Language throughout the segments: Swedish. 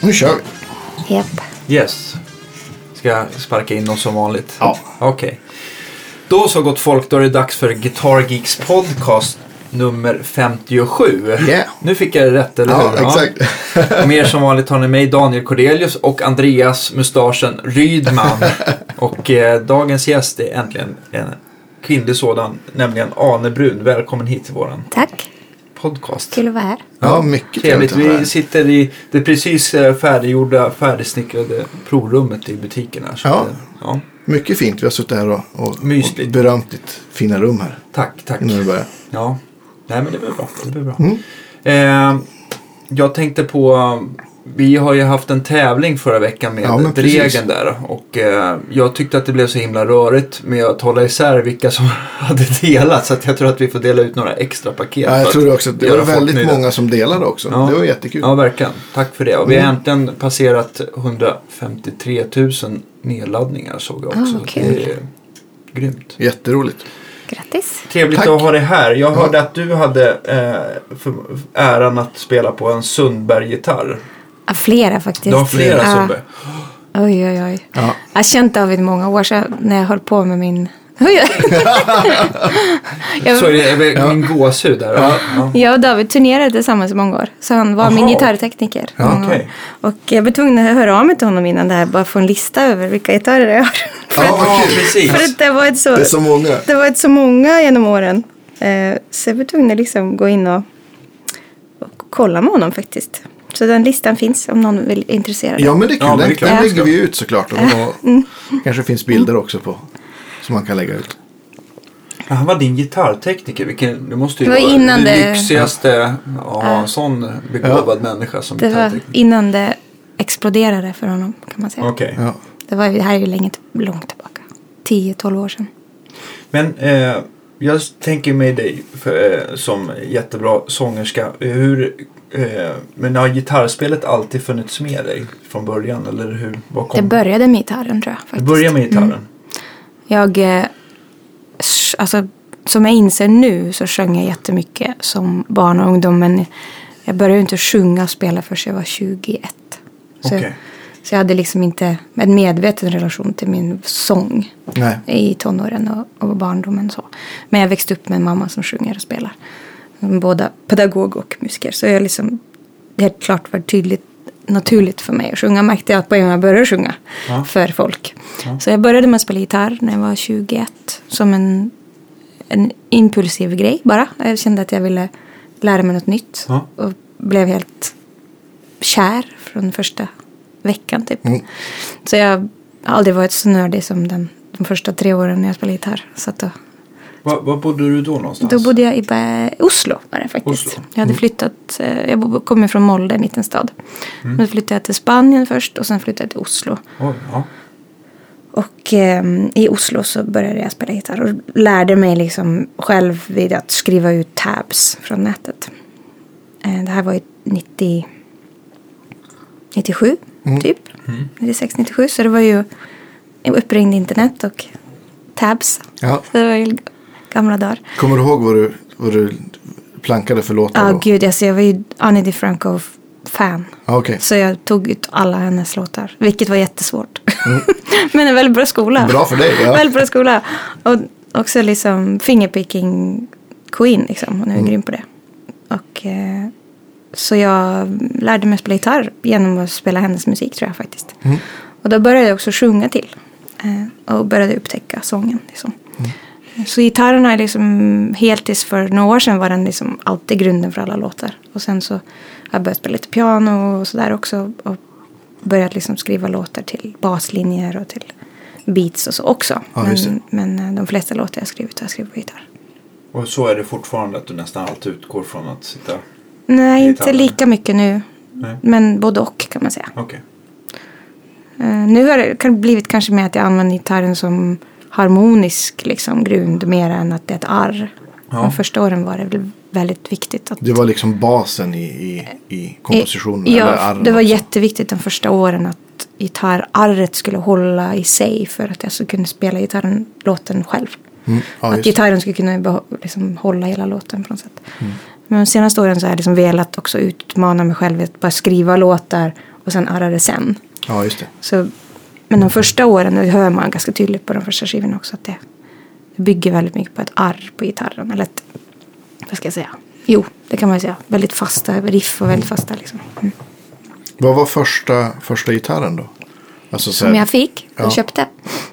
Nu kör vi. Japp. Yes. Ska jag sparka in dem som vanligt? Ja. Okej. Då så gott folk, då är det dags för Guitar Geeks podcast nummer 57. Yeah. Nu fick jag det rätt, eller Ja, hur? exakt. Och med er som vanligt har ni mig, Daniel Cordelius och Andreas Mustaschen Rydman. och eh, dagens gäst är äntligen en kvinnlig sådan, nämligen Ane Brun. Välkommen hit till våran Tack. podcast. Kul att vara här. Ja, mycket trevligt Trevligt. att vara Vi här. sitter i det precis eh, färdiggjorda, färdigsnickrade provrummet i butiken här. Så Ja. att, eh, ja. Mycket fint. Vi har suttit här och, och, och Mysigt. berömt ditt fina rum här Tack, tack. innan vi börjar. Mm. Ja. Nej, men det blir bra. Det blir bra. Eh, jag tänkte på, eh, vi har ju haft en tävling förra veckan med Ja, men precis. Dregen där. Och eh, jag tyckte att det blev så himla rörigt med att hålla isär vilka som hade delat. Så att jag tror att vi får dela ut några extra Ja, paket. för jag att tror det också. Det var göra folk väldigt nöjda. många som delade också. Ja. Det var jättekul. Ja, verkligen. Tack för det. Och Mm. vi har äntligen passerat 153 000 nedladdningar såg jag också. Ah, Så kul. Det är grymt. Jätteroligt. Grattis. Trevligt Tack. att ha dig här. Jag hörde att du hade eh, för, äran att spela på en Sundberg-gitarr. Ja, flera faktiskt. Du har flera ja. Sundberg. Oj, oj, oj. Ja. Jag har känt av det i många år sedan när jag höll på med min... Oj, oj. jag, Så är det är väl min gåshud där. Ja. Ja. jag och David turnerade tillsammans i många år. Så han var min Aha. gitarrtekniker. i Ja, många år. okej. Och jag var tvungen att höra av mig till honom innan det här. Bara få en lista över vilka gitarrer jag har. Ja, vad kul. precis. För att det var ett så... Det är så många. Det har varit så många genom åren. Eh, så jag var tvungen att liksom gå in och, och kolla med honom faktiskt. Så den listan finns om någon vill är intresserad. Ja, men det är Mm. kul. Ja, men det är den, klart den vi lägger ska. vi ut såklart. Och, och kanske finns bilder också på som man kan lägga ut. Ja, Han var din gitarrtekniker. Vilken, det måste ju Det var vara innan den det- lyxigaste ja, en sån begåvad människa som det var gitarrtekniker. innan det exploderade för honom kan man säga. Okej. Ja. Det, var, ju- det här är ju länge, till- långt tillbaka. 10-12 år sedan. Men eh, jag tänker mig dig för, eh, som jättebra sångerska. Hur, eh, men har gitarrspelet alltid funnits med dig från början? Eller hur? Var kom, Det började med gitarren tror jag. det Faktiskt. Mm. börjar med gitarren? Jag, eh, s- alltså, som jag inser nu så sjöng jag jättemycket som barn och ungdom. Men jag började ju inte sjunga och spela förrän jag var 21. Så, Okej. så jag hade liksom inte en medveten relation till min sång Nej. i tonåren och, och barndomen. Så. Men jag växte upp med en mamma som sjunger och spelar. Båda pedagog och musiker. Så jag liksom, det är klart var tydligt naturligt för mig att sjunga. Märkte jag på en gång jag började sjunga Ja. för folk. Så jag började med att spela gitarr när jag var 21. Som en, en impulsiv grej bara. Jag kände att jag ville lära mig något nytt. Ja. Och blev helt kär från första veckan typ. Mm. Så jag har aldrig varit så nördig som den, de första tre åren när jag spelade gitarr. Så att då, Var, var bodde du då någonstans? då bodde jag i Bä- Oslo var det faktiskt. Alltså. Oslo. Mm. Jag hade flyttat, eh, jag bo- kommer från Molde, en liten stad. Mm. Men flyttade jag till Spanien först och sen flyttade jag till Oslo. Oj, ja. Och ehm, i Oslo så började jag spela gitarr och lärde mig liksom själv vid att skriva ut tabs från nätet. Eh, det här var ju 90, 97 typ. 96, 97. Så det var ju uppringd internet och tabs. Ja. Så det var ju gamla dagar. Kommer du ihåg vad du, vad du plankade för låtar? Ja, då? gud, alltså jag var ju Annie DiFranco-fan. Ja, okej. Så jag tog ut alla hennes låtar, vilket var jättesvårt. Men en väldigt bra skola. Mm. Bra för dig, ja. väldigt bra skola. Och också liksom fingerpicking queen, liksom. Hon är ju Mm. grym på det. Och, eh, så jag lärde mig spela gitarr genom att spela hennes musik, tror jag faktiskt. Mm. Och då började jag också sjunga till. eh, Och började upptäcka sången, liksom. Mm. Så gitarren har jag liksom, helt tills för några år sedan var den liksom alltid grunden för alla låtar. Och sen så har jag börjat spela lite piano och sådär också. Och börjat liksom skriva låtar till baslinjer och till beats och så också. Ja, just det. men, men eh, de flesta låtar jag skrivit har jag skrivit på gitarr. Och så är det fortfarande att du nästan alltid utgår från att sitta... Nej, inte Gitarren. lika mycket nu. Nej. Men både och kan man säga. Okej. Eh, nu har det kan- blivit kanske mer att jag använder gitarren som harmonisk liksom, grund mer än att det är ett arr. Ja. De första åren var det väl väldigt viktigt att Det var liksom basen i, i, i kompositionen. Eh, Ja, eller arren det var också. jätteviktigt de första åren att gitarrarret skulle hålla i sig för att jag skulle kunna spela gitarren, låten själv. Mm, ja, just det. att Mm. gitarren skulle kunna beho- liksom hålla hela låten på något sätt. Men de senaste åren så har jag liksom velat också utmana mig själv att bara skriva låtar och sen arra det sen. Ja, just det. Så, men de första åren, det hör man ganska tydligt på de första skivorna också, att det, det bygger väldigt mycket på ett arr på gitarren. Eller ett, vad ska jag säga? Jo, det kan man ju säga. Väldigt fasta riff och väldigt fasta liksom. Mm. Vad var första, första gitarren då? Alltså, så Som här, jag fick och Ja. köpte.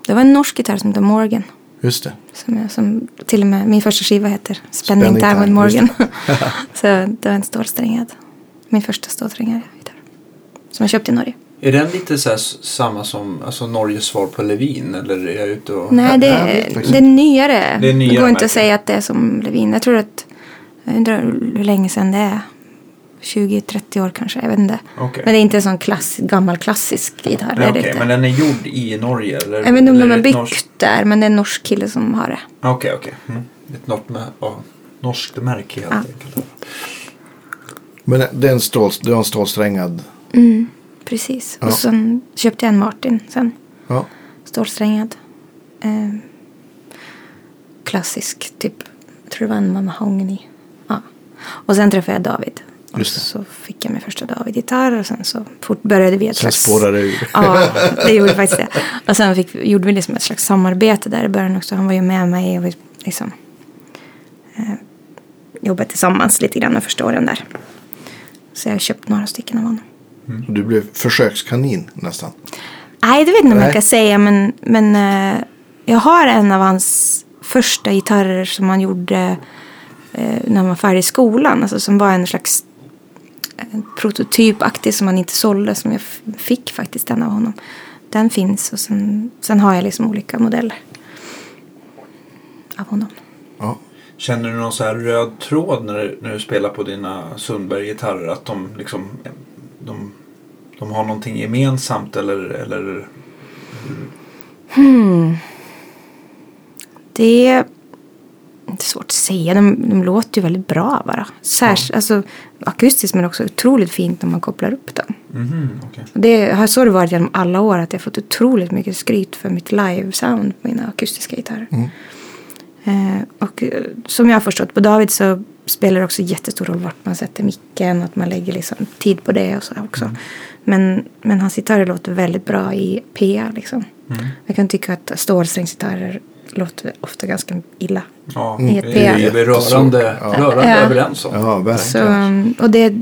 Det var en norsk gitarr som hette Morgan. Just det. Som, jag, som till och med min första skiva heter Spending, Spending Time Time, with Morgan. just så det var en stålsträngad. Min första stålsträngade gitarr. Som jag köpte i Norge. Är den lite så här s- samma som alltså Norges svar på Levin? Eller är jag ute och... Nej, det, jag vet faktiskt det är nyare. typ? Det är nyare går inte märken. att säga att det är som Levin. Jag tror att, jag undrar hur länge sedan det är. 20-30 år kanske, jag vet inte. Okej. Men det är inte en sån klass, gammal klassisk gitarr. Nej, är det okej, inte. men den är gjord i Norge? Eller, jag vet inte om eller de är har det byggt ett norskt- där, men det är en norsk kille som har det. Ah, Okej, okej. Mm. Ett norskt, mä- ja, norskt märke helt enkelt. Men det är en, stål, det är en stålsträngad. Mm, precis. Ja. Och sen köpte jag en Martin sen. Ja. Stålsträngad. Eh, klassisk, typ. Jag tror det var en Mahogny. Ja. Och sen träffade jag David. Och Just det. så fick jag min första David-gitarr och sen så fort började vi ett Sen spårade det ur. Ja, det gjorde faktiskt det. Och sen fick, gjorde vi liksom ett slags samarbete där i början också. Han var ju med mig och vi liksom eh, jobbade tillsammans lite grann de första åren där. Så jag har köpt några stycken av honom. Du blev försökskanin nästan. Nej, det vet jag inte om Nej. jag kan säga. Men, men eh, jag har en av hans första gitarrer som han gjorde eh, när han var färdig i skolan. Alltså som var en slags eh, prototypaktig som han inte sålde. Som jag f- fick faktiskt den av honom. Den finns och sen, sen har jag liksom olika modeller av honom. Ja. Känner du någon så här röd tråd när, du- när du spelar på dina Sundberg-gitarrer? Att de liksom... De, de har någonting gemensamt eller... eller Det är inte svårt att säga. De, de låter ju väldigt bra bara. Särskilt, alltså, akustiskt men också otroligt fint när man kopplar upp dem. Mhm, okej. Och Det har så har det varit genom alla år att jag har fått otroligt mycket skryt för mitt live-sound på mina akustiska gitarrer. Eh, och eh, som jag har förstått på David så spelar det också jättestor roll vart man sätter micken och att man lägger liksom tid på det och så också. Men, men hans gitarrer låter väldigt bra i PA liksom. Jag kan tycka att stålsträngsgitarrer låter ofta ganska illa. Ja, Mm. det är vi rörande, Ja. rörande Ja. överens om. Ja, Så, um, verkligen. och det,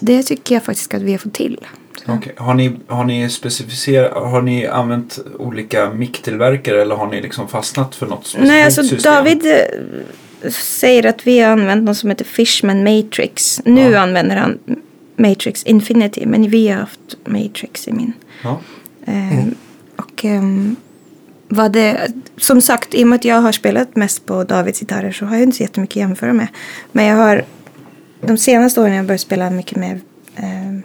det tycker jag faktiskt att vi har fått till. Så. Okej. Har ni, har ni specificerat, har ni använt olika micktillverkare eller har ni liksom fastnat för något specifikt Nej, alltså system? David eh, säger att vi har använt något som heter Fishman Matrix. Nu Ja. använder han Matrix Infinity, men vi har haft Matrix i min. Ja. Ehm, Mm. Och ehm, vad det, som sagt, i och med att jag har spelat mest på Davids gitarrer så har jag inte så jättemycket att jämföra med. Men jag har de senaste åren har jag börjat spela mycket mer eh,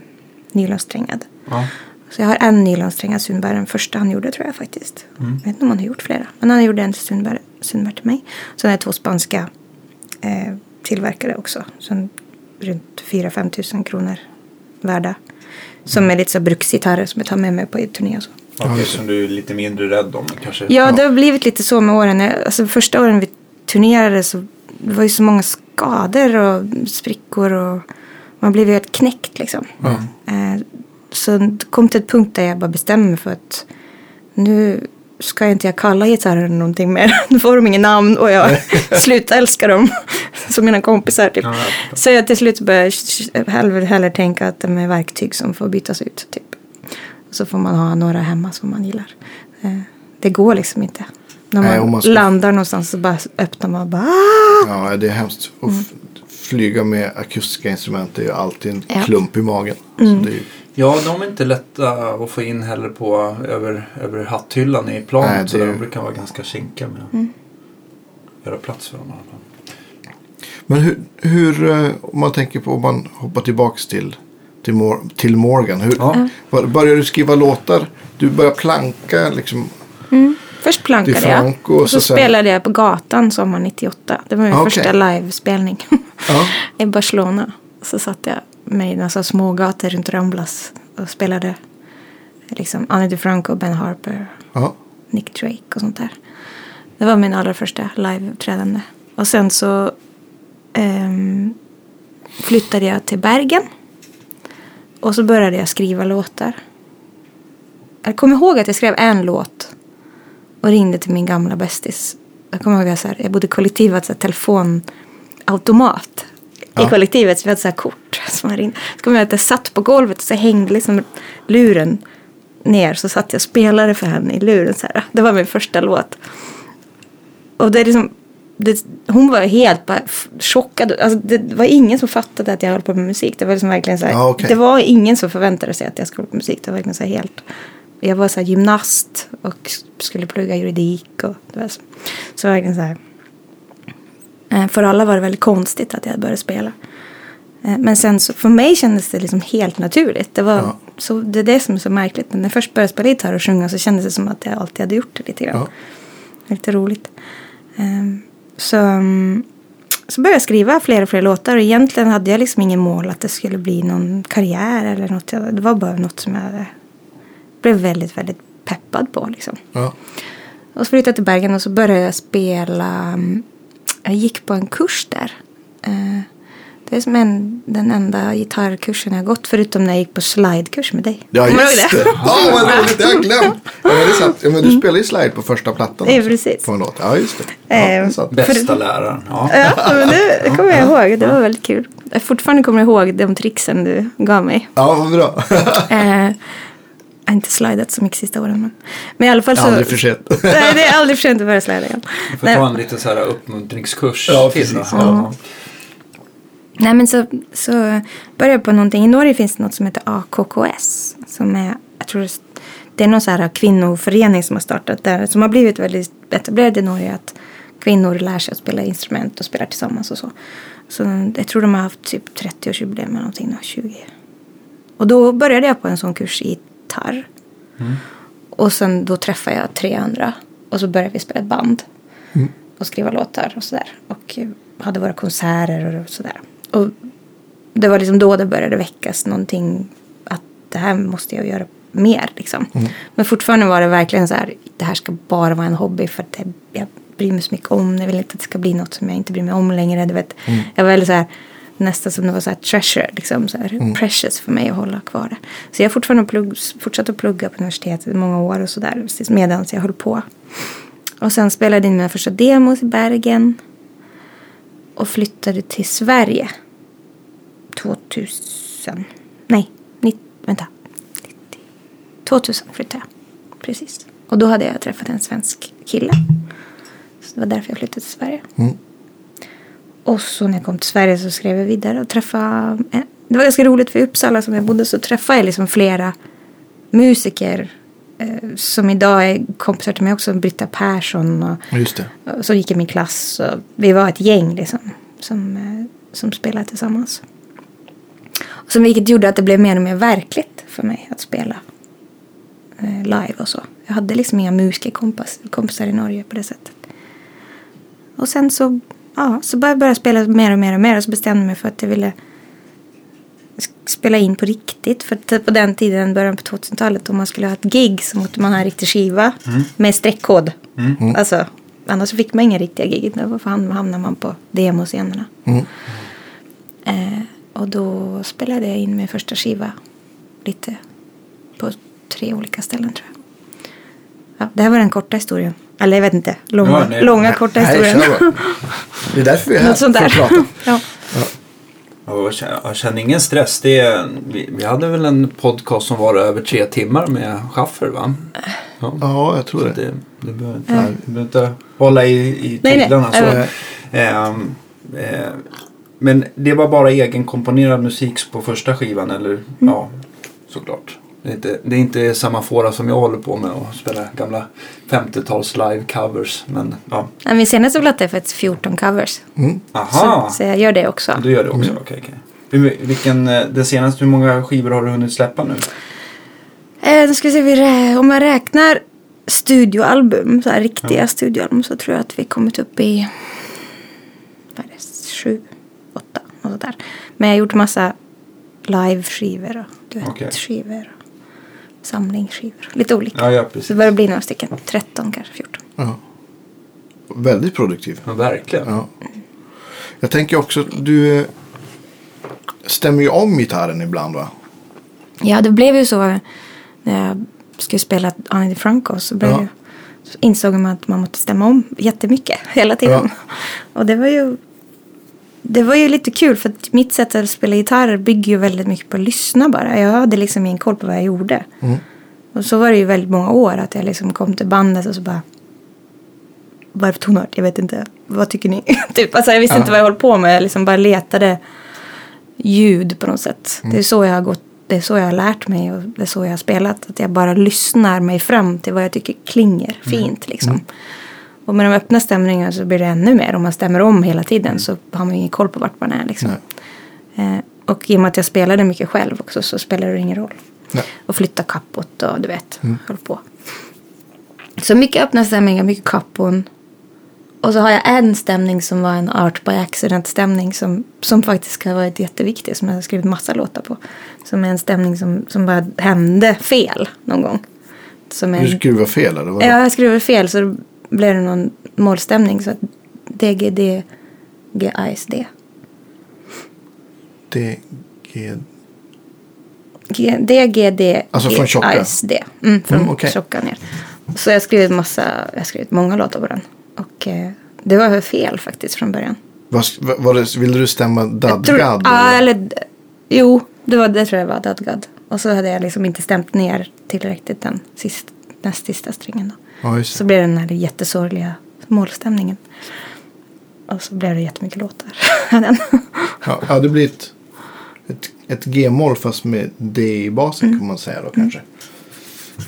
nylonsträngad. Ja. Så jag har en nylonsträngad Sundberg, den första han gjorde tror jag faktiskt. Jag vet inte om han har gjort flera. Men han gjorde en till Sundberg, Sundberg till mig. Sen har jag två spanska eh, tillverkare också. Sen runt 4-5 tusen kronor värda. Som är lite så bruksgitarrer som jag tar med mig på turné och så. Okej, som du är lite mindre rädd om kanske? Ja, det har blivit lite så med åren. Jag- Alltså första åren vi turnerade så det var ju så många skador och sprickor och man blev ju helt knäckt liksom. Eh, Så det kom till ett punkt där jag bara bestämde mig för att nu ska jag inte jag kalla gitarren någonting mer. Nu får de ingen namn och jag slutar älska dem som mina kompisar typ. Ja, jag förstår. Så jag till slut började jag hellre, hellre tänka att de är verktyg som får bytas ut. Typ. Så får man ha några hemma som man gillar. Eh, Det går liksom inte. När man, Nej, om man ska- landar någonstans så bara öppnar man och bara "Ah!" Ja, det är hemskt. Och Mm. f- flyga med akustiska instrument det är ju alltid en Ja. Mm. klump i magen. Så det är, ju- Ja, de är inte lätta att få in heller på över, över hatthyllan i planet. Nej, det så är de ju- brukar vara ganska kinkiga med att göra plats för dem. i alla fall. men hur, hur, eh, om man tänker på, om man hoppar tillbaks till, till, Mor- till Morgan. Hur, Ja. Bör- Börjar du skriva låtar? Du börjar planka liksom. Först plankade Det är jag. Franco och Och så, så sen- spelade jag på gatan sommar 98. Det var min Ah, okej. första livespelning. Ja. I Barcelona. Så satt jag med i några smågator runt Ramblas och spelade liksom Annie DeFranco, Ben Harper, ja. Nick Drake och sånt där. Det var min allra första live-uppträdande. Och sen så ehm, flyttade jag till Bergen. Och så började jag skriva låtar. Jag kommer ihåg att jag skrev en låt och ringde till min gamla bästis. Jag kommer ihåg att jag, så här, jag bodde i kollektivet, så här, telefonautomat Ja. i kollektivet. Så vi hade så här kort som man ringde. Så kommer jag ihåg att jag satt på golvet och så hängde liksom luren ner. Så satt jag och spelade för henne i luren. Så här. Det var min första låt. Och det är liksom, det, hon var helt bara f- chockad. Alltså, det var ingen som fattade att jag höll på med musik. Det var liksom verkligen så här, Ja, okej. det var ingen som förväntade sig att jag skulle hålla på med musik. Det var verkligen så här helt. Jag var så här gymnast och skulle plugga juridik. Och, det var så, så verkligen så här. Eh, För alla var det väldigt konstigt att jag började spela. Eh, Men sen så, för mig kändes det liksom helt naturligt. Det, var, Ja. så, det är det som är så märkligt. Men när jag först började spela gitarr och sjunga så kändes det som att jag alltid hade gjort det lite grann. Ja. Lite roligt. Ehm, Så, mm, så började jag skriva fler och fler låtar. Och egentligen hade jag liksom ingen mål att det skulle bli någon karriär eller något. Jag- Det var bara något som jag hade- blev väldigt, väldigt peppad på liksom. Ja. Och så flyttade jag till Bergen och så började jag spela. mm, Jag gick på en kurs där. Eh, Det är som en, den enda gitarrkursen jag har gått förutom när jag gick på slidekurs med dig. Ja, Kommer du ihåg just det. Ja, vad roligt. Det har jag glömt. Ja, men det är sant. Ja, men du spelar ju slide på första plattan. Det är också, precis. På en låt. Ja, just det. Ja, det Ehm, är sant. Bästa läraren. Ja. Ja, men det, det kommer jag ihåg. Det var väldigt kul. Jag fortfarande kommer jag ihåg de tricksen du gav mig. Ja, vad bra. Eh, jag har inte slidat så mycket sista åren. Men, men i alla fall så. Aldrig för sent. Nej, det är aldrig för sent att börja slida igen. Du får Nej. ta en liten så här uppmuntringskurs Ja, till. då. precis. Ja. Nej men så, så började jag på någonting. I Norge finns det något som heter AKKS. Som är, jag tror det är någon så här kvinnoförening som har startat där. Som har blivit väldigt etablerad i Norge. Att kvinnor lär sig att spela instrument och spelar tillsammans och så. Så jag tror de har haft typ 30-årsjubileum eller någonting nu, 20. Och då började jag på en sån kurs i gitarr. Och sen då träffade jag tre andra. Och så började vi spela ett band och skriva låtar och sådär. Och eh, hade våra konserter och sådär. Och det var liksom då det började väckas någonting att det här måste jag göra mer liksom. Men fortfarande var det verkligen så här, det här ska bara vara en hobby för att det, jag bryr mig så mycket om det. Jag vill inte att det ska bli något som jag inte bryr mig om längre. Du vet. Jag var väldigt så här, nästan som det var så här treasure, liksom, så här, precious för mig att hålla kvar det. Så jag har fortfarande plugg, fortsatt att plugga på universitetet i många år och sådär medan jag höll på. Och sen spelade jag in mina första demos i Bergen. Och flyttade till Sverige. 2000. Nej, ni, vänta. 90. 2000 flyttade jag. Precis. Och då hade jag träffat en svensk kille. Så det var därför jag flyttade till Sverige. Och så när jag kom till Sverige så skrev jag vidare och träffade... eh, Det var ganska roligt för i Uppsala som jag bodde så träffade jag liksom flera musiker eh, som idag är kompisar till mig också. Britta Persson och Just det. och som Eh, gick i min klass. Och vi var ett gäng liksom, som, eh, som spelade tillsammans. Och som vilket gjorde att det blev mer och mer verkligt för mig att spela eh, live och så. Jag hade liksom inga musikerkompisar i Norge på det sättet. Och sen så, ja, så började jag börja spela mer och mer och mer och så bestämde jag mig för att jag ville sk- spela in på riktigt. För att typ på den tiden, början på 2000-talet, om man skulle ha ett gig så måste man ha en riktig skiva Mm. med streckkod. Alltså, annars fick man inga riktiga gig. Då fan hamnar man på demoscenerna. Eh, och då spelade jag in min första skiva lite på tre olika ställen tror jag. Ja, det här var den korta historien. Eller jag vet inte. Långa, Ja, nej. långa korta Nej, historien. kör bara. Det är därför vi är här. Något sånt för där. att prata. ja. Ja, Jag känner, jag känner ingen stress. Det är, vi, vi hade väl en podcast som var över tre timmar med Schaffer va? Ja. Ja, jag Mm. tror det. Det, det behöver inte, du behöver inte hålla i, i Nej, Mm. tyglarna. nej. Så. Nej. Ehm, eh, men det var bara egenkomponerad musik på första skivan eller? Mm. Ja, såklart. Det är, inte, det är inte samma fåra som jag håller på med och spela gamla 50-tals live covers. Men ja, Nej, Min senaste platta är faktiskt 14 covers. Mm. aha! Så, Mm. så jag gör det också. Du gör det också? Okej, okej. Hur, vilken, eh, det senaste, hur många skivor har du hunnit släppa nu? Eh, då ska vi se, vi rä- om man räknar studioalbum, så här riktiga studioalbum, så tror jag att vi kommit upp i vad är det, sju, åtta, något sånt där. Men jag har gjort massa live-skivor och Okej. duettskivor och samlingsskivor. Lite olika. Ja, ja Så precis. det börjar bli några stycken. 13 kanske, 14. Ja. Väldigt produktiv. Ja, verkligen. Ja. Jag tänker också, du, eh, stämmer ju om gitarren ibland va? Ja, det blev ju så eh, när jag skulle spela Annie DeFranco så, blev Ja. ju, så insåg man att man måste stämma om jättemycket hela tiden. Och det var ju det var ju lite kul för att mitt sätt att spela gitarr bygger ju väldigt mycket på att lyssna bara. Jag hade liksom ingen koll på vad jag gjorde. Och så var det ju väldigt många år att jag liksom kom till bandet och så bara Vad är det för tonart? Jag vet inte. Vad tycker ni? typ, alltså jag visste Ja. inte vad jag höll på med. Jag liksom bara letade ljud på något sätt. Mm. Det är så jag har gått det är så jag har lärt mig och det är så jag har spelat. Att jag bara lyssnar mig fram till vad jag tycker klinger Mm. fint liksom. Och med de öppna stämningarna så blir det ännu mer. Om man stämmer om hela tiden så har man ju ingen koll på vart man är liksom. Eh, och i och med att jag spelade mycket själv också så spelar det ingen roll. Nej. Mm. Och flytta kappot och du vet, håll på. Så mycket öppna stämningar, mycket kappon. Och så har jag en stämning som var en art by accident stämning som, som faktiskt har varit jätteviktig som jag har skrivit massa låtar på. Som är en stämning som, som bara hände fel någon gång. Som är en- Du skruvar fel eller? Vad? Mm. Ja, jag skrev fel så då blev det någon målstämning. Så att DGD GASD. D, G... G- DGD Alltså från tjocka? GASD. Mm, från Mm, okej. tjocka ner. Så jag skrev massa, jag skrev många låtar på den. Och eh, det var fel faktiskt från början. Vad, vad, vad det, ville du stämma Tror- dadgad? Ja, eller? eller jo, det, var, det tror jag var dadgad. Och så hade jag liksom inte stämt ner tillräckligt den sist, näst sista strängen då. Ja, just Så det. blev det den här jättesorgliga målstämningen. Och så blev det jättemycket låtar. av den. Ja, ja, det blir ett, ett, ett G-moll fast med D i basen Mm. kan man säga då kanske.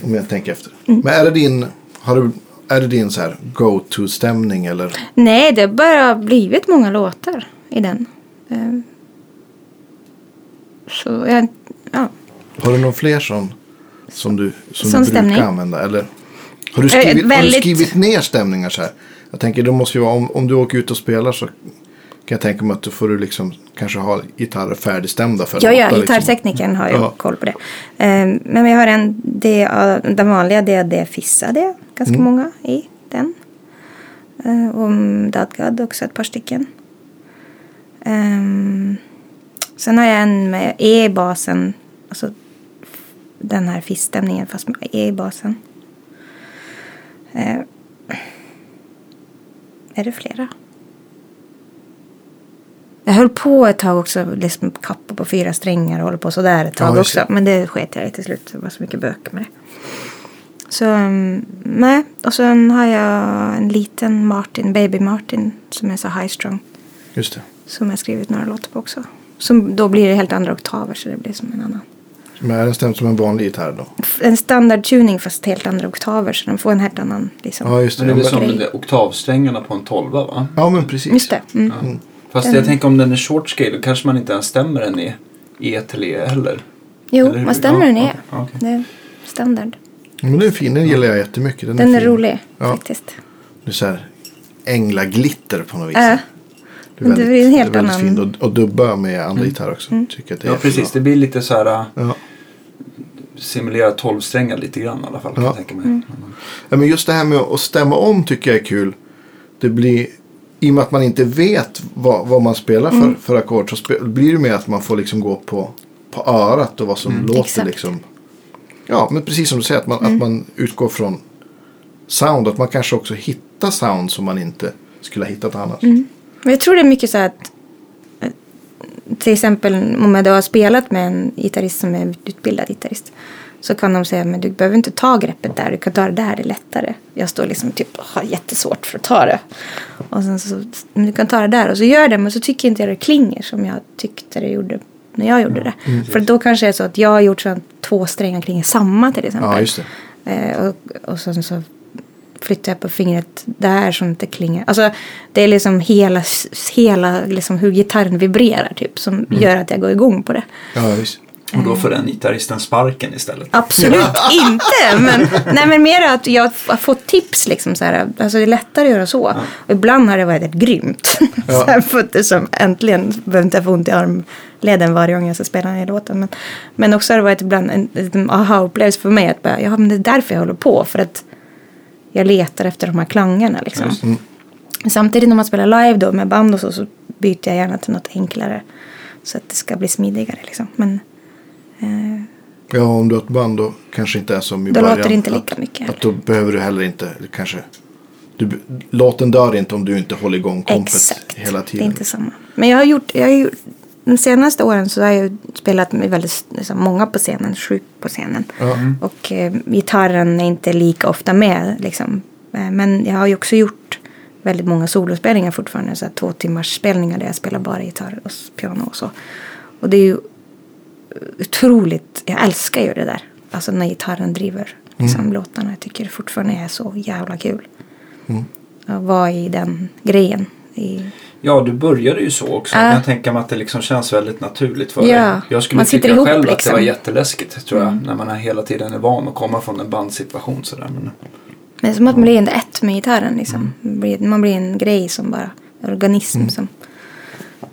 Om jag tänker efter. Men är det din, har du, är det din så här go-to-stämning eller? Nej, det har bara blivit många låtar i den. Ehm. Så jag, ja. Har du någon fler sån som du, som Sån du brukar stämning? Eh, använda? Eller har du, skrivit, har du väldigt- skrivit ner stämningar så här? Jag tänker, det måste ju vara, om, om du åker ut och spelar så kan jag tänka mig att du får du liksom kanske ha gitarrer färdigstämda för Ja, en ja, låta, liksom- gitarrteknikern har ju Ja. koll på det. Ehm, Men vi har en DA, den vanliga DAD Fissa det, ganska Mm. många i den. Ehm, Och Dadgad också ett par stycken. Ehm, Sen har jag en med E i basen, alltså den här fissstämningen fast med E i basen. Ehm, Är det flera? Jag höll på ett tag också, liksom kappa på fyra strängar och håller på sådär ett tag Ja, just också. det. Men det sket jag i till slut, det var så mycket bök med det. Så, mm, nej. Och sen har jag en liten Martin, Baby Martin, som är så high strong. Just det. Som jag skrivit några låtar på också. Som, då blir det helt andra oktaver så det blir som en annan. Men är den stämd som en vanlig gitarr då? F- En standard tuning fast helt andra oktaver så den får en helt annan liksom. Ja, just Så det. det är väl Ja, som grej. de där oktavsträngarna på en tolva va? Ja, men precis. Just det. Mm. Ja. Fast jag tänker om den är short scale då kanske man inte ens stämmer den i E till E heller. Jo, Eller hur? man stämmer Ja, den är. ja, okej. Det är standard. Men den är fin, den gillar jag jättemycket. Den, Den är fin. rolig Ja. faktiskt. Det är så här änglaglitter på något vis. Äh, det är väldigt, det är en helt det är väldigt annan- Mm. fint. Och, och dubba med andra gitarrer också. Tycker att det Ja är precis, det bra. blir lite så här äh, Ja. simulera tolvsträngar lite grann i alla fall. kan Ja. Jag tänka mig. Mm. Ja, men just det här med att stämma om tycker jag är kul. Det blir, I och med att man inte vet vad, vad man spelar för, för ackord så spe, blir det mer att man får liksom gå på, på örat och vad som låter. Exakt. Liksom. Ja, men precis som du säger att man, att man utgår från sound. Att man kanske också hittar sound som man inte skulle ha hittat annars. Men jag tror det är mycket så här att eh, till exempel om jag då har spelat med en gitarrist som är utbildad gitarrist så kan de säga men du behöver inte ta greppet där, du kan ta det där, det är lättare. Jag står liksom typ och har jättesvårt för att ta det. Och sen så, men du kan ta det där och så gör jag det men så tycker inte jag det klinger som jag tyckte det gjorde när jag gjorde det. För då kanske det är så att jag har gjort så att två strängar klinger samma till exempel. Ja, just det. Eh, och, och sen så flyttar jag på fingret där som inte klingar. Alltså det är liksom hela, s- hela liksom hur gitarren vibrerar typ som gör att jag går igång på det. Ja, visst. Och då får den gitarristen sparken istället. Absolut inte! Men, nej, men mer att jag har fått tips. Liksom, så här, alltså, det är lättare att göra så. Och ibland har det varit ett grymt. så här, fått det som, äntligen behöver inte jag få ont i armleden varje gång jag ska spela den här låten. Men, men också har det varit ibland en, en aha-upplevelse för mig. Att bara, ja, men det är därför jag håller på. För att jag letar efter de här klangerna. Liksom. Samtidigt när man spelar live då med band och så, så byter jag gärna till något enklare. Så att det ska bli smidigare liksom. Men eh, Ja, om du har ett band då kanske inte är som i Då början. låter det inte lika att, mycket Att då behöver du heller inte kanske. Du, be- låten dör inte om du inte håller igång kompet exakt, hela det tiden. är inte samma. Men jag har gjort, jag har gjort de senaste åren så har jag ju spelat med väldigt liksom, många på scenen, sju på scenen. Ja. Och eh, gitarren är inte lika ofta med. Liksom. Eh, men jag har ju också gjort väldigt många solospelningar fortfarande. Så här, två timmars spelningar där jag spelar bara gitarr och s- piano och så. Och det är ju otroligt, jag älskar ju det där. Alltså när gitarren driver liksom, låtarna. Jag tycker det fortfarande är så jävla kul. Att vara i den grejen. I, Ja, du började ju så också. Ja. Jag kan tänka mig att det liksom känns väldigt naturligt för Ja, dig. Jag skulle man tycka sitter ihop själv att det liksom. Mm. var jätteläskigt tror jag. När man är hela tiden är van att komma från en bandsituation sådär. Men, men det är som att man blir en ett med gitarren liksom. Man blir, man blir en grej som bara, organism som,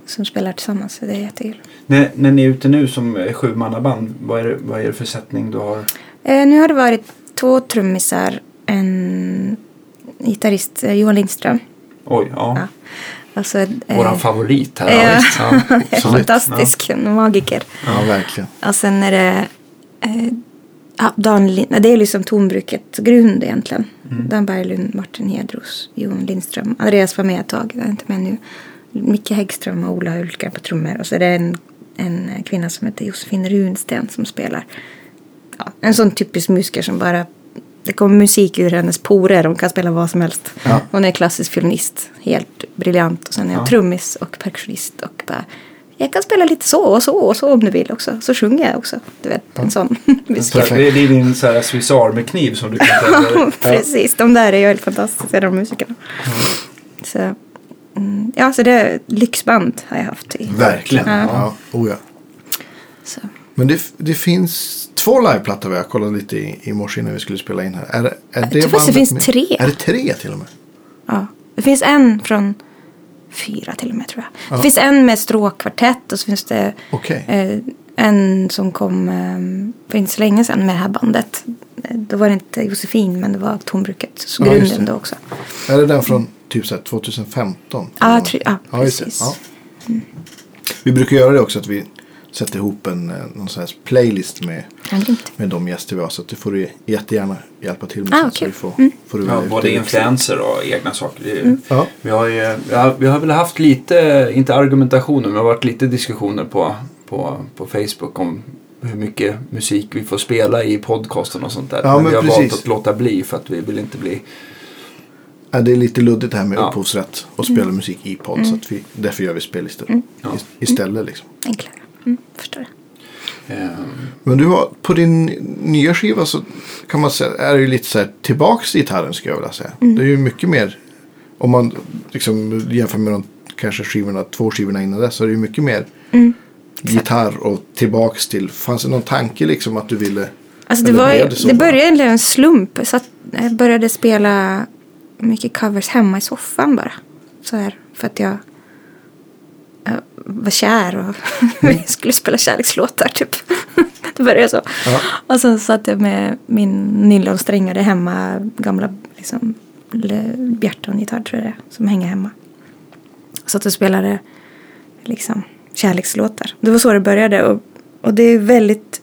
som spelar tillsammans. Så Det är jättekul. när, när ni är ute nu som eh, sjumannaband, vad är, det, vad är det för sättning du har? Eh, nu har det varit två trummisar, en gitarrist, eh, Johan Lindström. Oj, ja. Ja. Alltså, eh, Våran favorit här. ja. visst. Ja, han är absolut. fantastisk, en magiker. Ja, verkligen. Och sen är det eh, ja, Dan Lind, nej, det är liksom tonbrukets grund egentligen. Dan Berglund, Martin Hedros, Johan Lindström. Andreas var med ett tag, jag är inte med nu. Micke Häggström och Ola Hulka på trummor. Och så är det en, en kvinna som heter Josefin Runsten som spelar. Ja, en sån typisk musiker som bara det kommer musik ur hennes porer, hon kan spela vad som helst. Ja. Hon är klassisk violinist, helt briljant. Och sen är jag Ja. trummis och percussionist och bara, jag kan spela lite så och så och så om du vill också. Så sjunger jag också, du vet, en sån musiker. Det är din så här Swiss Army-kniv som du kan tänka Precis, de där är ju helt fantastiska, de musikerna. Så, mm, ja, så det är lyxband har jag haft. I. Verkligen. Ja. Ja. Oh, ja. Så. Men det, det finns två liveplattor vad jag kollade lite i, i morse innan vi skulle spela in här. Är, det- är det tror faktiskt det bandet finns med? tre. Är det tre till och med? Ja. Det finns en från fyra till och med tror jag. Det finns en med stråkkvartett och så finns det Okej. eh, en som kom eh, för inte så länge sedan med det här bandet. Eh, Då var det inte Josefin men det var Tonbruket. Så Ja, just grunden det. då också. Är det den från typ så här 2015? Ja, jag tror- ja, Ja, just det. precis. Mm. Ja. Vi brukar göra det också att vi sätter ihop en eh, någon sån här playlist med, Ja, grymt. med de gäster vi har. Så att du får du jättegärna hjälpa till med. Ah, sen, så kul. vi får, Mm. får du Ja, välja ut både det. influenser och egna saker. Det är- Ja. Vi, har ju, vi, har, vi har väl haft lite, inte argumentationer, men det har varit lite diskussioner på, på, på Facebook om hur mycket musik vi får spela i podcasten och sånt där. Ja, men vi har valt precis. att låta bli för att vi vill inte bli... Ja, det är lite luddigt det här med Ja. upphovsrätt och spela Mm. musik i podd. Så att vi, därför gör vi spellistor Ja. ist- istället. Liksom. Enklare. Mm, förstår jag. Eh, Men du har, på din nya skiva så kan man säga, är det ju lite så här tillbaks i gitarren skulle jag vilja säga. Mm. Det är ju mycket mer, om man liksom jämför med de kanske skivorna, två skivorna innan dess, så är det ju mycket mer Mm. gitarr och tillbaks till, fanns det någon tanke liksom att du ville? Alltså det, eller var, blev det, så det bara? började egentligen en slump. Så att jag började spela mycket covers hemma i soffan bara. Så här, för att jag, jag var kär och Mm. skulle spela kärlekslåtar typ. det började så. Ja. Och sen satt jag med min nylonsträngade hemma, gamla liksom, l- Bjärton-gitarr tror jag det är, som hänger hemma. Satt och spelade liksom, kärlekslåtar. Det var så det började. Och, och det är väldigt,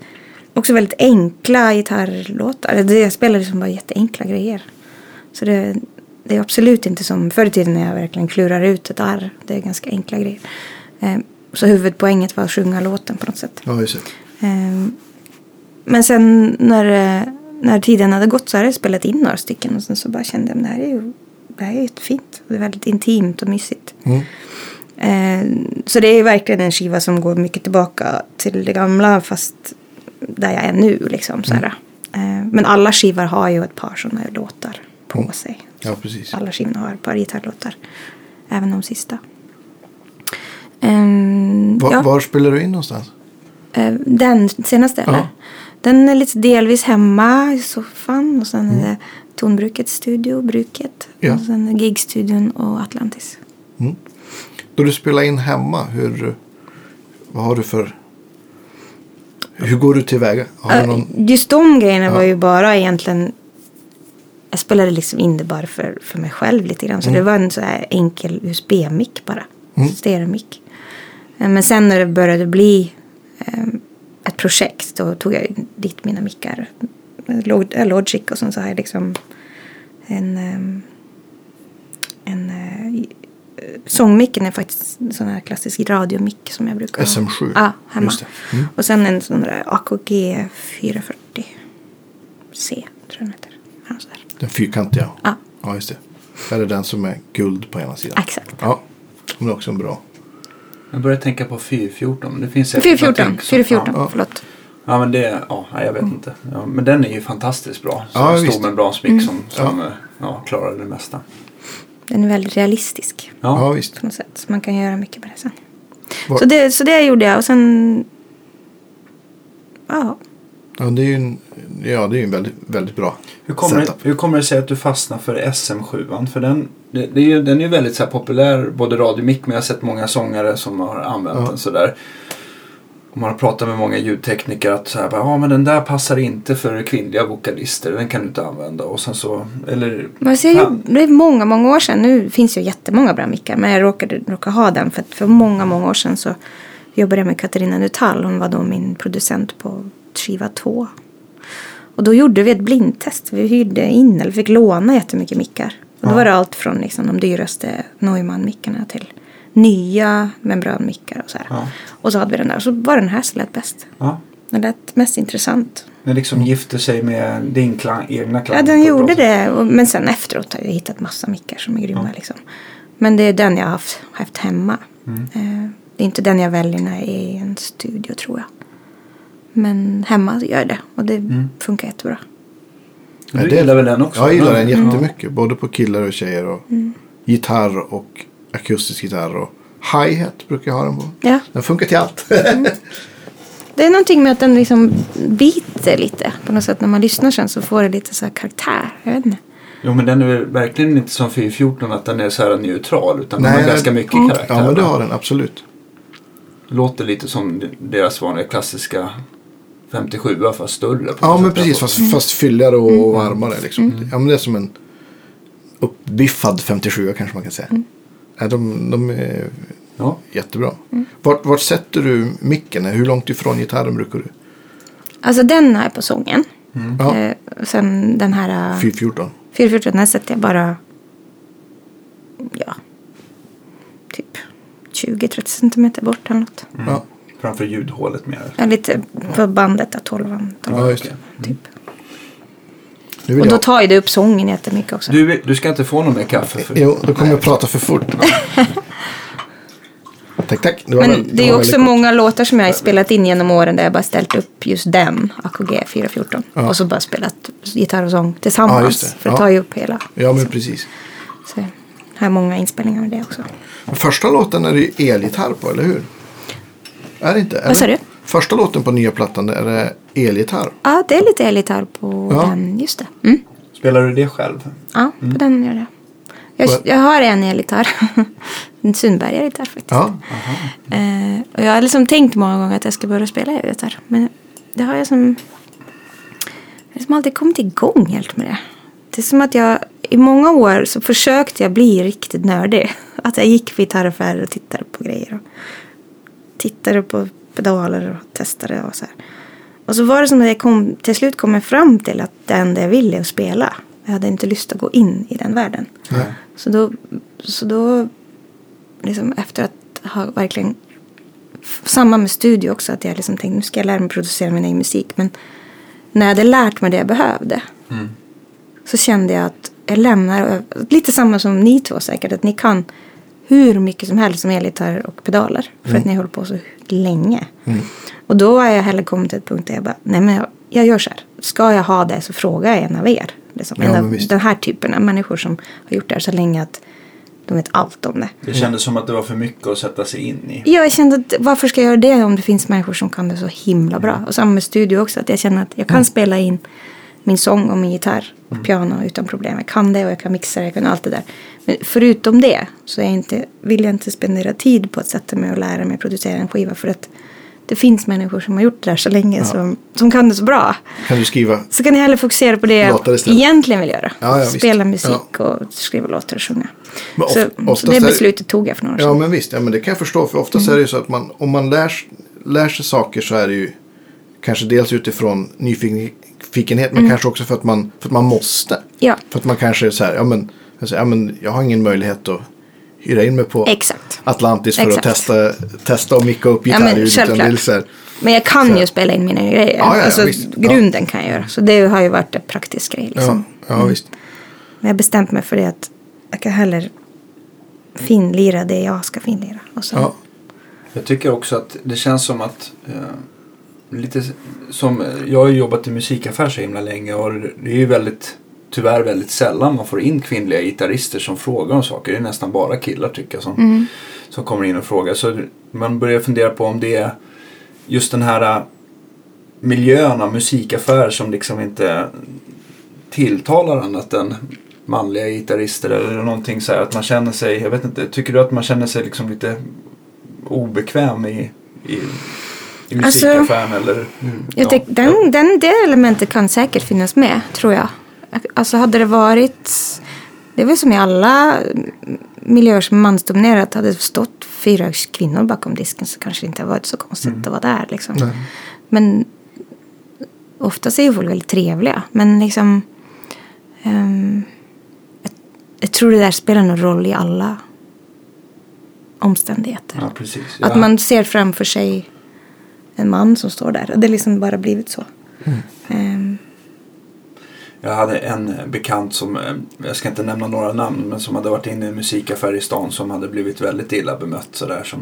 också väldigt enkla gitarrlåtar. Det- Jag spelar liksom bara jätteenkla grejer. Så det, det är absolut inte som förr i tiden när jag verkligen klurar ut ett arr. Det är ganska enkla grejer. Eh, Så huvudpoänget var att sjunga låten på något sätt. Ja, just det. Ehm, Men sen när, eh, när tiden hade gått så hade jag spelat in några stycken och sen så bara kände jag att det här är ju det här är jättefint. Det är väldigt intimt och mysigt. Mm. Ehm, Så det är ju verkligen en skiva som går mycket tillbaka till det gamla fast där jag är nu liksom. Så här. Ehm, Men alla skivor har ju ett par sådana här låtar på Mm. sig. Ja, precis. Alla skivorna har ett par gitarrlåtar. Även de sista. Ehm, Var, ja. var spelar du in någonstans? Eh, Den senaste eller? Ja. Den är lite delvis hemma i soffan och sen är det Tonbrukets studio, Bruket. Mm. Ja. Och sen Gigstudion och Atlantis. Då du spelar in hemma, hur, vad har du för, hur går du tillväga? Har du Eh, någon, Just de grejerna var ju bara egentligen jag spelade liksom in det bara för, för Mm. mig själv lite grann. Så det var en så här enkel USB-mick bara. Stereomick. Eh, Men sen när det började bli eh, ett projekt då tog jag dit mina mickar. Log- eh, Logic och sen så har jag liksom en, ehm, en eh, sångmicken är faktiskt en sån här klassisk radiomick som jag brukar ha. SM7. Ja, hemma. Just det. Mm. Och sen en sån där AKG 440C tror jag den heter. Ja, sån där. Den fyrkantiga. Ja. Ja, just det. Här är den som är guld på ena sidan. Exakt. Ja, den är också en bra. Jag börjar tänka på 414. men Det finns säkert någonting 414, som- 414, ja. förlåt. Ja, men det, ja, nej, jag vet inte. Ja, men den är ju fantastiskt bra. Så Ja, ja, stor visst. membransmick som, som eh, ja, klarar det mesta. Den är väldigt realistisk. Ja, Ja. visst. på något sätt. Så man kan göra mycket med det sen. Var- Så det, så det gjorde jag och sen... Ja. Ja, det är ju en, ja, det är ju en väldigt, väldigt bra Hur, kommer det, setup. hur kommer det sig att du fastnar för SM7? För den, det, det är ju, den är ju väldigt så här, populär, både radiomick, men jag har sett många sångare som har använt Ja. den sådär. Och man har pratat med många ljudtekniker att så här, bara, ja, men den där passar inte för kvinnliga vokalister, den kan du inte använda. Och sen så, eller, Men så jag, Ja. gjorde- det är många, många år sedan. Nu finns ju jättemånga bra mickar. Men jag råkade, råkade ha den. För, att för många, många år sedan så jobbade jag med Katarina Nuttall. Hon var då min producent på skiva 2. Och då gjorde vi ett blindtest. Vi hyrde in, eller fick låna jättemycket mickar. Och då var det allt från liksom, de dyraste Neumann-mickarna till nya membranmickar och så här. Ja. Och så hade vi den där. Och så var den här som lät bäst. ja. Den lät mest intressant. Den liksom Mm. gifter sig med din klang, egna klang. Ja, på den ett gjorde bra sätt. det. Och- Men sen efteråt har jag hittat massa mickar som är grymma. Liksom. Men det är den jag har haft, haft hemma. Eh, Det är inte den jag väljer när jag är i en studio tror jag. Men hemma gör jag det och det funkar jättebra. Du Ja, det- gillar väl den också? Jag gillar den Mm. jättemycket. Både på killar och tjejer. Och Mm. Gitarr och akustisk gitarr. Och hi-hat brukar jag ha den på. Ja, Den funkar till allt. det är någonting med att den liksom biter lite på något sätt. När man lyssnar sen så får det lite så här karaktär. Jag vet inte. Jo men den är väl verkligen inte som 414 att den är så här neutral utan den har den- ganska mycket Mm. karaktär. Ja, men det har den absolut. Låter lite som deras vanliga klassiska 57 fast större. på Ja, något men sätt. Alltså, precis. Fast, fast fylligare och Mm. varmare. Liksom. Ja, men det är som en uppbiffad 57 kanske man kan säga. Mm. Ja, de, de är Ja. jättebra. Mm. Vart, vart sätter du micken? Hur långt ifrån gitarren brukar du? Alltså den här på sången. Mm. Ja, Eh, och sen den här... eh, 414. 414, den sätter jag bara... Ja. Typ 20-30 centimeter bort eller något. Mm. Ja. Framför ljudhålet mer. Ja, lite på bandet, där 12 Ja, just det. Mm. typ. Nu vill Och då jag- tar ju det upp sången jättemycket också. Du, vill- du ska inte få någon mer kaffe? För... Jo, då kommer jag prata för fort. tack, tack. Det var väl- Men det är ju var också väldigt- många låtar som jag har spelat in genom åren där jag bara ställt upp just den, AKG 414. Ja. Och så bara spelat gitarr och sång tillsammans. det. För det Ja. tar ju upp hela. Ja, men precis. Så jag har många inspelningar av det också. Men första låten är det ju elgitarr på, eller hur? Är det inte? Eller? sa du? Första låten på nya plattan är det elgitarr. Ja, det är lite elgitarr på Ja. den. Just det. Mm. Spelar du det själv? Ja, på den gör det. Jag, Vad- jag har en elgitarr. en Sundberg-elgitarr faktiskt. Ja, Eh, och jag har liksom tänkt många gånger att jag ska börja spela elgitarr. Men det har jag som... Jag har liksom aldrig kommit igång helt med det. Det är som att jag... I många år så försökte jag bli riktigt nördig. Att jag gick på gitarraffärer och tittade på grejer. Och tittade på pedaler och testade och så här. Och så var det som att jag kom, till slut kom jag fram till att det enda jag ville att spela. Jag hade inte lust att gå in i den världen. Nej. Så då, så då liksom efter att ha verkligen, f- samma med studio också, att jag liksom tänkte nu ska jag lära mig producera min egen musik. Men när jag hade lärt mig det jag behövde Mm. så kände jag att jag lämnar, lite samma som ni två säkert, att ni kan hur mycket som helst som elgitarr och pedaler. För Mm. att ni håller på så länge. Och då har jag heller kommit till ett punkt där jag bara, nej men jag, jag gör så här. Ska jag ha det så frågar jag en av er. Liksom. Ja, en men av visst. den här typen av människor som har gjort det här så länge att de vet allt om det. Det kändes som att det var för mycket att sätta sig in i. Ja, jag kände att varför ska jag göra det om det finns människor som kan det så himla bra. Och samma med studio också, att jag känner att jag kan Mm. spela in min sång och min gitarr och piano utan problem. Jag kan det och jag kan mixa det, jag kan allt det där. Men förutom det så är jag inte, vill jag inte spendera tid på att sätta mig och lära mig producera en skiva för att det det finns människor som har gjort det där så länge som, som kan det så bra. Kan du skriva? Så kan ni hellre fokusera på det Låtar jag istället. egentligen vill göra. Ja, ja, visst. Spela musik och skriva låtar och sjunga. Men så of- oftast är det det- beslutet tog jag för några år Ja sedan. men visst, ja, men det kan jag förstå. För oftast är det ju så att man, om man lär, lär sig saker så är det ju kanske dels utifrån nyfikenhet men kanske också för att man, för att man måste. Mm. Ja, För att man kanske är så här, ja men, jag säger, ja, men jag har ingen möjlighet att hyra in mig på exakt. Atlantis för Exakt. att testa, testa och micka upp Ja, men gitarrljudet. utan det är självklart. så här, Men jag kan ju spela in mina grejer. Ja, ja, ja, alltså, visst. Ja. grunden kan jag göra. Så det har ju varit en praktisk grej. Liksom. ja, ja visst. Men jag har bestämt mig för det att jag kan hellre finlira det jag ska finlira. Och så, Ja. Jag tycker också att det känns som att eh, lite s- som, eh, jag har ju jobbat i musikaffär så himla länge och det är ju väldigt tyvärr väldigt sällan man får in kvinnliga gitarrister som frågar om saker. Det är nästan bara killar tycker jag som, Mm. som kommer in och frågar. Så man börjar fundera på om det är just den här eh, miljön av musikaffär som liksom inte tilltalar annat än manliga gitarrister eller någonting så här att man känner sig, jag vet inte, tycker du att man känner sig liksom lite obekväm i, i, i Alltså, musikaffären eller? Jag Ja. tyck, den, den, det elementet kan säkert finnas med, tror jag. Alltså hade det varit... Det är väl som i alla miljöer som är mansdominerat. Hade det stått fyra kvinnor bakom disken så kanske det inte hade varit så konstigt Mm. att vara där. Liksom. Men oftast är ju folk väldigt trevliga. Men liksom... ehm, jag, jag tror det där spelar någon roll i alla omständigheter. Ja, precis. Att Ja. man ser framför sig en man som står där. Det har liksom bara blivit så. Mm. Ehm, Jag hade en bekant som, eh, jag ska inte nämna några namn, men som hade varit inne i en musikaffär i stan som hade blivit väldigt illa bemött sådär som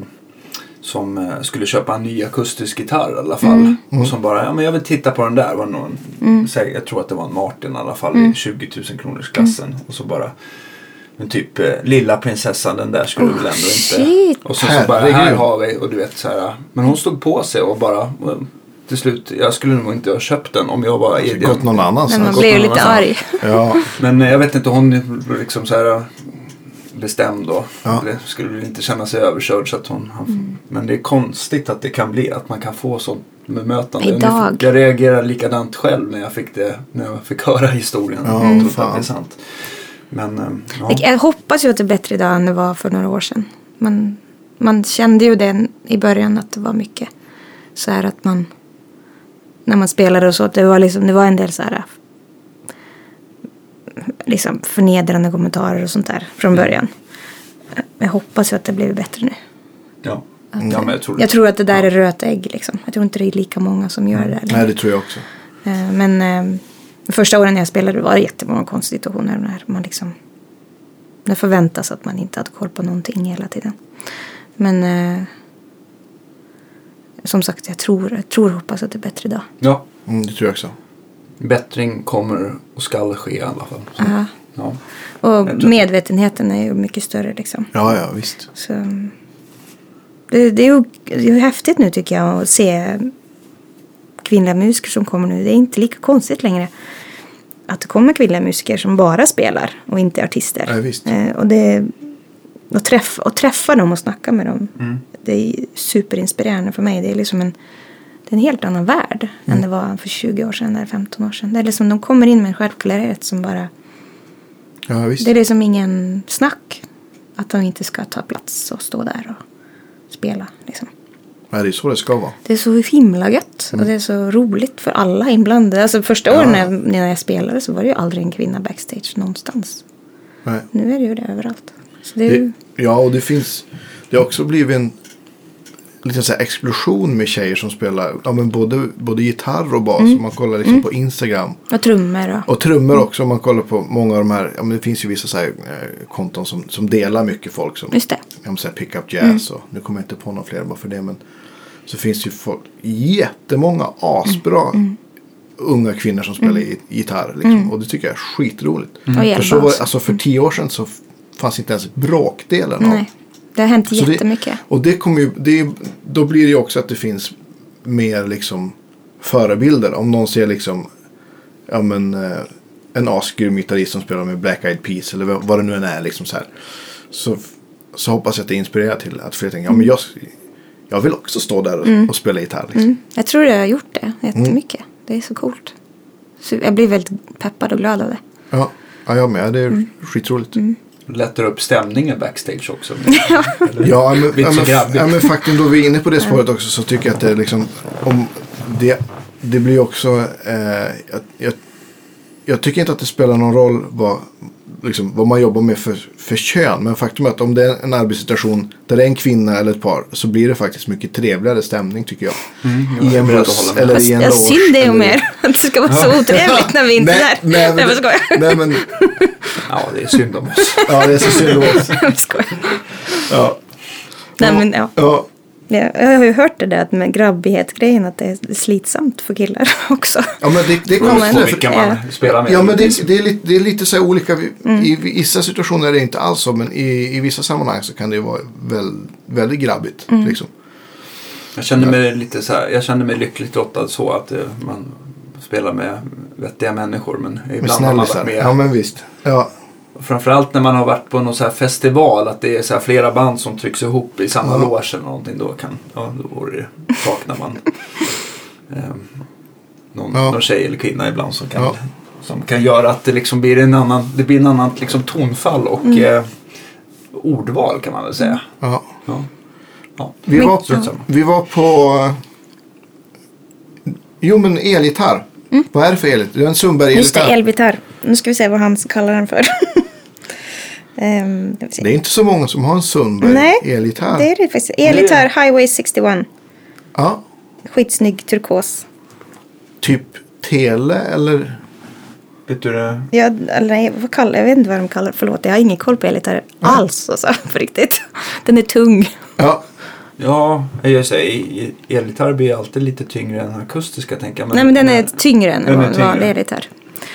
som eh, skulle köpa en ny akustisk gitarr i alla fall. Och som bara, ja men jag vill titta på den där. Var någon, säg, jag tror att det var en Martin i alla fall i 20 000 kronors klassen. Och så bara, men typ eh, lilla prinsessan den där skulle du väl ändå shit. inte. Och så, så bara, här Herregud. har vi. Och du vet så här, men hon stod på sig och bara eh, till slut, jag skulle nog inte ha köpt den om jag var i den Alltså, Gått någon men man annanstans. gott blir ju någon lite annan. arg. Ja, men eh, jag vet inte, hon är liksom så här eh, bestämd då. Ja. Eller skulle väl inte känna sig överkörd. Så att hon, han- Men det är konstigt att det kan bli, att man kan få sånt bemötande. Nu- Idag. Jag reagerar likadant själv när jag fick, det, när jag fick höra historien. Ja, Jag tror inte att fan. det är sant. Men, eh, ja. Jag- Jag hoppas ju att det är bättre idag än det var för några år sedan. Man, man kände ju det i början att det var mycket så här att man när man spelade och så att det var liksom det var en del så här liksom förnedrande kommentarer och sånt där från Mm. början. Jag hoppas ju att det blir bättre nu. Ja. ja, Mm. men jag tror det. Jag tror att det där är rötägg liksom. Jag tror inte det är lika många som gör det där. nej det tror jag också. Eh, Men eh, de första åren när jag spelade var det jättemånga konstsituationer när man liksom det förväntas att man inte hade koll på någonting hela tiden. Men eh, som sagt, jag tror, jag tror och hoppas att det är bättre idag. Ja, Mm, det tror jag också. bättring kommer och skall ske i alla fall. Så, Ja. ja. Och medvetenheten är ju mycket större liksom. Ja, ja visst. Så, det, det är ju det är ju häftigt nu tycker jag att se kvinnliga musiker som kommer nu. Det är inte lika konstigt längre att det kommer kvinnliga musiker som bara spelar och inte är artister. Ja, visst. Eh, och det, och, träffa, och träffa dem och snacka med dem. Mm. Det är superinspirerande för mig. Det är liksom en, det är en helt annan värld Mm. än det var för 20 år sedan eller 15 år sedan. Det är liksom, de kommer in med en självklarhet som bara Ja, visst. det är liksom ingen snack att de inte ska ta plats och stå där och spela. Liksom. Ja, det är så det ska vara. Det är så himla gött Mm. och det är så roligt för alla inblandade. Alltså första åren när, jag- när jag spelade så var det ju aldrig en kvinna backstage någonstans. Nej. Nu är det ju det överallt. Så det är ju, Det, ja, och det finns. Det har också blivit en liten så här explosion med tjejer som spelar ja, men både, både gitarr och bas. Mm. Om man kollar liksom på Instagram. och trummor och... Och trummor också. Om man kollar på många av de här. Ja, men det finns ju vissa så här, eh, konton som, som delar mycket folk. Som, Just det. Mm. Ja, men så här pickup jazz. Och, nu kommer jag inte på några fler bara för det. Men så finns det ju folk, jättemånga asbra Mm. unga kvinnor som spelar gi- gitarr. Liksom, Och det tycker jag är skitroligt. Och elbas. För, så var, alltså, för tio år sedan så fanns inte ens bråkdelen av Nej, det har hänt så det- jättemycket. Och det kommer ju, det, är- då blir det ju också att det finns mer liksom förebilder. Om någon ser liksom ja, men, eh, en asgrym gitarrist som spelar med Black Eyed Peas eller vad vad det nu Mm. än är. Liksom så, här. så, så hoppas jag att det inspirerar till att fler tänker ja, men jag, jag vill också stå där och, och spela gitarr. Liksom. Mm. Jag tror jag har gjort det jättemycket. Mm. Det är så coolt. Så jag blir väldigt peppad och glad av det. Ja. ja, jag med. Det är Mm. skitroligt. Lättar upp stämningen backstage också. Ja, men, Lite ja, så men, grabbigt. ja, men faktum då vi är inne på det spåret också så tycker jag att det är liksom om det, det blir också eh, jag, jag, jag tycker inte att det spelar någon roll vad, liksom, vad man jobbar med för, för kön men faktum är att om det är en arbetssituation där det är en kvinna eller ett par så blir det faktiskt mycket trevligare stämning tycker jag. Mm, I en beredd att buss hålla med. eller Fast i en jag loge. synd det är eller- om er. Att det ska vara så otrevligt när vi inte är Nej, nej, där. Nej, men, men skojar. nej, men, Ja, det är synd om oss. ja, det är så synd om oss. Jag skojar. Ja. Nej, men ja. Ja. Jag jag har ju hört det där att med grabbighetsgrejen att det är slitsamt för killar också. Ja, men det, det är konstigt. Kommer Och Nej, för- vilka man spelar med. Mm. Ja, men det, det, är lite, det är lite så här olika. I, Mm. I vissa situationer är det inte alls så, men i, i vissa sammanhang så kan det ju vara väl, väldigt grabbigt. Mm. Liksom. Jag känner mig lite så här, jag känner mig lyckligt lottad så att eh, man spelar med vettiga människor. Men Med ibland har man varit snällisar. med. Ja, men visst. Ja, Framförallt när man har varit på någon så här festival. Att det är så här flera band som trycks ihop i samma Ja. loge eller någonting. Då, kan, ja, då är det, saknar man ehm, någon, Ja. någon tjej eller kvinna ibland som kan, Ja. som kan göra att det liksom blir en annan, det blir en annan liksom tonfall och Mm. eh, ordval kan man väl säga. ja. Ja. Ja. Vi, Men- var på, ja. vi var på... Jo, men elgitarr. Vad är det för elgitarr? Det är en Mm. Just det, Sundberg-elgitarr. elgitarr. Nu ska vi se vad han kallar den för. Ehm, ska vi se. Det är inte så många som har en Nej, Sundberg-elgitarr. det är det faktiskt. Elgitarr Highway 61. Ja, Skitsnygg turkos. typ Tele eller... Vet du det? Ja, eller nej, vad kallar, jag vet inte vad de kallar Förlåt, jag har ingen koll på elgitarr alls. Alltså, på riktigt. Den är tung. Ja, Ja, jag säger elgitarr blir alltid lite tyngre än akustiska tänker jag. Nej, men den är tyngre än Den är en van- tyngre. vanlig elgitarr.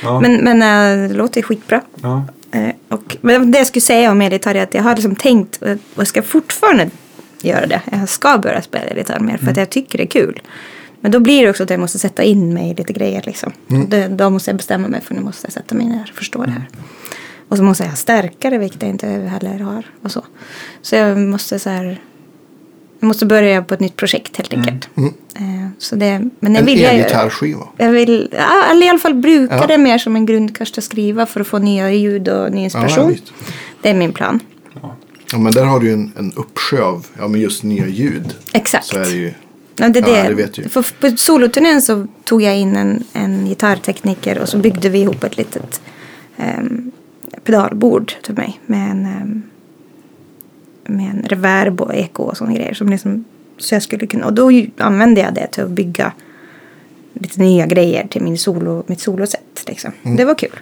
Ja. Men, men eh, det låter skitbra. Ja. Eh, Och, men det jag skulle säga om elgitarr är att jag har liksom tänkt eh, och jag ska fortfarande göra det. Jag ska börja spela elgitarr mer för att jag tycker det är kul. Men då blir det också att jag måste sätta in mig i lite grejer liksom. Och det, då måste jag bestämma mig för nu måste jag sätta mig in i det här och förstå det här. Och så måste jag ha starkare vilket jag inte heller har och så. Så jag måste så här jag måste börja på ett nytt projekt helt enkelt. Eh, Så det, men det en vill jag ju- elgitarrskiva. jag vill, ja, eller i alla fall bruka Ja. det mer som en grundkurs att skriva för att få nya ljud och ny Ja, inspiration. visst. det är min plan. Ja, men där har du ju en, en uppsjö av ja, men just nya ljud. Exakt. Så är det ju. Ja, det, är Ja, det. det vet jag. För på soloturnén så tog jag in en, en gitarrtekniker och så byggde vi ihop ett litet ehm, pedalbord till mig med en, ehm, med en reverb och eko och sådana grejer. Som liksom, så jag skulle kunna, och då ju- använde jag det till att bygga lite nya grejer till min solo, mitt solosätt. Liksom. Mm. Det var kul.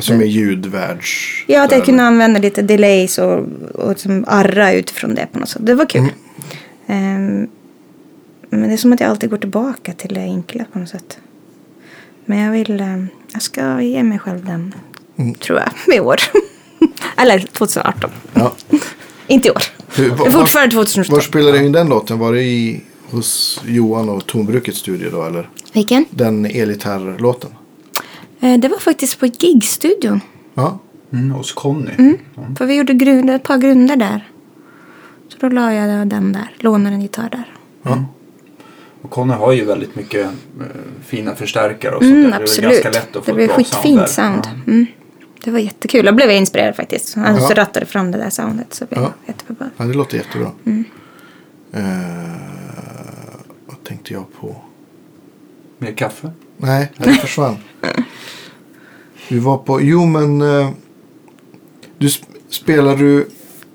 Som är ljudvärlds... Ja, att jag kunde använda lite delays och, och liksom arra utifrån det på något sätt. Det var kul. Ehm, men det är som att jag alltid går tillbaka till det enkla på något sätt. Men jag vill, ehm, jag ska ge mig själv den, tror jag, i år. Eller 2018. Ja. Inte i år. Hur- Det är fortfarande 2017. Var spelade du in den låten? Var det i, hos Johan och Tonbrukets studio då? Eller Vilken? den elgitarrlåten? Eh, det var faktiskt på gigstudion. Ja. Mm, hos Conny. För vi gjorde grund, ett par grunder där. Så då la jag den där, lånade en gitarr där. Och Conny har ju väldigt mycket eh, fina förstärkare och sånt Mm, där. Det är absolut. ganska lätt att få det blev ett bra skitfint sound. där. Ja. Mm. Det var jättekul. Jag blev inspirerad faktiskt. Han Ja. så rattade fram det där soundet så blev Ja. jag jättebra. ja, det låter jättebra. Mm. Eh, vad tänkte jag på? Mer kaffe? Nej, det försvann. Vi var på... Jo, men... eh, Du sp- spelar du...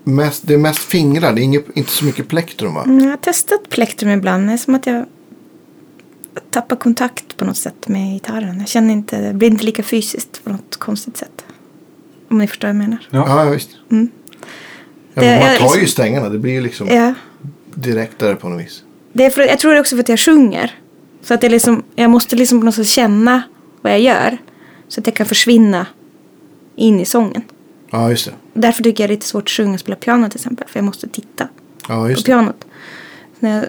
Mest, det är mest fingrar, det är inget, inte så mycket plektrum va? Mm, Jag har testat plektrum ibland. Det är som att jag tappar kontakt på något sätt med gitarren. Jag känner inte, det blir inte lika fysiskt på något konstigt sätt. Om ni förstår vad jag menar. Ja, ja, visst. Ja, Mm. Det men man är tar ju liksom- strängarna, det blir ju liksom Ja. direkt där på något vis. Det är för, jag tror det är också för att jag sjunger. Så att jag, liksom, jag måste liksom på något sätt känna vad jag gör. Så att jag kan försvinna in i sången. Ja, just det. Därför tycker jag det är lite svårt att sjunga och spela piano till exempel. För jag måste titta Ja, på just det. pianot. Så När jag,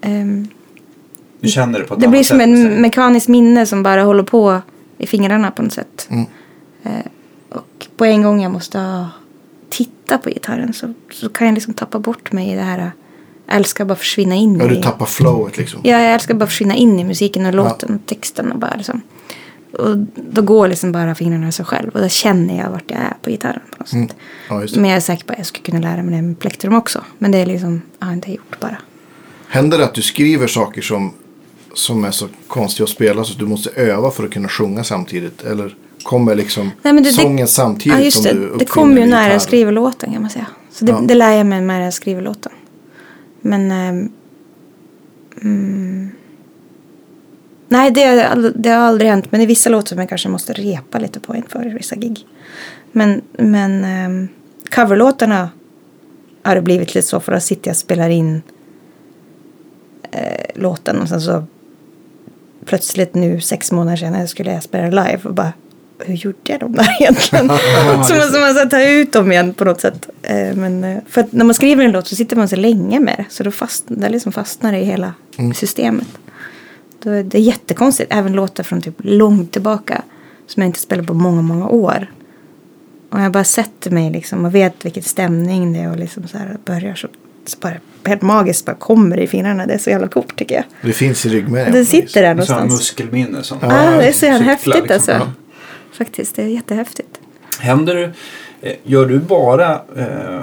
ehm, Du känner det på ett det annat blir som sätt. en mekanisk minne som bara håller på i fingrarna på något sätt. Mm. Eh, och på en gång jag måste ah, titta på gitarren så, så kan jag liksom tappa bort mig i det här Jag älskar att bara försvinna in Ja, du i... tappar flowet liksom. Ja, jag älskar att bara försvinna in i musiken och låten och texten och bara liksom. Och då går liksom bara fingrarna av sig själv och då känner jag vart jag är på gitarren på något sätt. Mm. Ja, just det. Men jag är säker på att jag skulle kunna lära mig det med plektrum också. Men det är liksom, jag har inte gjort bara. Händer det att du skriver saker som, som är så konstiga att spela så att du måste öva för att kunna sjunga samtidigt? Eller kommer liksom Nej, men det- det- sången samtidigt Ja, just som du det. Det uppfinner kom ju din när gitarr? jag skriver låten kan man säga. Så det, Ja. det lär jag mig när jag skriver låten. Men... ehm, mm, nej, det, har ald- det har aldrig hänt. Men i vissa låtar som jag kanske måste repa lite på inför vissa gig. Men, men ehm, coverlåtarna har det blivit lite så. För då sitter jag och spelar in eh, låten och sen så plötsligt nu sex månader senare skulle jag spela live och bara hur gjorde jag dem där egentligen? så måste man så här ta ut dem igen på något sätt. Eh, Men, eh, för att när man skriver en låt så sitter man så länge med det så då fastnar det liksom fastnar det i hela systemet. Då är det är jättekonstigt, även låtar från typ långt tillbaka som jag inte spelar på många, många år. Och jag bara sätter mig liksom och vet vilken stämning det är och liksom så här börjar så, så bara helt magiskt bara kommer det i fingrarna. Det är så jävla coolt tycker jag. Det finns i ryggmärgen. Den precis. sitter där Sån här någonstans. muskelminne. Som Ja, det är så cyklar, jävla häftigt liksom. alltså. Ja. Faktiskt, det är jättehäftigt. Händer, eh, gör du bara eh,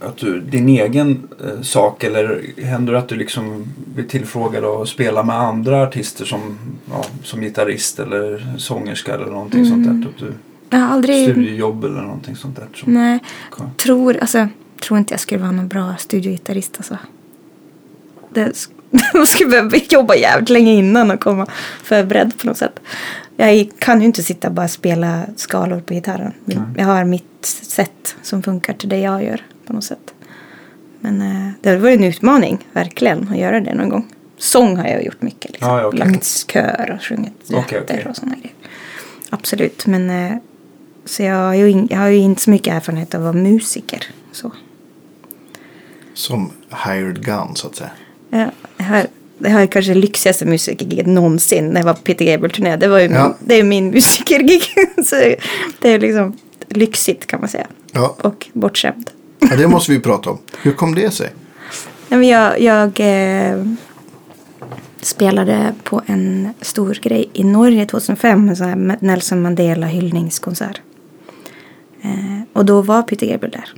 att du, din egen eh, sak eller händer det att du liksom blir tillfrågad att spela med andra artister som, ja, som gitarrist eller sångerska eller någonting sånt där? Att du, Jag har aldrig... studiejobb eller någonting sånt där? Som, Mm. Nej, tror, alltså, tror inte jag skulle vara någon bra studiogitarrist alltså. Det, sk- man skulle behöva jobba jävligt länge innan och komma förberedd på något sätt. Jag kan ju inte sitta och bara spela skalor på gitarren. Jag har mitt sätt som funkar till det jag gör på något sätt. Men eh, det var ju en utmaning, verkligen, att göra det någon gång. Sång har jag gjort mycket. Liksom. Ja, ja, okej. Lagt kör och sjungit Okej, rätter okej. och sådana grejer. Absolut, men eh, så jag har, ju in, jag har ju inte så mycket erfarenhet av att vara musiker. Så. Som hired gun så att säga. Ja, det, här, det här är kanske det lyxigaste musikergiget någonsin när jag var på Peter Gabriel-turné. Det var ju Ja. min, det är min musikergig. så det är liksom lyxigt kan man säga. Ja. Och bortskämd. ja, det måste vi prata om. Hur kom det sig? Nej, men jag jag eh, spelade på en stor grej i Norge 2005. En sån här Nelson Mandela hyllningskonsert. Eh, och då var Peter Gabriel där.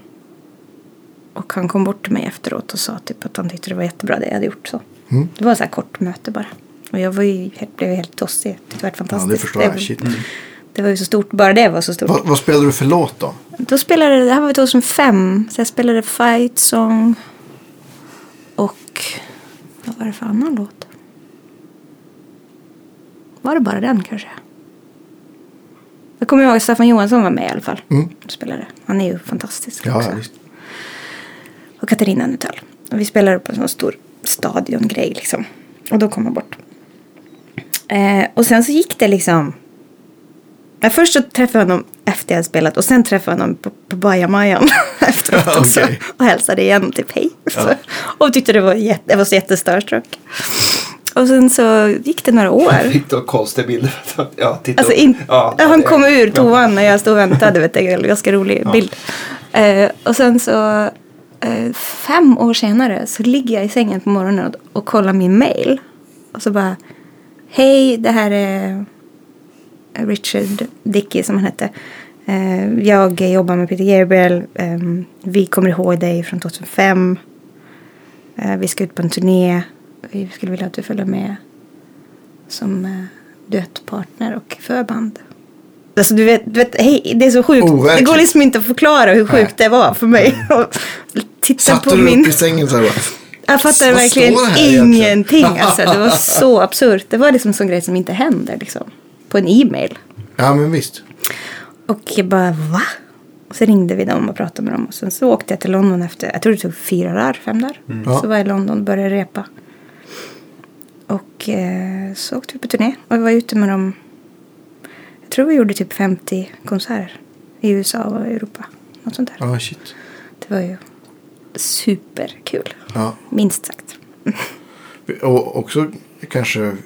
Och han kom bort till mig efteråt och sa typ att han tyckte det var jättebra det jag hade gjort. så. Mm. Det var så här kort möte bara. Och jag var ju, helt- blev helt tossig. Det var helt fantastiskt. Mm. förstår jag. Shit. det var ju så stort. Bara det var så stort. Vad, vad spelade du för låt då? Då spelade jag- det här var 2005, så jag spelade Fight Song och vad var det för annan låt? Var det bara den kanske? Jag kommer ihåg att Staffan Johansson var med i alla fall. Mm. Spelade. Han är ju fantastisk Ja, också. ja, visst. Och Katarina Nuttall. Och vi spelade på en sån stor stadiongrej liksom. Och då kom jag bort. Eh, och sen så gick det liksom. Ja, först så träffade jag honom efter jag hade spelat och sen träffade jag honom på, på bajamajan efteråt Ja, också. okej. Och hälsade igen, typ hej. Så, och tyckte det var, jätte, jag var så jättestörstruck. Och sen så gick det några år. Fick du konstiga bilder? Ja, titta Alltså upp. in, Ja, ja, han det- kom ur ja. toan när jag stod och väntade. Vet du, en ganska rolig bild. Eh, och sen så eh, fem år senare så ligger jag i sängen på morgonen och, och kollar min mail. Och så bara Hej, det här är Richard Dickey som han hette. Eh, jag jobbar med Peter Gabriel. Ehm, vi kommer ihåg dig från 2005. Eh, vi ska ut på en turné. Vi skulle vilja att du följer med som eh, duettpartner och förband. Alltså du vet, du vet hej, det är så Oh, sjukt. Det Overkligt. går liksom inte att förklara hur sjukt det var för mig. Och Titta Satte på Mm. du min... upp i sängen så här bara? Jag fattar Vad verkligen står det här egentligen? ingenting. Alltså, det var så absurt. Det var liksom en sån grej som inte händer liksom. På en e-mail. Ja, men visst. Och jag bara va? Och så ringde vi dem och pratade med dem. Och sen så åkte jag till London efter, jag tror det tog fyra dagar, fem dagar. Ja. Så var jag i London och började repa. Och eh, så åkte vi på turné. Och vi var ute med dem. Jag tror vi gjorde typ 50 konserter. I USA och Europa. Något sånt där. Ja, shit. Det var ju superkul. Ja. Minst sagt. Och också kanske,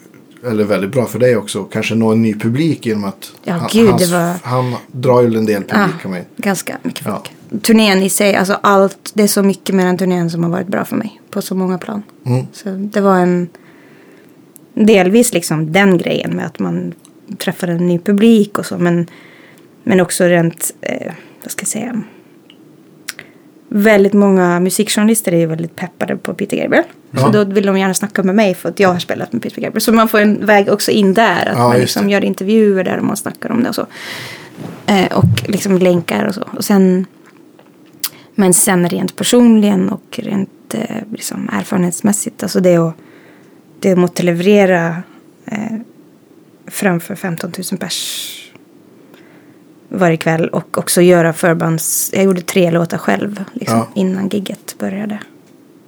eller väldigt bra för dig också, kanske nå en ny publik genom att Ja, gud, hans, det var- Ah. han drar ju en del publik. kan man ju- ganska mycket Ja. folk. Turnén i sig, alltså allt, det är så mycket med den turnén som har varit bra för mig. På på så många plan. Mm. Så det var en... Delvis liksom den grejen med att man träffade en ny publik och så. Men, men också rent, eh, vad ska jag säga. Väldigt många musikjournalister är ju väldigt peppade på Peter Gabriel. Så Ja. då vill de gärna snacka med mig för att jag har spelat med Peter Gabriel. Så man får en väg också in där. Att Ja, man just liksom det. gör intervjuer där och man snackar om det och så. Eh, och liksom länkar och så. Och sen men sen rent personligen och rent eh, liksom erfarenhetsmässigt, alltså det att, det att måtte leverera eh, framför 15 000 pers varje kväll och också göra förbands... Jag gjorde tre låtar själv liksom, Ja. innan gigget började.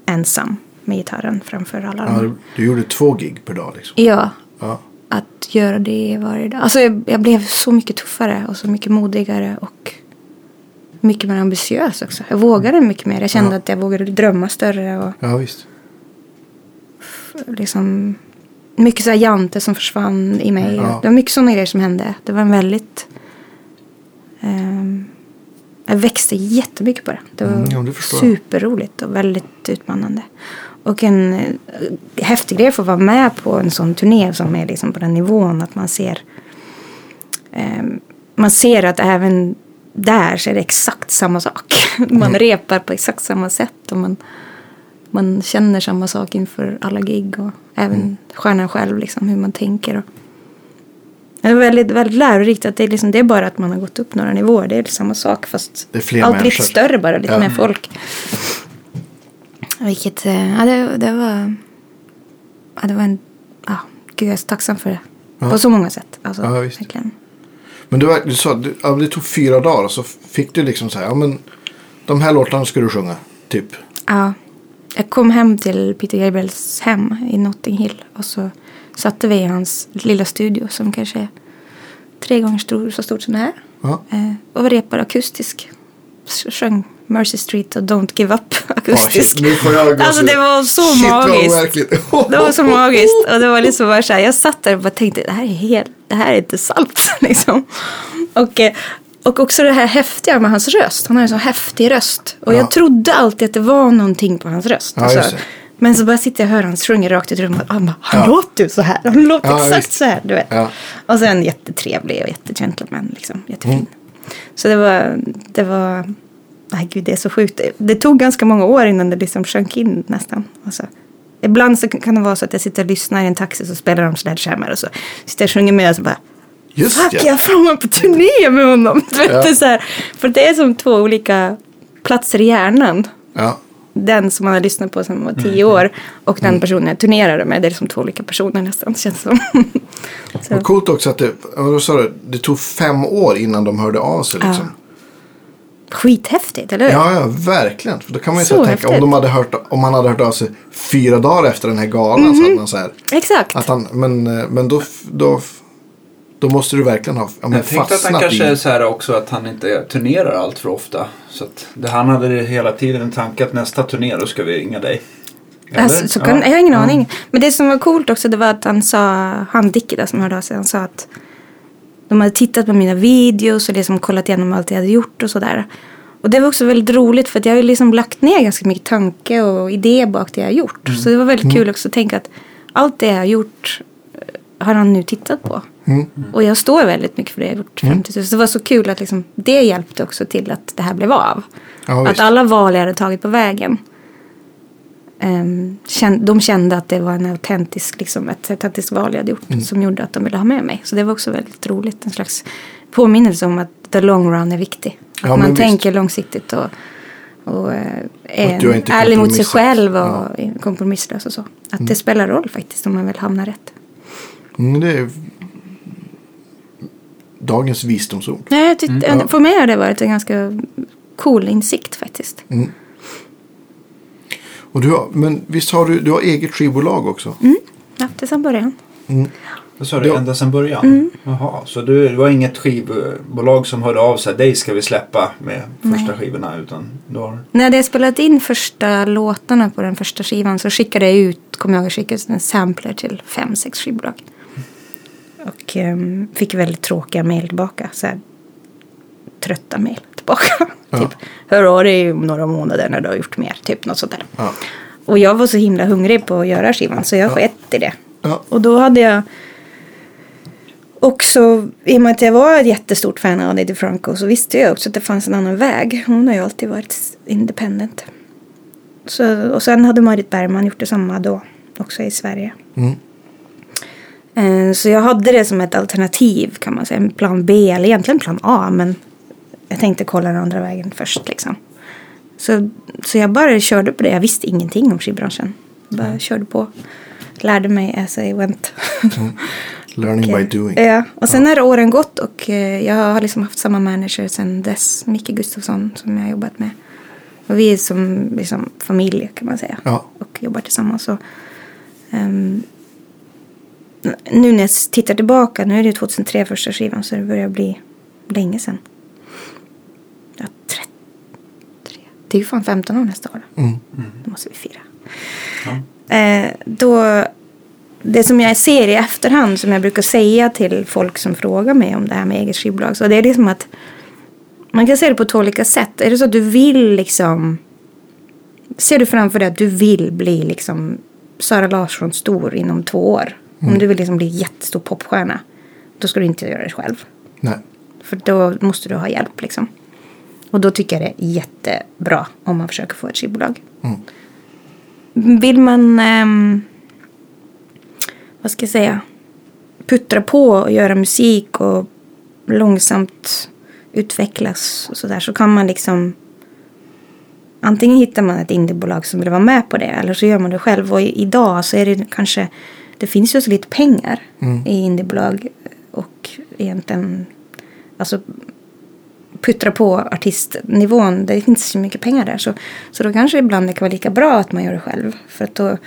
Ensam med gitarren framför alla. Ja, andra. du- du gjorde två gig per dag liksom. Ja, Ja. att göra det varje dag. Alltså jag, jag blev så mycket tuffare och så mycket modigare och mycket mer ambitiös också. Jag vågade mycket mer. Jag kände Ja. att jag vågade drömma större och ja, visst. liksom mycket så här jante som försvann i mig. Ja. Det var mycket sådana grejer som hände. Det var en väldigt... ehm, jag växte jättemycket på det. Det var Mm, ja, det förstår jag. superroligt och väldigt utmanande. Och en eh, häftig grej att få vara med på en sån turné som är liksom på den nivån att man ser ehm, man ser att även där så är det exakt samma sak. Man Mm. repar på exakt samma sätt och man, man känner samma sak inför alla gig och även Mm. stjärnan själv liksom hur man tänker. Och, det är väldigt, väldigt lärorikt att det är, liksom, det är bara att man har gått upp några nivåer. Det är samma sak fast Det är fler allt människor. lite större bara, lite Ja. mer folk. Vilket, eh, ja det, det var, ja det var en, ja gud jag är så tacksam för det. Ja. På så många sätt. Alltså, Ja, visst. verkligen. Men du, var- du sa att du- ja, det tog fyra dagar så fick du liksom så här, ja men de här låtarna ska du sjunga, typ. Ja. Jag kom hem till Peter Gabriels hem i Notting Hill och så satte vi i hans lilla studio som kanske är tre gånger stor, så stort som det här. Ja. Eh, och vi repade akustisk. S- Sjöng Mercy Street och Don't Give Up akustisk. Oj, nu får jag gåshud. Alltså, det var så Shit, vad magiskt. overkligt. Det var så magiskt. Och det var liksom bara så här, jag satt där och bara tänkte det här är, helt, det här är inte salt. Liksom. Och, eh, och också det här häftiga med hans röst. Han har en så häftig röst. Och Ja. jag trodde alltid att det var någonting på hans röst. Ja, just alltså. det. Men så bara sitter jag och hör han sjunger rakt ut i rummet. Han, bara, han Ja. låter ju så här. Han låter Ja, exakt visst. så här. Du vet. Ja. Och sen jättetrevlig och jättegentleman. Liksom. Jättefin. Mm. Så det var, det var, nej gud det är så sjukt. Det, det tog ganska många år innan det liksom sjönk in nästan. Alltså, ibland så kan det vara så att jag sitter och lyssnar i en taxi så spelar de sledgehammer och så sitter jag och sjunger med och så bara Just Fuck, ja. jag är fan på turné med honom. Du vet, Ja. det är så här, för det är som två olika platser i hjärnan. Ja. Den som man har lyssnat på sedan man var Mm. tio år och den personen jag turnerade med. Det är liksom två olika personer nästan känns som. Så. Vad coolt också att det, ja, då sa du, det tog fem år innan de hörde av sig liksom. Skithäftigt, eller hur? Ja, ja, verkligen. För då kan man ju Så så här tänka om, häftigt. de hade hört, om han hade hört av sig fyra dagar efter den här galan så Mhm. hade man så här. Exakt. Att han, men eh, men då, f- då, f- då måste du verkligen ha ja, men Jag tänkte att han fastnat kanske är i. så här också att han inte turnerar allt för ofta. Så att det, han hade det hela tiden en tanke att nästa turné då ska vi ringa dig. Eller? Alltså, så kan, Ja. Jag har ingen aning. Men det som var coolt också det var att han sa, han Dickie där som hörde av sig, han sa att de hade tittat på mina videos och liksom kollat igenom allt jag hade gjort och sådär. Och det var också väldigt roligt för att jag har ju liksom lagt ner ganska mycket tanke och idé bak det jag har gjort. Så det var väldigt kul också att tänka att allt det jag har gjort eh, har han nu tittat på. Mm. Och jag står väldigt mycket för det jag har gjort. 50 000. Så det var så kul att liksom, det hjälpte också till att det här blev av. Ja, att visst. alla val jag hade tagit på vägen Ehm, kän- de kände att det var en autentisk, liksom, ett autentiskt val jag hade gjort Mm. som gjorde att de ville ha med mig. Så det var också väldigt roligt. En slags påminnelse om att the long run är viktig. Att Ja, men man visst. tänker långsiktigt och, och eh, Och är att du inte är ärlig mot sig kompromisslös. själv och är kompromisslös och så. Att det spelar roll faktiskt om man väl hamnar rätt. Mm, det är dagens visdomsord. Nej, jag tyckte, Mm. För mig har det varit en ganska cool insikt faktiskt. Mm. Och du har, men visst har du, du har eget skivbolag också? Mm. Ja, det är sedan början. Vad sa du, Ja. ända sedan början? Mm. Jaha, så du, det var inget skivbolag som hörde av sig, dig ska vi släppa med första skivorna. Utan du har... När jag spelat in första låtarna på den första skivan så skickade jag ut, kommer jag ihåg, jag skickade ut en sampler till fem, sex skivbolag. Och ehm, fick väldigt tråkiga mejl tillbaka. Så här, trötta mejl tillbaka. Ja. typ, hör av dig om några månader när du har gjort mer. Typ något sånt där. Ja. Och jag var så himla hungrig på att göra skivan så jag Ja. sket i det. Ja. Och då hade jag också, i och med att jag var ett jättestort fan av Lady Franco så visste jag också att det fanns en annan väg. Hon har ju alltid varit independent. Så, och sen hade Marit Bergman gjort detsamma då, också i Sverige. Mm. Eh, Så jag hade det som ett alternativ kan man säga, en plan B eller egentligen plan A men jag tänkte kolla den andra vägen först liksom. Så, så jag bara körde på det, jag visste ingenting om skivbranschen. Bara körde på, lärde mig as I went. Mm. Learning Okej. Eh. by doing. Ja, och sen har åren gått och eh, jag har liksom haft samma manager sedan dess, Micke Gustafsson som jag har jobbat med. Och vi är som liksom, familj kan man säga Ja. och jobbar tillsammans. Så, ehm, nu när jag tittar tillbaka, nu är det 2003 första skivan så det börjar bli länge sedan. Ja, 33. Det är ju fan 15 år nästa år. Mm. Då måste vi fira. Ja. Eh, då, det som jag ser i efterhand som jag brukar säga till folk som frågar mig om det här med eget skivbolag. Så det är liksom att man kan se det på två olika sätt. Är det så att du vill liksom. Ser du framför dig att du vill bli liksom Sara Larsson stor inom två år. Om du vill liksom bli jättestor popstjärna. Då ska du inte göra det själv. Nej. För då måste du ha hjälp liksom. Och då tycker jag det är jättebra om man försöker få ett skivbolag. Mm. Vill man, ehm, vad ska jag säga, puttra på och göra musik och långsamt utvecklas och sådär så kan man liksom antingen hittar man ett indiebolag som vill vara med på det eller så gör man det själv och i- idag så är det kanske det finns ju så lite pengar i indiebolag och egentligen alltså puttra på artistnivån. Det finns så mycket pengar där. Så, så då kanske det ibland kan vara lika bra att man gör det själv. För att då,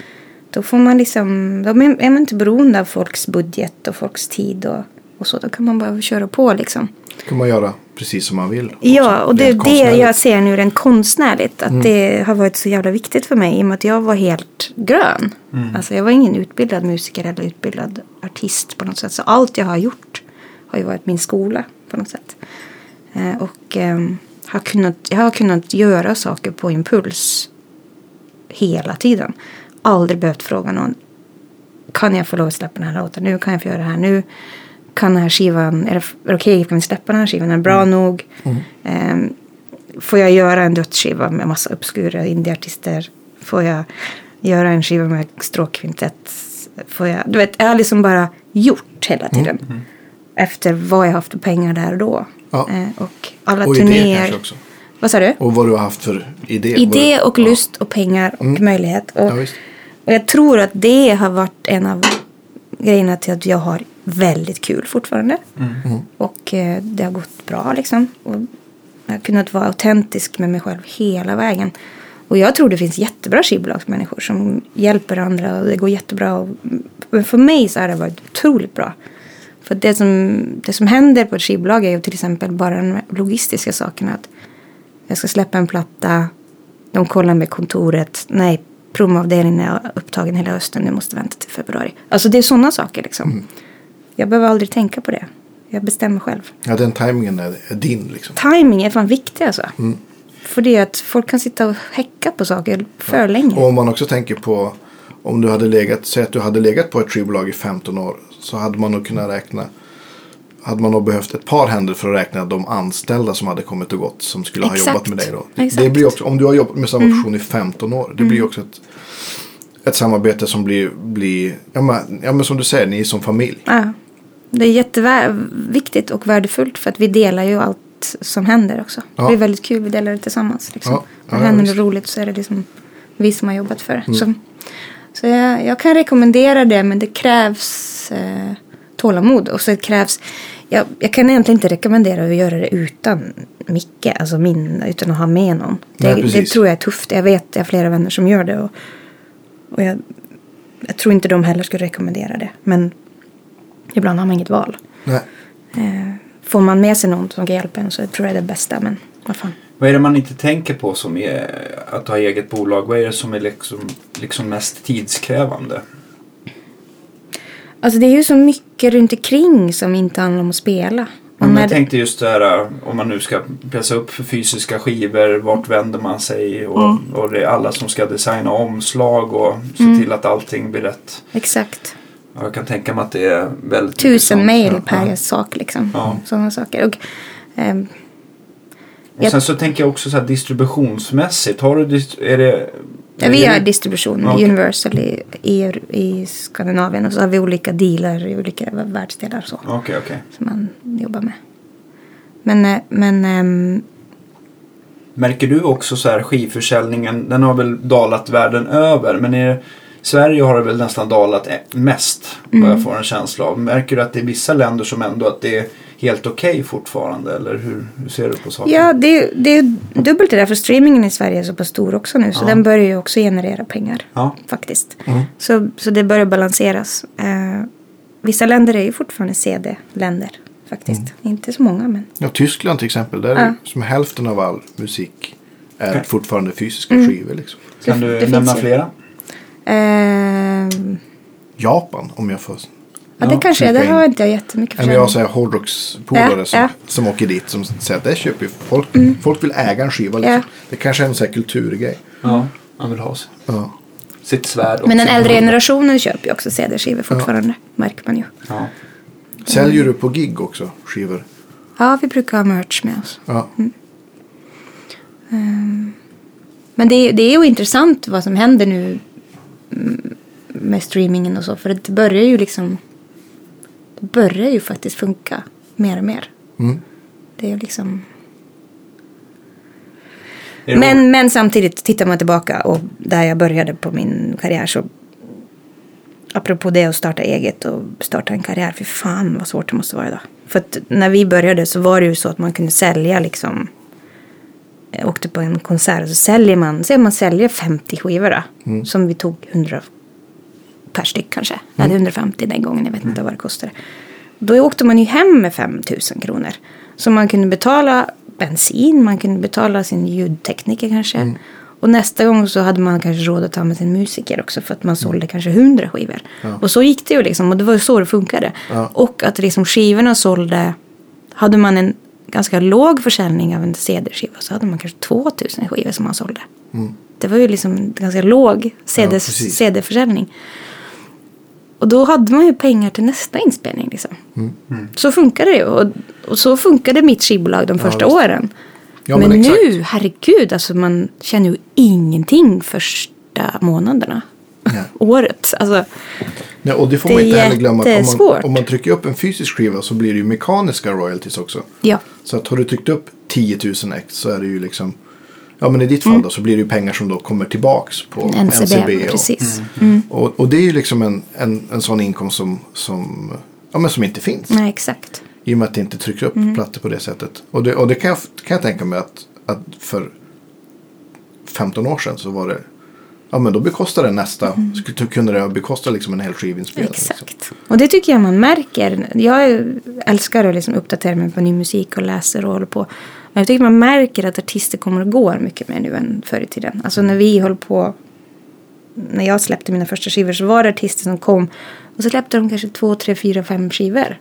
då får man liksom, då är man inte beroende av folks budget och folks tid och, och så. Då kan man bara köra på liksom. Det kan man göra precis som man vill. Alltså, Ja, och det är Rent det jag konstnärligt. ser nu rent konstnärligt. Att det har varit så jävla viktigt för mig i och med att jag var helt grön. Alltså jag var ingen utbildad musiker eller utbildad artist på något sätt. Så allt jag har gjort har ju varit min skola på något sätt. Eh, och ehm, har kunnat, jag har kunnat göra saker på impuls hela tiden. Aldrig behövt fråga någon. Kan jag få lov att släppa den här låten nu? Kan jag få göra det här nu? Kan den här skivan, är det f- är det okej? Kan vi släppa den här skivan? Är den Mm. bra nog? Ehm, får jag göra en dödsskiva med massa obskura indieartister? Får jag göra en skiva med stråkkvintett? Får jag, du vet, jag har liksom bara gjort hela Mm. tiden. Efter vad jag haft för pengar där och då. Ja. Eh, och alla Och idéer turnéer. kanske också. Vad sa du? Och vad du har haft för idé. Idé Vad och du- lust och pengar och möjlighet. Och, Mm. Ja, visst. och jag tror att det har varit en av grejerna till att jag har väldigt kul fortfarande. Mm. Och eh, det har gått bra liksom. Och jag har kunnat vara autentisk med mig själv hela vägen. Och jag tror det finns jättebra skivbolagsmänniskor som hjälper andra och det går jättebra. Och, men för mig så har det varit otroligt bra. För det som, det som händer på ett skivbolag är ju till exempel bara de logistiska sakerna. Att jag ska släppa en platta. De kollar med kontoret. Nej, promoavdelningen är upptagen hela hösten. Du måste vänta till februari. Alltså det är sådana saker liksom. Mm. Jag behöver aldrig tänka på det. Jag bestämmer själv. Ja, den tajmingen är, är din liksom. Timing är fan viktig alltså. Mm. För det är att folk kan sitta och häcka på saker för länge. Och om man också tänker på om du hade legat, säg att du hade legat på ett skivbolag i 15 år så hade man nog kunnat räkna hade man nog behövt ett par händer för att räkna de anställda som hade kommit och gått som skulle ha Exakt. jobbat med dig då. Det Exakt. Mm. blir också, om du har jobbat med samma person i 15 år, det blir också ett, ett samarbete som blir, blir ja, men, ja men som du säger, ni är som familj. Ja. Det är jätteviktigt och värdefullt för att vi delar ju allt som händer också. Ja. Det är väldigt kul, vi delar det tillsammans. Liksom. Ja, ja, När det händer visst. något roligt så är det liksom vi som har jobbat för det. Mm. Så, så jag, jag kan rekommendera det men det krävs eh, tålamod och så krävs jag, jag kan egentligen inte rekommendera att göra det utan Micke, alltså min, utan att ha med någon. Det, Nej, det precis. tror jag är tufft. Jag vet, jag har flera vänner som gör det. Och, och jag, jag tror inte de heller skulle rekommendera det. Men Ibland har man inget val. Nej. Eh, får man med sig någon som kan hjälpa en så tror jag det är det bästa. Men vad fan. Vad är det man inte tänker på som är att ha eget bolag? Vad är det som är liksom, liksom mest tidskrävande? Alltså det är ju så mycket runt omkring som inte handlar om att spela. Och Men när jag det- tänkte just det här om man nu ska pressa upp för fysiska skivor. Vart vänder man sig? Och, Mm. och det är alla som ska designa omslag och se till att allting blir rätt. Exakt. Ja, Jag kan tänka mig att det är väldigt mycket Tusen sånt. mail Ja. per sak liksom. Ja. Sådana saker. Och, ehm, Och sen så tänker jag också så här distributionsmässigt. Har du dist- är det, Ja, vi har distribution, Ja, okej. Universal i, i, i Skandinavien och så har vi olika dealer i olika världsdelar och så, Okej, okej. som man jobbar med. Men, eh, men ehm, Märker du också så här skivförsäljningen? Den har väl dalat världen över. Men i Sverige har det väl nästan dalat e- mest. Vad Mm. jag får en känsla av. Märker du att det är vissa länder som ändå att det är helt okej fortfarande? Eller hur, hur ser du på saken? ja, det, är- det är dubbelt det där för streamingen i Sverige är så pass stor också nu så Ja. den börjar ju också generera pengar Ja. faktiskt. Mm. Så, så det börjar balanseras. Eh, vissa länder är ju fortfarande CD-länder faktiskt. Mm. Inte så många men. Ja, Tyskland till exempel. Där är Ja. som hälften av all musik är Okej. fortfarande fysiska Mm. skivor. Liksom. Kan det- du det nämna finns ju. flera? Ehm, Japan om jag får. ja, det Ja, kanske är. flika Det in. har inte jag jättemycket Eller försäljning. jag säger hårdrockspolare Ja, som, ja. Mm. som åker dit som säger att det köper ju folk. Folk vill äga en skiva. Liksom. Ja. Det kanske är en sån här kulturgrej. Ja, han vill ha sitt, Ja. sitt svärd. och Men den sin- äldre generationen köper ju också CD-skivor fortfarande. Märker man ju. Ja. Säljer du på gig också skivor? Ja, vi brukar ha merch med oss. Ja. Men det, är- det är ju intressant vad som händer nu mm, med streamingen och så. För det börjar ju liksom... Det börjar ju faktiskt funka mer och mer. Mm. Det är ju liksom... Är det- Men, men samtidigt, tittar man tillbaka och där jag började på min karriär så apropå det att starta eget och starta en karriär, fy fan vad svårt det måste vara idag. För att när vi började så var det ju så att man kunde sälja liksom jag eh, åkte på en konsert och så säljer man, säg man säljer 50 skivor då, som vi tog 100 per styck kanske. Jag hade 150 den gången, jag vet inte vad det kostade. Då åkte man ju hem med 5 000 kronor. Så man kunde betala bensin, man kunde betala sin ljudtekniker kanske. Och nästa gång så hade man kanske råd att ta med sin musiker också för att man sålde kanske 100 skivor. Och så gick det ju liksom och det var ju så det funkade. Ja. Och att liksom skivorna sålde, hade man en ganska låg försäljning av en CD-skiva så hade man kanske 2000 skivor som man sålde. Det var ju liksom en ganska låg CD, Mm. Ja, precis. CD-försäljning. Och då hade man ju pengar till nästa inspelning. Liksom. Mm. Så funkade det ju. Och, och så funkade mitt skivbolag de första visst. åren. Ja, men men exakt. nu, herregud, alltså man känner ju ingenting första månaderna. Nej. Året. Alltså, Nej, och det får Det man är inte heller glömma. Att om, man, jättesvårt. om man trycker upp en fysisk skiva så blir det ju mekaniska royalties också. ja. Så att har du tryckt upp 10 000 ex så är det ju liksom. Ja men i ditt Mm. fall då så blir det ju pengar som då kommer tillbaks på NCB, NCB. och, precis. Mm. och, och det är ju liksom en, en, en sån inkomst som, som, ja, men som inte finns. Nej, exakt. I och med att det inte trycker upp plattor på det sättet. Och det, och det kan, jag, kan jag tänka mig att, att för 15 år sedan så var det. Ja men då bekostade det nästa. Mm. Kunde det bekosta liksom en hel skivinspelning. Liksom. Exakt. Och det tycker jag man märker. Jag älskar att liksom uppdatera mig på ny musik och läser och håller på. Men jag tycker man märker att artister kommer och går mycket mer nu än förr i tiden. Alltså när vi höll på, när jag släppte mina första skivor så var det artister som kom och så släppte de kanske två, tre, fyra, fem skivor.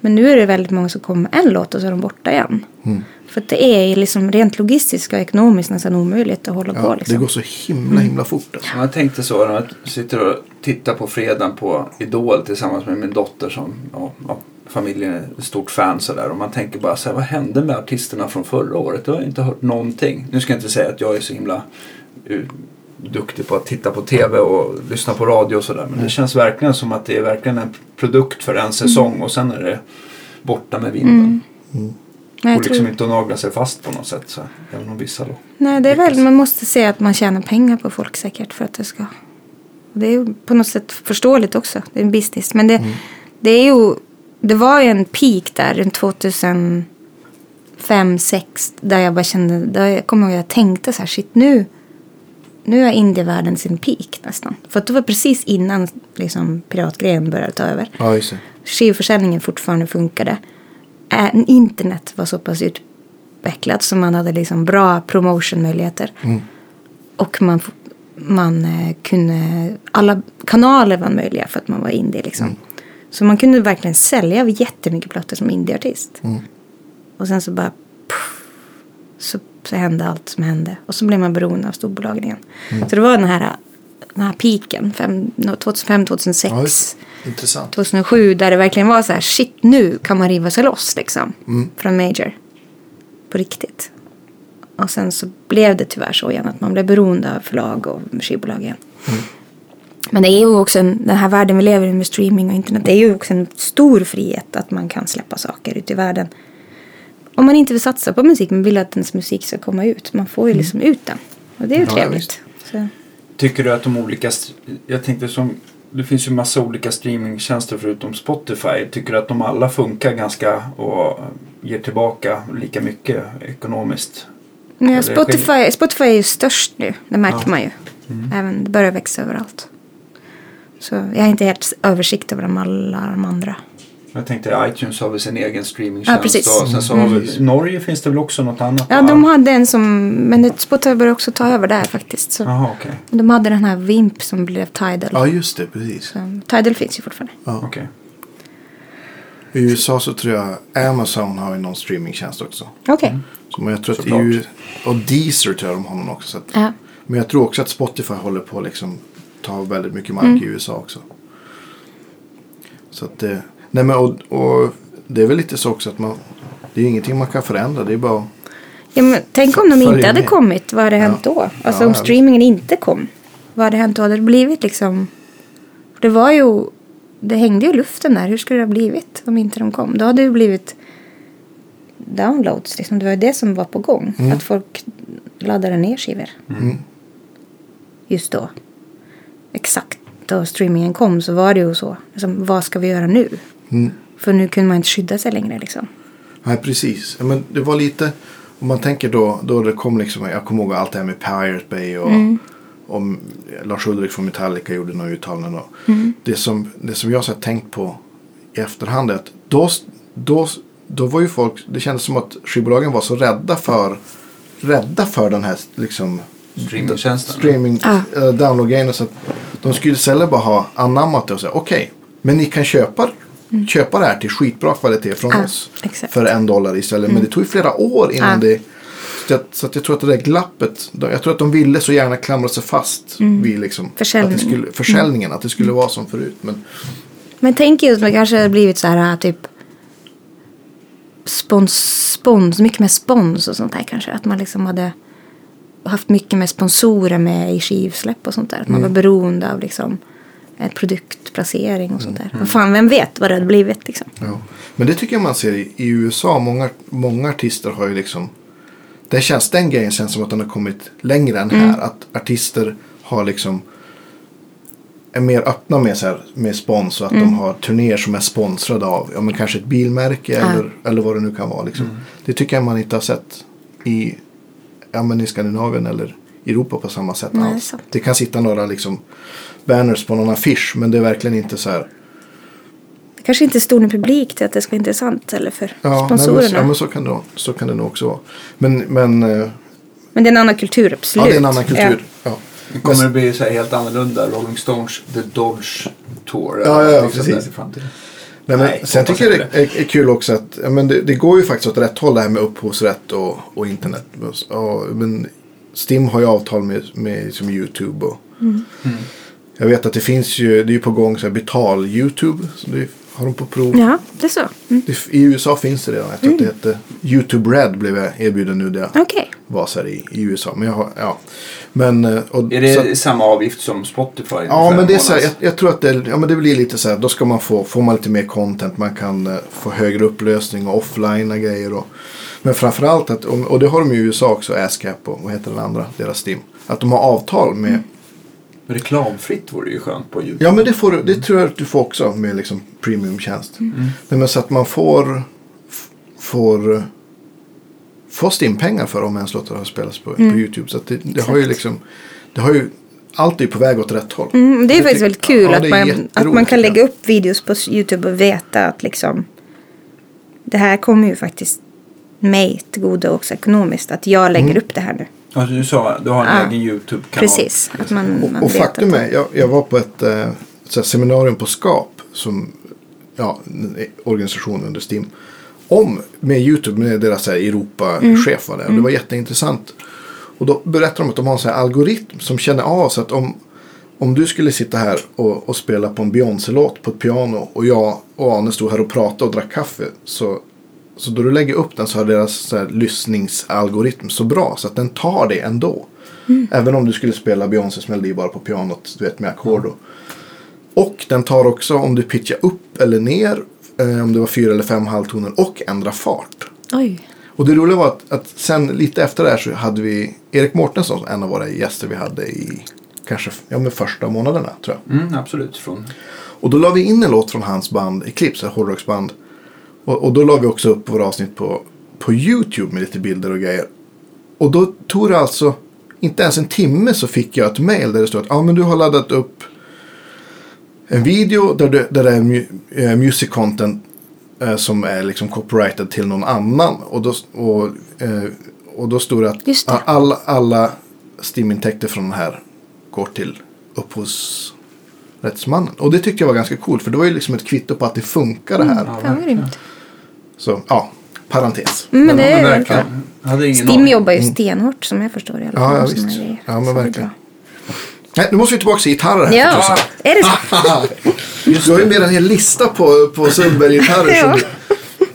Men nu är det väldigt många som kommer med en låt och så är de borta igen. Mm. För att det är liksom rent logistiskt och ekonomiskt nästan omöjligt att hålla på. Ja, det Liksom. går så himla himla fort. Alltså. Ja, Jag tänkte så när jag sitter och tittar på fredagen på Idol tillsammans med min dotter som ja, ja, familjen är ett stort fan sådär. Och man tänker bara så här, vad hände med artisterna från förra året? Jag har inte hört någonting. Nu ska jag inte säga att jag är så himla eh, duktig på att titta på tv och lyssna på radio och sådär. Men det känns verkligen som att det är verkligen en produkt för en säsong och sen är det borta med vinden. Men jag Och liksom inte att nagla sig fast på något sätt. Så, även om vissa då. Nej, det är väl, man måste se att man tjänar pengar på folk säkert för att det ska... Det är ju på något sätt förståeligt också. Det är en business. Men det, det är ju... Det var ju en peak där runt 2005, 2006 där jag bara kände, där jag kommer ihåg att jag tänkte så här, shit nu, nu är indievärlden sin peak nästan. För att det var precis innan liksom, piratgrejen började ta över Ja, just det. skivförsäljningen fortfarande funkade. Ä- Internet var så pass utvecklat så man hade liksom bra promotionmöjligheter. Och man, f- man eh, kunde, alla kanaler var möjliga för att man var indie liksom. Så man kunde verkligen sälja jättemycket plattor som indieartist. Och sen så bara puff, så, så hände allt som hände. Och så blev man beroende av storbolagen igen. Så det var den här, den här piken, 2005, 2006, Intressant. 2007. Där det verkligen var så här, shit nu kan man riva sig loss liksom. Mm. Från Major. På riktigt. Och sen så blev det tyvärr så igen att man blev beroende av förlag och skivbolag igen. Mm. Men det är ju också en, den här världen vi lever i med streaming och internet. Det är ju också en stor frihet att man kan släppa saker ut i världen. Om man inte vill satsa på musik men vill att ens musik ska komma ut. Man får ju liksom ut den. Och det är ju Mm. Ja, ja, trevligt. visst. Så, Tycker du att de olika, st- jag tänkte som, det finns ju massa olika streamingtjänster förutom Spotify. Tycker du att de alla funkar ganska och ger tillbaka lika mycket ekonomiskt? men det är Spotify, Spotify är ju störst nu. Det märker Ja. man ju. Även, det börjar växa överallt. Så jag har inte helt översikt över de alla de andra. Jag tänkte iTunes har väl sin egen streamingtjänst. Ja, precis. Och sen så har vi, Mm. Norge finns det väl också något annat? Ja, va? de hade en som... Men ett- Spotify började också ta över där faktiskt. Så. Jaha, okej. De hade den här Vimp som blev Tidal. Ja, just det. Precis. Så, Tidal finns ju fortfarande. Ja. Okej. I USA så tror jag Amazon har ju någon streamingtjänst också. Okej. Så, men jag tror att Såklart. EU, och Deezer tror jag de har någon också. Så att, Ja. Men jag tror också att Spotify håller på att liksom ta väldigt mycket mark i USA också. Så att det, nej men och, och det är väl lite så också att man, det är ju ingenting man kan förändra. Det är bara, Ja, men tänk om de Följer inte hade med. kommit, vad hade hänt Ja. då? Alltså Ja, om ja, streamingen inte kom, vad hade hänt då? Hade det blivit liksom... Det var ju... Det hängde ju i luften där. Hur skulle det ha blivit om inte de kom? Då hade det ju blivit downloads. Liksom. Det var ju det som var på gång. Mm. Att folk laddade ner skivor. Just då. Exakt då streamingen kom så var det ju så. Liksom, vad ska vi göra nu? Mm. För nu kunde man inte skydda sig längre liksom. nej precis. Ja, Men det var lite, om man tänker då, då det kom liksom, jag kommer ihåg allt det här med Pirate Bay och om Lars Ulrik från Metallica gjorde några uttalanden. Och det, som, det som jag så har tänkt på i efterhand är att då, då, då var ju folk, det kändes som att skivbolagen var så rädda för, rädda för den här liksom Streamingtjänsten. streaming Ah. eh, download-grejerna. Så att de skulle istället bara ha anammat det och säga okej, men ni kan köpa, köpa det här till skitbra kvalitet från Ah, oss. exakt. För en dollar istället. Men det tog ju flera år innan Ah. det. Så, att, så att jag tror att det där glappet, de- jag tror att de ville så gärna klamra sig fast vid liksom, Försäljningen. Att det skulle, försäljningen. Att det skulle vara som förut. Men Men tänk ju att man kanske har blivit så här typ spons, spons, mycket mer spons och sånt där kanske. Att man liksom hade haft mycket mer sponsorer med i skivsläpp och sånt där. Att man Mm. var beroende av liksom en produktplacering och sånt Mm. där. Men fan, vem vet vad det hade blivit liksom. Ja. Men det tycker jag man ser i i USA. Många, många artister har ju liksom. Det känns, den grejen känns som att den har kommit längre än här. Att artister har liksom. Är mer öppna med, så här, med spons och att de har turnéer som är sponsrade av. Ja men kanske ett bilmärke eller, eller vad det nu kan vara. Liksom. Det tycker jag man inte har sett i, ja, men i Skandinavien eller Europa på samma sätt Nej, det är alls. sant. Det kan sitta några liksom, banners på någon affisch men det är verkligen inte så här. Det kanske inte är stor nog publik till att det ska vara intressant eller för Ja, nej, sponsorerna. men, så- ja men, men så kan det, nog- så kan det nog också vara. Men, men eh, det är en annan kultur, absolut. ja, det är en annan Ja. kultur. Ja. Det kommer att bli så här helt annorlunda. Rolling Stones The Dodge Tour. eller Ja, ja, någonting ja, sånt där precis. i framtiden. Nej, men, Nej, sen hoppas tycker jag inte det är, är kul också att ja, men det, det går ju faktiskt åt rätt håll det här med upphovsrätt och, och internet. Ja, men Stim har ju avtal med, med som YouTube. Och, Mm. Mm. Jag vet att det finns ju, det är ju på gång så här betal-YouTube. Så det har de på prov. Ja, det är så. Mm. Det, I USA finns det redan. Jag tror att det hette YouTube Red blev jag erbjuden nu där jag Okej. var så här i, i USA. Men jag har, ja. Men, eh, och, Är så det att- samma avgift som Spotify? Ja, ungefär men det är en så här, jag, månads? jag tror att det, ja, men det blir lite så här. Då ska man få, får man lite mer content. Man kan eh, få högre upplösning och offline grejer. Och, men framförallt att, och, och det har de ju i USA också, ASCAP och vad heter den andra, deras STIM. Att de har avtal med, Reklamfritt vore ju skönt på YouTube. ja men det, får, du- det tror jag att du får också med liksom premiumtjänst. Mm. Nej, men så att man får, f- får, eh, får STIM-pengar för om ens låtar har spelats på, på YouTube. Så att det, det har ju Mm. Exakt. liksom, det har ju, allt är ju på väg åt rätt håll. Mm, det är Jag faktiskt tycker- väldigt kul ja, det att, är man, jätteroligt att man tycker kan jag. lägga upp videos på YouTube och veta att liksom det här kommer ju faktiskt mig till godo också ekonomiskt. Att jag lägger Mm. upp det här nu. Alltså, du sa du har en Ja. egen YouTube-kanal. Precis. Att man, man Och vet faktum att, är, jag, jag var på ett eh, så här, seminarium på SKAP som ja, organisationen under STIM. Om med YouTube, med deras så här Europa-chef var det. Och det var jätteintressant. Och då berättar de att de har en sån här algoritm som känner av så att om, om du skulle sitta här och, och spela på en Beyoncé-låt på ett piano och jag och Ane stod här och pratade och drack kaffe. Så, så då du lägger upp den så har deras så här, lyssningsalgoritm så bra så att den tar det ändå. Även om du skulle spela Beyoncés melodi bara på pianot, du vet med ackord. och- och den tar också om du pitchar upp eller ner, eh, om det var fyra eller fem halvtoner och ändra fart. Oj. Och det roliga var att, att sen lite efter det här så hade vi Erik Mårtensson, en av våra gäster vi hade i kanske ja, men första månaderna tror jag. Mm, absolut. Från... Och då la vi in en låt från hans band Eclipse, ett hårdrocksband. Och, och då la vi också upp våra avsnitt på, på YouTube med lite bilder och grejer. Och då tog det alltså inte ens en timme så fick jag ett mail där det stod att ah, men du har laddat upp en video där, du, där det är mu- eh, music content eh, som är liksom copyrighted till någon annan. Och då, och, eh, och då stod det att Just det. a- alla, alla Steam-intäkter från den här går till upphovsrättsmannen. Och det tyckte jag var ganska coolt för det var ju liksom ett kvitto på att det funkar det här. Fan vad grymt. Så ja, parentes. Mm, men det ja, är men verkligen. verkligen. Jag hade ingen Stim aning. jobbar ju stenhårt som jag förstår det. i alla Mm. Ja, ja fall, som visst. är det. Ja, Mm, Så men det är verkligen. bra. Nej, nu måste vi tillbaka till gitarrer här. Ja, är det så? Ah. Du har ju med en hel lista på, på Sundberg-gitarrer. som Ja. du-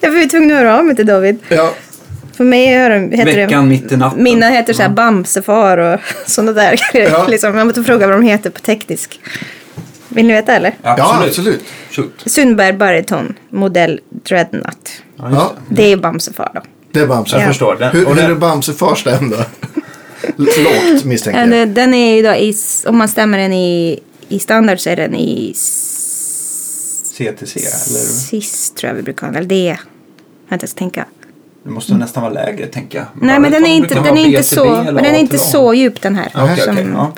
Jag var ju tvungen att höra av mig till David. ja. För mig hör de- heter Veckan det... mitt i natten. Mina heter så här Bamsefar och sådana där grejer. Ja. Liksom. Jag måste fråga vad de heter på teknisk. Vill ni veta eller? ja, absolut. Shoot. Sundberg Bariton, modell Dreadnought. Ja, just Ja. det. Det är ju Bamsefar då. Det är Bamse. Jag förstår den. Hur, Och hur den- är Bamsefars den då? Lågt misstänker Ja, jag. det- Eh, Den är ju då i, s- om man stämmer den i, i standard så är den i s- CTC, eller? cis tror jag vi brukar ha den. Eller det. Jag har inte ens tänka. Det måste nästan vara lägre, tänker jag. Nej men den är inte, den är inte, så, men den är inte så djup den här. Okej, okej. som ja.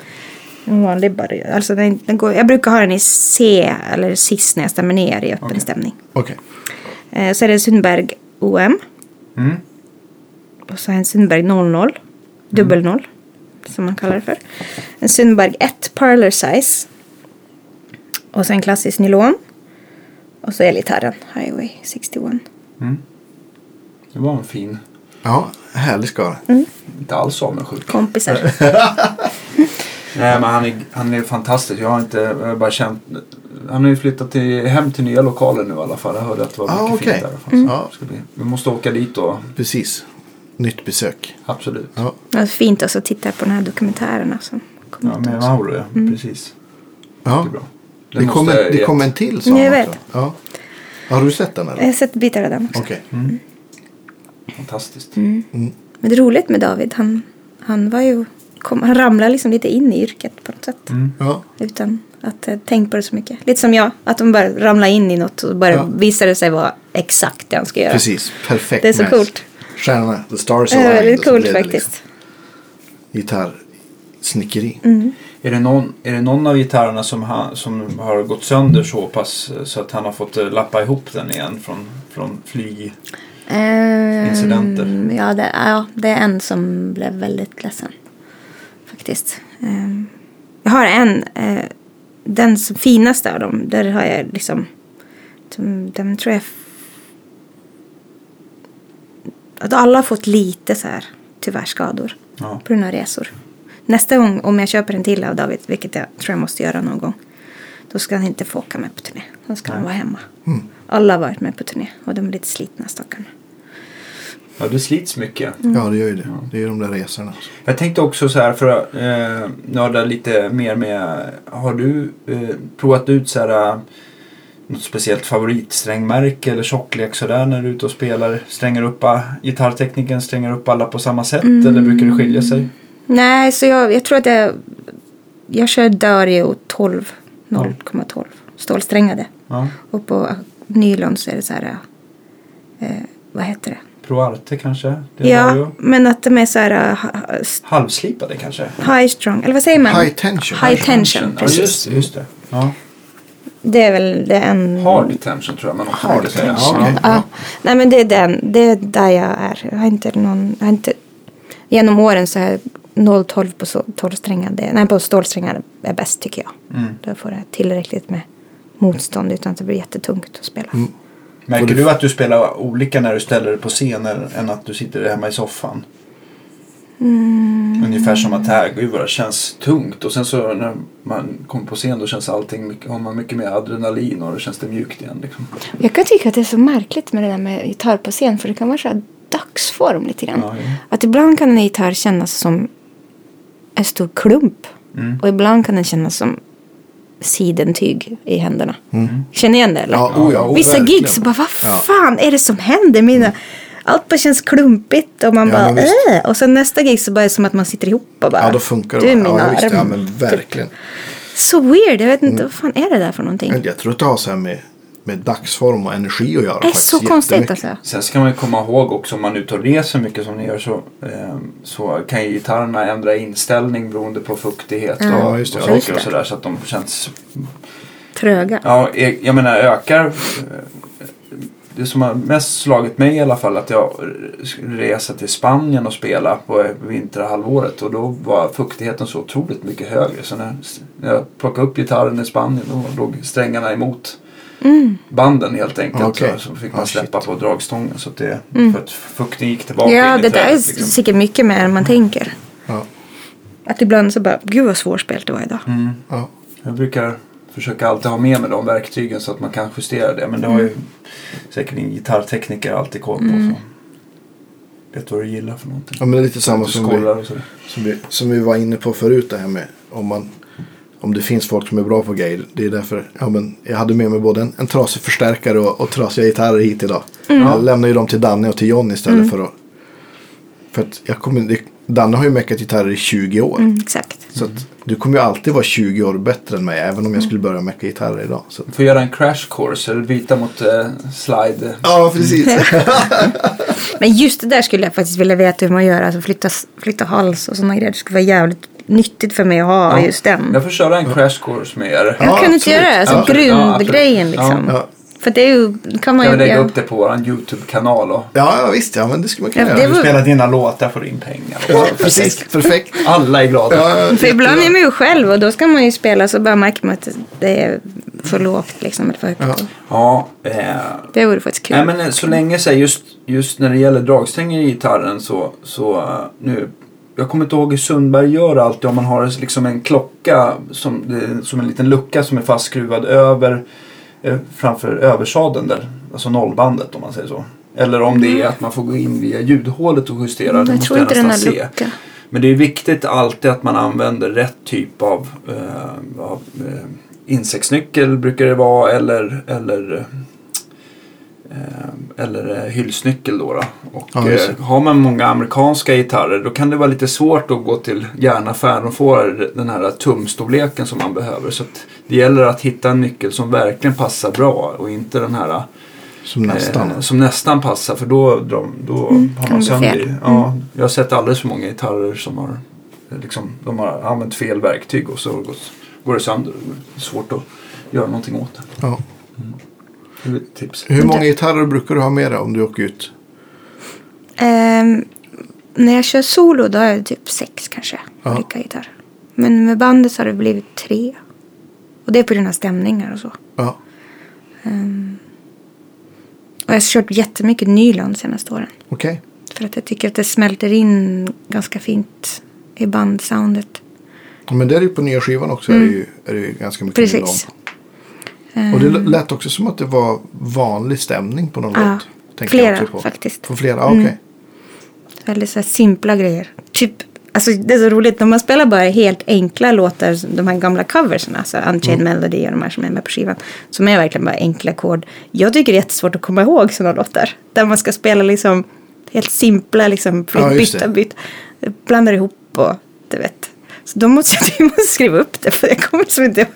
en vanlig barriär. Alltså den, den går, jag brukar ha den i C eller cis när jag stämmer ner i öppen Okej. stämning. Okej. Eh, så är det Sundberg OM. Mm. Och så har jag en Sundberg 00. Dubbel Mm. 0. Som man kallar det för. En Sundberg 1 Parlor Size. Och sen klassisk nylon. Och så elgitarren Highway 61. Det var en fin. Ja, härlig skara. Mm. Inte alls avundsjuk. Kompisar. Nej, men han är, han är fantastisk. Jag har inte jag har bara känt... Han har ju flyttat till, hem till nya lokaler nu i alla fall. Jag hörde att det var Ah, mycket okej. fint där. i alla fall. Mm. Så Ja. Ska vi, vi måste åka dit då. Precis. Nytt besök. Absolut. Ja. Det var fint också att titta på den här dokumentären. Som kom Ja, ut med också. Mauro, ja. Mm. Precis. ja. Det är bra. Den Det kom, en, måste jag det ge- kom en till sa Jag han vet. också. Ja. Har du sett den eller? Jag har sett bitar av den också. Okej. Fantastiskt. Men det är roligt med David. Han, han, var ju, kom, han ramlade liksom lite in i yrket på något sätt. Ja. Utan att eh, tänka på det så mycket. Lite som jag. Att de bara ramlade in i något och bara Ja. visade sig vara exakt det han ska göra. Precis. Perfekt. Det är så match. coolt. Stjärna. The stars Det var aligned. Och väldigt så coolt blev det faktiskt. Liksom. Gitarrsnickeri. Mm. Är det, någon, är det någon av gitarrerna som, han, som har gått sönder så pass eh, så att han har fått eh, lappa ihop den igen från, från flyg? Ehm, Incidenter. Ja det, ja, det är en som blev väldigt ledsen. Faktiskt. Ehm, jag har en, eh, den som finaste av dem, där har jag liksom, den, den tror jag, att alla har fått lite så här, tyvärr skador Ja. på grund av resor. Nästa gång, om jag köper en till av David, vilket jag tror jag måste göra någon gång, då ska han inte få åka med på turné. Då ska han vara hemma. Alla har varit med på turné och de är lite slitna stackarna. ja, det slits mycket. Mm. Ja, det gör ju det. Det är ju de där resorna. Jag tänkte också så här för att eh, nörda lite mer med. Har du eh, provat ut så här eh, något speciellt favoritsträngmärke eller tjocklek sådär när du är ute och spelar? Strängar upp a- gitarrtekniken strängar upp alla på samma sätt eller brukar det skilja sig? Nej, så jag, jag tror att jag... Jag kör Dario 12, 0,12 stålsträngade. Ja. Och på nylon så är det så här... Eh, vad heter det? Proarte kanske? Det Ja, var ju. men att de är så här... eh, ha- ha- s- Halvslipade kanske? High strong, eller vad säger man? High tension. High tension, Ja, precis. just det. Just det. Ja. Det är väl det är en... Hard tension tror jag man också Hard brukar säga. tension. Ja. Okej. Ja, nej men det är den. Det är där jag är. Jag har inte någon... Jag har inte, genom åren så har jag 0,12 på, så- 12 strängar. Det- nej, på stålsträngar är bäst tycker jag. Då får jag tillräckligt med motstånd utan att det blir jättetungt att spela. Och Märker det- du att du spelar olika när du ställer dig på scenen än att du sitter hemma i soffan? Ungefär som att det här, gud vad det känns tungt. Och sen så när man kommer på scen då känns allting, mycket- har man mycket mer adrenalin och då känns det mjukt igen. Liksom. Jag kan tycka att det är så märkligt med det där med gitarr på scen för det kan vara så här dagsform lite grann. Ja, ja. Att ibland kan en gitarr kännas som en stor klump Mm. och ibland kan den kännas som sidentyg i händerna. Känner igen det eller? Mm. Ja, oh ja, oh, Vissa verkligen. gig så bara vad fan är det som händer? Mina, allt bara känns klumpigt och man Ja, men bara visst. äh. Och sen nästa gig så bara är det som att man sitter ihop och bara Ja, då funkar det. Du är min ja, ja, arm. Typ. visst, ja, men verkligen. Mm. Så weird, jag vet inte vad fan är det där för någonting? Men Jag tror att det har så här med, med dagsform och energi att göra. Det är faktiskt så konstigt jättemycket. alltså. Sen ska man ju komma ihåg också om man är ute och reser mycket som ni gör så, ehm, så kan ju gitarrerna ändra inställning beroende på fuktighet Ja, och, just det. och Ja, saker just och det. sådär. Så att de känns Tröga. Ja, jag, jag menar ökar. eh, Det som har mest slagit mig i alla fall att jag skulle resa till Spanien och spela på vinterhalvåret och då var fuktigheten så otroligt mycket högre. Så när när jag plockade upp gitarren i Spanien då låg strängarna emot Mm. banden helt enkelt. Okej. Så, så fick Ah, man släppa på dragstången så att det, för att fukten gick tillbaka Mm. Ja, in i det där är trädet, liksom. säkert mycket mer Mm. än man tänker. Ja, Att ibland så bara, gud vad svårspelat det var idag. mm. ja. Jag brukar försöka alltid ha med mig de verktygen så att man kan justera det. Men det har ju säkert en gitarrtekniker alltid koll på. Så. Vet vad du gillar för någonting. ja, men det är lite samma Du som vi, skålar och sådär. som, vi, som vi var inne på förut. Det här med om, man, om det finns folk som är bra på grejer. Det är därför ja, men jag hade med mig både en, en trasig förstärkare och, och trasiga gitarrer hit idag. Mm. Jag lämnade ju dem till Danne och till John istället för att... För att jag kommer, det, Danne har ju meckat gitarrer i 20 år. Mm, exakt. Så att du kommer ju alltid vara 20 år bättre än mig. Även om jag skulle börja mecka gitarrer idag. Så att, Du får göra en crash course eller byta mot eh, slide. ja, precis. Mm. Men just det där skulle jag faktiskt vilja veta hur man gör. Alltså flytta, flytta hals och sådana grejer. Det skulle vara jävligt nyttigt för mig att ha just den. Jag får köra en crash course med er. jag kan inte absolut. göra det. Alltså Ja, absolut. Ja, absolut. grundgrejen liksom. Ja. För det är ju, då kan man Kan ju... vi lägga göra- upp det på vår YouTube-kanal och Ja, ja, visst. Ja, men det skulle man kunna Ja, det göra. var- du spelar dina låtar får in pengar. Ja, precis. Perfekt. Alla är glada. Ja, För ibland är man ju själv och då ska man ju spela så bara märker man att det är för lågt liksom. Eller för högt. Ja, eh, Det vore faktiskt kul. Nej men eh, så länge så här, just, just när det gäller dragsträngen i gitarren så, så eh, nu jag kommer inte ihåg hur Sundberg gör alltid om man har liksom en klocka som, det är som en liten lucka som är fastskruvad över eh, framför översadeln där. Alltså nollbandet om man säger så. Eller om det är att man får gå in via ljudhålet och justera. Mm, det jag måste tror inte den nästan har se. lucka. Men det är viktigt alltid att man använder rätt typ av, eh, av eh, insektsnyckel brukar det vara eller, eller, eh, eller eh, hylsnyckel. Då, då. Och, Ja, just det. eh, har man många amerikanska gitarrer då kan det vara lite svårt att gå till järnaffären och få den här tumstorleken som man behöver. Så att det gäller att hitta en nyckel som verkligen passar bra och inte den här Som nästan. Eh, som nästan passar för då, då, då har kan man bli sönder. fel. Mm. Ja, jag har sett alldeles för många gitarrer som har, eh, liksom, de har använt fel verktyg och så har det gått, går det sönder. Det är svårt att göra någonting åt det. Ja. Det är ett tips. Hur många gitarrer brukar du ha med dig om du åker ut? Ehm, när jag kör solo då är det typ sex kanske. Ja. Olika gitarrer. Men med bandet så har det blivit tre. Och det är på grund av stämningar och så. Ehm, Ja. Och jag har kört jättemycket Nyland de senaste åren. Okej. För att jag tycker att det smälter in ganska fint i bandsoundet. Men det är ju på nya skivan också. Är det ju, är det ju ganska mycket Mm. Precis. Mm. nylon. Och Ehm, det lät också som att det var vanlig stämning på någon Ja. låt. tänker Flera, jag också på. faktiskt. Mm. På flera? Ah, Okej. Väldigt så här simpla grejer. Typ, alltså det är så roligt när man spelar bara helt enkla låtar, som de här gamla coversen, alltså Mm. Unchained Melody och de här som är med på skivan, som är verkligen bara enkla ackord. Jag tycker det är jättesvårt att komma ihåg sådana låtar, där man ska spela liksom helt simpla, liksom Ja, just byta, det. byta, blandar ihop och du vet. Så då måste jag jag måste skriva upp det, för jag kommer som inte ihåg.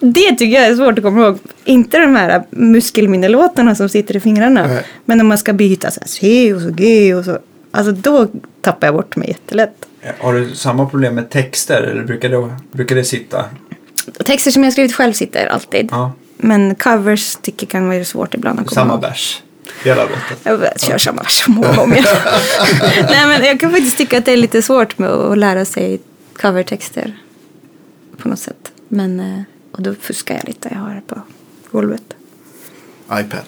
Det tycker jag är svårt att komma ihåg. Inte de här muskelminnelåtarna som sitter i fingrarna. Nej. Men om man ska byta så här C och så G och så. Alltså då tappar jag bort mig jättelätt. Eh, Har du samma problem med texter eller brukar det, brukar det sitta? Texter som jag skrivit själv sitter alltid. Ja, Men covers tycker jag kan vara svårt ibland att komma samma ihåg. bärs. Hela låten. Jag bara kör samma vers så många gånger. Nej men jag kan faktiskt tycka att det är lite svårt med att lära sig covertexter. På något sätt. Men, eh, och då fuskar jag lite. Jag har det på golvet. iPad.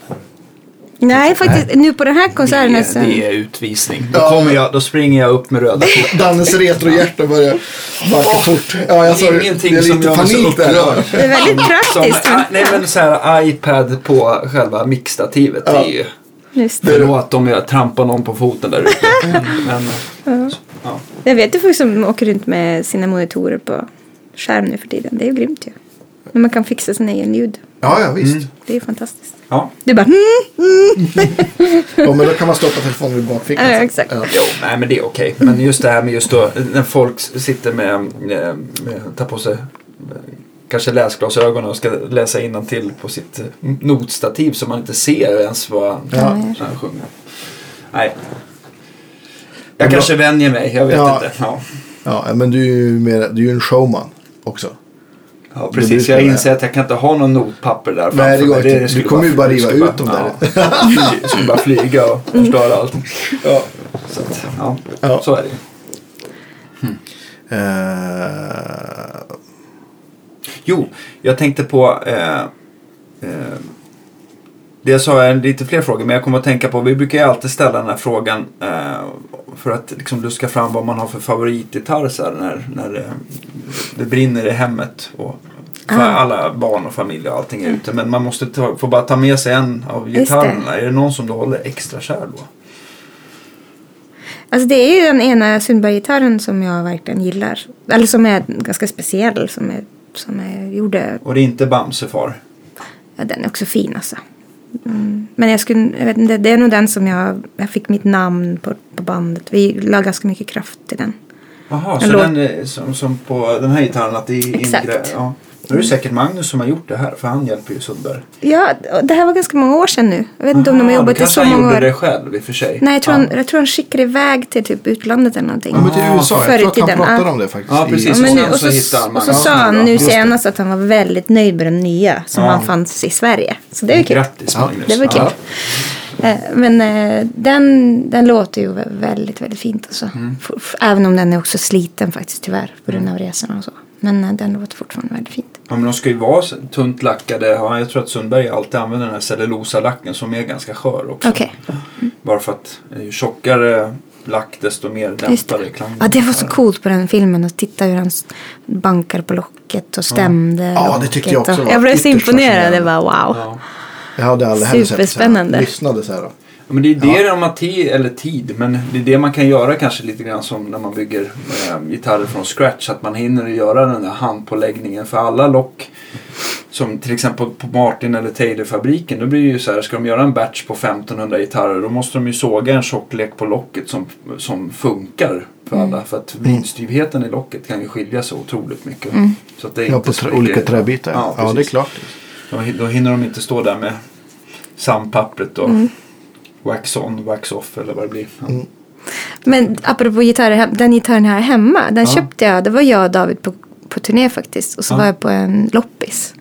Nej, faktiskt. Nu på den här konserten Det, så... det är utvisning. Då, Ja. kommer jag, då springer jag upp med röda kort. Dannes retrohjärta börjar backa fort. Ja, jag sa det. Ingenting Det är som lite gör mig så panik det här. upprörd. Det är väldigt Som, praktiskt. ah, nej men så här iPad på själva mickstativet. Det är ju... Just det. Förlåt om jag trampar någon på foten där ute. Men, ja. Jag vet ju folk som åker runt med sina monitorer på skärm nu för tiden. Det är ju grymt ju. När man kan fixa sin egen ljud. Ja, ja Mm. visst. Det är ju fantastiskt. ja. Det är bara mm, Ja, men då kan man stoppa telefonen i bakfickan. Ja, sen. exakt. Ja. Jo, nej men det är okej. Men just det här med just då när folk sitter med, eh, med tar på sig eh, kanske läsglasögon och ska läsa till på sitt eh, notstativ så man inte ser ens vad han Ja. han sjunger. Nej. Jag kanske vänjer mig, jag vet Ja. inte. Ja. Ja, men du är ju, mer, du är ju en showman också. Ja, Det precis. brukar Jag det. inser att jag kan inte ha någon notpapper där framför Nej, det går mig. inte. skulle Du kommer bara- ju bara riva skulle ut dem där. Ja, det skulle bara flyga och förstöra allt. Ja. Så, att, ja, Ja. så är det. Eh, Jo, jag tänkte på... Eh, eh, dels har jag lite fler frågor, men jag kommer att tänka på... Vi brukar ju alltid ställa den här frågan eh, för att liksom luska fram vad man har för favoritgitarr så här, när, när det, det brinner i hemmet. Och, för Ah. Mm. alla barn och familj och allting är ute. Men man måste ta, får bara ta med sig en av Just det. gitarrerna. Är det någon som du håller extra kär då? Alltså det är ju den ena Sundberg-gitarren som jag verkligen gillar. Eller som är ganska speciell. Som är, som är gjorde... Och det är inte Bamsefar. Ja, den är också fin alltså. Mm. Men jag skulle... Jag vet inte, det är nog den som jag... Jag fick mitt namn på, på bandet. Vi la ganska mycket kraft till den. Jaha, En så låt. den är som, som på den här gitarren att det är Exakt. ingre- Ja. Nu är det säkert Magnus som har gjort det här för han hjälper ju Sundberg. Ja, och det här var ganska många år sedan nu. Jag vet inte om de har Aha, då jobbat i kanske så han många år. gjorde det själv i och för sig. Nej, jag tror, ja. han, jag tror han skickade iväg till typ utlandet eller någonting. Ja, men till Ah, USA. förr Jag i tror att han tiden, pratade ja. om det faktiskt. Ja, i- precis. Ja, men Och nu, sen och, så hittar så, man- och så ja, sa det är bra. han nu Just det. senast att han var väldigt nöjd med den nya som Ja. han fanns i Sverige. Så det är kul. Grattis Ja, Magnus. Det var kul. Ja. Eh, Men eh, den, den låter ju vä- väldigt, väldigt fint. Alltså. Mm. F- f- Även om den är också sliten faktiskt tyvärr på grund av resorna och så. Men eh, den låter fortfarande väldigt fint. Ja, men de ska ju vara så- tunt lackade. Ja, jag tror att Sundberg alltid använder den här cellulosalacken som är ganska skör också. Okej. Bara för att eh, ju tjockare lack desto mer Just dämpade det. klangen. Ja, det var så coolt på den filmen att titta hur han s- bankar på locket och stämde. Ja, det tyckte jag locket också och- var Jag blev så ytterst imponerad. Det fascinerande. var wow. Ja. Jag hade aldrig heller sett det så Superspännande. här. Lyssnade så här. Då. Ja, Men det är det de har tid, eller tid, men det är det man kan göra kanske lite grann som när man bygger eh, gitarrer från scratch. Att man hinner göra den där handpåläggningen för alla lock. Som till exempel på Martin eller Taylor-fabriken. Då blir det ju så här, ska de göra en batch på 1500 gitarrer då måste de ju såga en tjocklek på locket som, som funkar för alla. För att vridstyvheten i locket kan ju skilja sig otroligt mycket. Så att det är Ja, inte på så trä, mycket- olika träbitar. Ja, precis. det är klart. Då, hin- då hinner de inte stå där med sandpappret och Mm. wax on, wax off eller vad det blir. Ja. Men apropå gitarrer, den gitarren här hemma, den köpte jag, det var jag och David på, på turné faktiskt. Och så var jag på en loppis.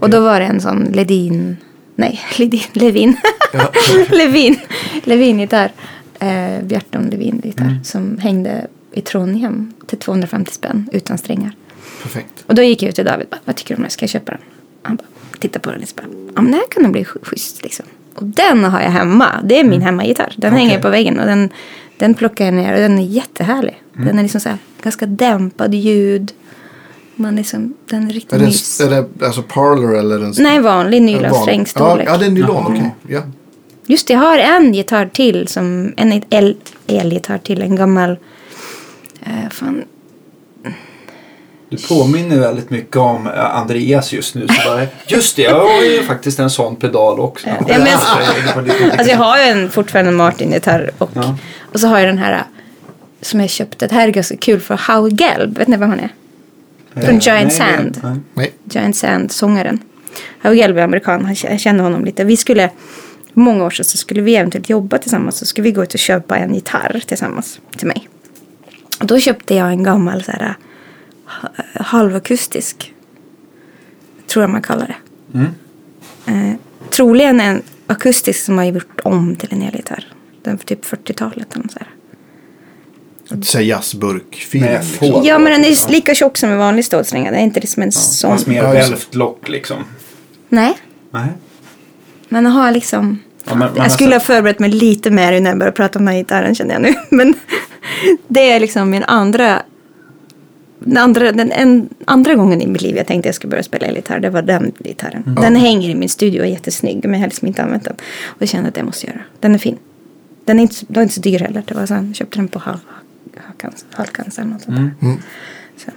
Och då var det en sån Ledin, nej, Ledin, Levin, Levin, Levin-gitarr. Eh, Bjarton Levin-gitarr som hängde i Trondheim till 250 spänn utan strängar. Perfekt. Och då gick jag ut till David bara, vad tycker du om det? Ska jag köpa den? Han bara, titta på den lite bara, ja men det här kan nog bli sch- schysst liksom. Och den har jag hemma. Det är min Mm. hemmagitarr. Den hänger på väggen och den, den plockar jag ner och den är jättehärlig. Mm. Den är liksom så här, ganska dämpad ljud. Man liksom, den är Är riktigt det, mys. en, är det alltså parlor eller en... Nej, vanlig en nylonsträngstorlek. Ja, ja, det är en nylon. Okej. Ja. Just det, jag har en gitarr till. Som, en el, elgitarr till. En gammal... Eh, fan. Du påminner väldigt mycket om eh, Andreas just nu. Så bara, just det, jag har ju faktiskt en sån pedal också. Eh, Ja, men- Det var lite- Alltså jag har ju en, fortfarande en Martin-gitarr och, Ja. och så har jag den här eh, som jag köpte. Det här är ganska kul för Howie Gelb. Vet ni vem han är? Från Giant Eh, Nej, nej, Sand. nej. Nej. Giant Sand-sångaren. Howie Gelb är amerikan. Han, jag kände honom lite. Vi skulle, för många år sedan så skulle vi eventuellt jobba tillsammans. Så skulle vi gå ut och köpa en gitarr tillsammans till mig. Och då köpte jag en gammal så här eh, ha- halvakustisk. Tror jag man kallar det. Eh, troligen en akustisk som har gjort om till en elgitarr. Den för typ 40-talet eller nåt så här. Ett så här jazzburk-feeling. Med Liksom. får. Ja men den är ju lika tjock som en vanlig stålstränga. Det är inte liksom en sån. Fast mer Ja, just det. välvt lock liksom. Nej. Nej. Man har liksom... Ja, men- alltså- men jag skulle ha förberett mig lite mer innan jag började prata om den här gitarren känner jag nu. Men det är liksom min andra... Den andra, den en, andra gången i mitt liv jag tänkte jag skulle börja spela elgitarr, det var den gitarren. Mm. Den hänger i min studio och är jättesnygg, men jag har liksom inte använt den. Och jag kände att jag måste göra. Den är fin. Den är inte, så- den var inte så dyr heller. Det var så här, jag köpte den på halv- Halkans Halkans eller något sånt Mm. där. Så.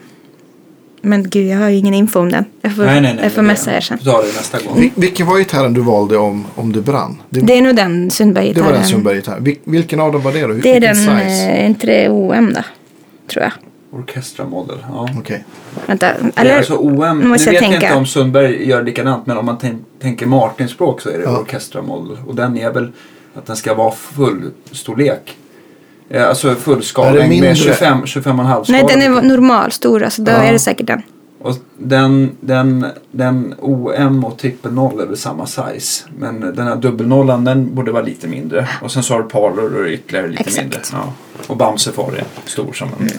Men gud, jag har ju ingen info om den. Jag får, Nej, nej, nej. jag får men det- messa er sen. Vi tar det nästa gång. Vil- Vilken var gitarren du valde om, om det brann? Det, det, Det är nog den Sundberg-gitarren. var den Sundberg-gitarren. Vil, vilken av dem var det då? Det är Vilken den, size? eh, inte det OM då? Tror jag. Orkestra Model. Ja. Okej. Vänta, Det eller? är alltså OM. Nu Nu vet måste jag jag inte tänka. om Sundberg gör likadant men om man tän- tänker Martin-språk så är det Orkestra Model. Och den är väl att den ska vara full storlek. Eh, Alltså Är det fullskalig mindre? med 25 25,5 Nej, skala. den är normal, stor. Alltså då Ja. är det säkert den. Och den, den, den OM och trippelnoll är väl samma size. Men den här dubbelnollan den borde vara lite mindre. Och sen så har du Parlor och ytterligare lite Exakt. Mm. mindre. Ja. Och Bamse Far är stor som en.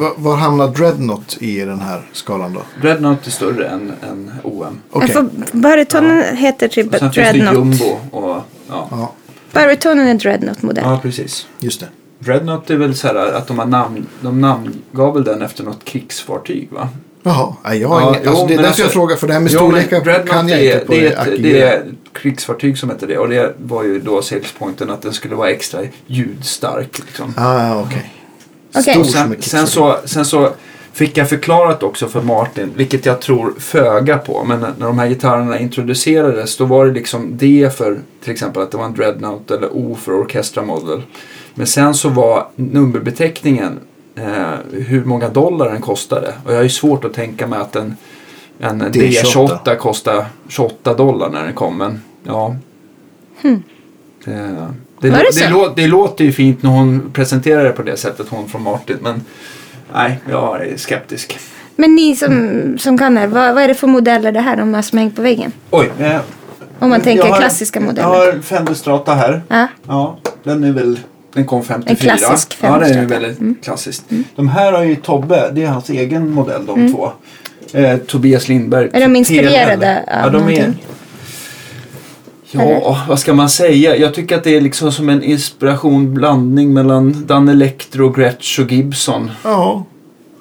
Var, var hamnar Dreadnought i den här skalan då? Dreadnought är större än, än OM. Okej. För Barytonen heter typ Och sen finns det Dreadnought. Jumbo och ja. Ja, Barytonen är Dreadnought-modell. Ja, precis. just det. Dreadnought är väl så här att de har namn, de namngav väl den efter något krigsfartyg va? Jaha, nej, jag har Ja, inget. jo, Alltså, det är men därför alltså- jag frågar. För det här med Jo, men storlekar Dreadnought kan jag är, inte på det, är ett, Akigiri. det är ett krigsfartyg som heter det och det var ju då salespointen att den skulle vara extra ljudstark. Liksom. Ah, okej. Okej. Stor Och som sen, ett sen, så, sen så fick jag förklarat också för Martin, vilket jag tror föga på, men när de här gitarrerna introducerades då var det liksom D för till exempel att det var en Dreadnought eller O för Orchestra Model. Men sen så var nummerbeteckningen eh, hur många dollar den kostade och jag har ju svårt att tänka mig att en, en D28. D28 kostade 28 dollar när den kom, men ja. Det, det, Var det det, så? lå, det låter ju fint när hon presenterar det på det sättet, hon från Martin. Men nej, jag är skeptisk. Men ni som, som kan det här, vad, vad är det för modeller det här de har som hängt på väggen? Oj. Eh, Om man tänker jag har- klassiska modeller. Jag har Fender Strata här. Ja. Ja, den är väl... Den kom 54. En klassisk Mm. Ja, den är ju Fender Strata. väldigt klassisk. De här har ju Tobbe, det är hans egen modell de två. Eh, Tobias Lindberg. Mm. Är de inspirerade TLL. av Ja, de är, någonting? Ja, vad ska man säga? Jag tycker att det är liksom som en inspiration, blandning mellan Dan Electro, Gretsch och Gibson. Ja,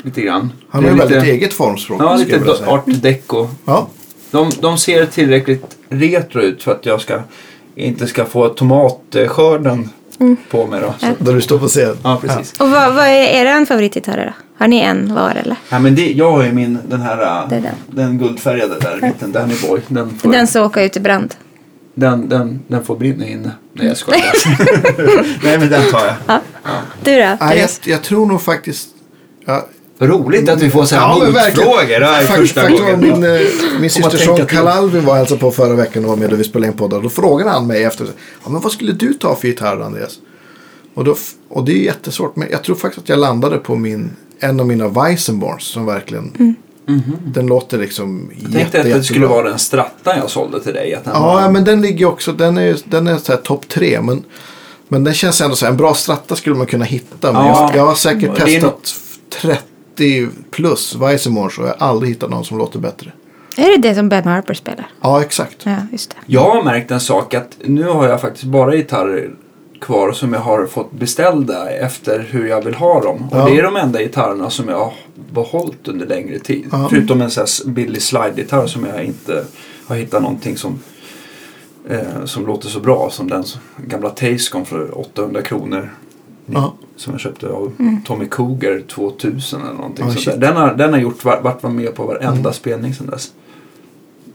Lite grann. han Det har är ju lite- väldigt eget formspråk. Ja, skulle lite jag vilja do- säga. art deco. Ja, De, de ser tillräckligt retro ut för att jag ska, inte ska få tomatskörden Mm. på mig då. Så. där du står på scen. Ja, precis. Och vad, vad är er favoritgitarrer då? Har ni en var eller? Ja, men det, jag har ju min, den här, äh, Det är den. guldfärgade där, liten Danny Boy. Den får, Den den... som åker ut i brand. Den, den, får brinna inne. Nej, jag skojar. Nej, men den tar jag. Du Nej, då? jag, Therese? jag tror nog faktiskt... Ja, Roligt att vi får så här men verkligen. motfrågor. Det här är Fakt- första faktum var gången. Min, eh, min man systers tänker son till. Kalalvi var och hälsade på förra veckan och var med och vi spelade in poddar. Då frågade han mig efter. Ja, men vad skulle du ta för gitarr Andreas? Och, då, f- och det är jättesvårt. Men jag tror faktiskt att jag landade på min, en av mina Weissenborns som verkligen. Den låter liksom jätte, Mm. Jag tänkte att det skulle jättebra. vara den strattan jag sålde till dig. Att den Ja, var... ja, men den ligger också. Den är, den är så här topp tre. Men, men den känns ändå så här. En bra stratta skulle man kunna hitta. Men Ja. jag, jag har säkert Det är testat 30 plus Weissenborns och jag har aldrig hittat någon som låter bättre. Är det det som Ben Harper spelar? Ja, Mm. exakt. Ja, just det. Jag har märkt en sak att nu har jag faktiskt bara gitarrer kvar som jag har fått beställda efter hur jag vill ha dem. Ja. Och det är de enda gitarrerna som jag har behållit under längre tid. Ja. Förutom en sån här billig slide-gitarr som jag inte har hittat någonting som, eh, som låter så bra som den som- gamla Tascon för 800 kronor. Ja. Som jag köpte av Mm. Tommy Cougar 2000 eller någonting. Ja, sånt där. shit. Mm. Den har, den har gjort, varit med på varenda spelning sedan dess.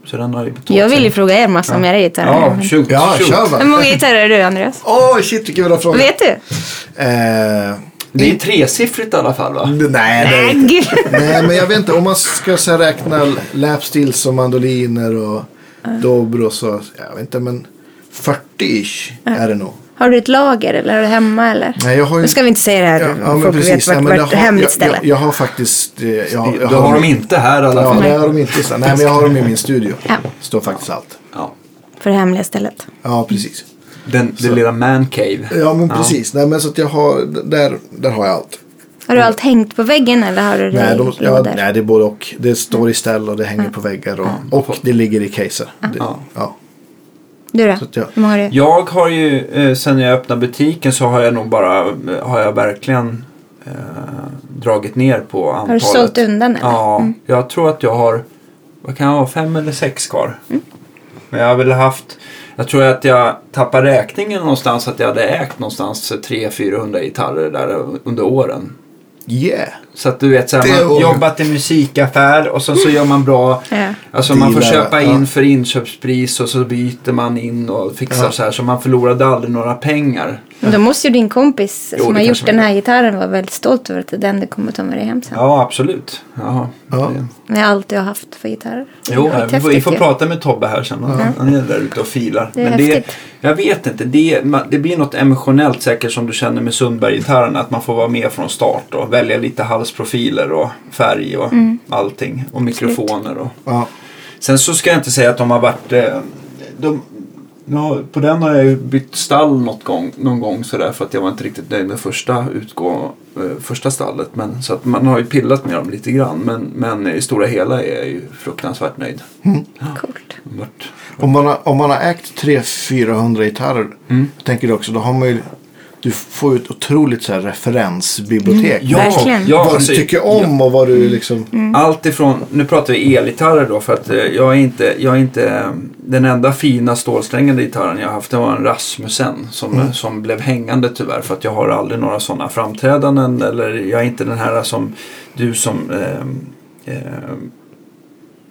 Så den har ju betalat Jag sig. vill ju fråga er massa om era gitarrer. Ja, shoot, Ja, shoot. kör Hur va. många gitarrer är du Andreas? Åh, shit vilken bra fråga. Vet du? Eh, Det är tresiffrigt i alla fall va? nej, nej. Gud. nej, men jag vet inte. Om man ska så här, räkna lapstills och mandoliner och dobros och jag vet inte, men 40-ish är det nog. Har du ett lager eller är du hemma eller? Nej, jag har ju- Nu ska vi inte säga det här. Ja, ja men Folk precis. vet vart, Nej, men jag vart har- hemligt jag- ställe. Jag, jag har faktiskt... eh, Jag, jag Då har de inte här i alla Ja, fall. det har de inte. Så- Nej, men jag har dem i min studio. Ja. Står faktiskt allt. Ja. För det hemliga stället. Ja, precis. Den, den lilla mancave. Ja, men precis. Nej, men så att jag har... Där, där har jag allt. Har du allt hängt på väggen eller har du det Nej, de, i ja, lådor? nej, det är både och. Det står i ställ och det hänger på väggar och, och det ligger i caser. Det, ja. Du då? Så att jag- Hur många har du? Jag har ju, eh, sen jag öppnade butiken så har jag nog bara, har jag verkligen eh, dragit ner på antalet. Har du sålt undan eller? Ja, jag tror att jag har, vad kan jag ha, fem eller sex kvar. Men jag har väl haft, jag tror att jag tappade räkningen någonstans att jag hade ägt någonstans 300-400 gitarrer där under åren. Yeah! Så att du vet, så Det här, man var- jobbat i musikaffär och sen så gör man bra, Ja. alltså man får Dealar, köpa ja. in för inköpspris och så byter man in och fixar Ja. så här så man förlorade aldrig några pengar. Men Då måste ju din kompis Jo, som det har kanske gjort den man här gitarren vara väldigt stolt över att det är den du kommer ta med dig hem sen. Ja, absolut. Ja. Ja. Det- Med allt du har haft för gitarrer. Det är Jo, vi skithäftigt får, vi får ju. prata med Tobbe här sen. Han- Han är där ute och filar. Det är det, häftigt. jag vet inte. Det, man- det blir något emotionellt säkert som du känner med Sundberg-gitarren. Att man får vara med från start och välja lite halsprofiler och färg och allting. Och mikrofoner och... Ja. Sen så ska jag inte säga att de har varit... eh, De, nu har- på den har jag ju bytt stall något gång, någon gång sådär för att jag var inte riktigt nöjd med första, utgå, eh, första stallet. Men, så att man har ju pillat med dem lite grann. Men, men i stora hela är jag ju fruktansvärt nöjd. Coolt. Mm. De har varit- Om man, har, om man har ägt 300-400 gitarrer. Mm. Tänker du också, då har man ju, du får ju ett otroligt så här referensbibliotek. Verkligen. Mm. ja, vad alltså, du tycker om och vad du liksom... Allt ifrån, nu pratar vi elgitarrer då för att eh, jag är inte, jag är inte eh, den enda fina stålsträngade gitarren jag har haft det var en Rasmussen som, som blev hängande tyvärr för att jag har aldrig några sådana framträdanden eller jag är inte den här som du som eh, eh,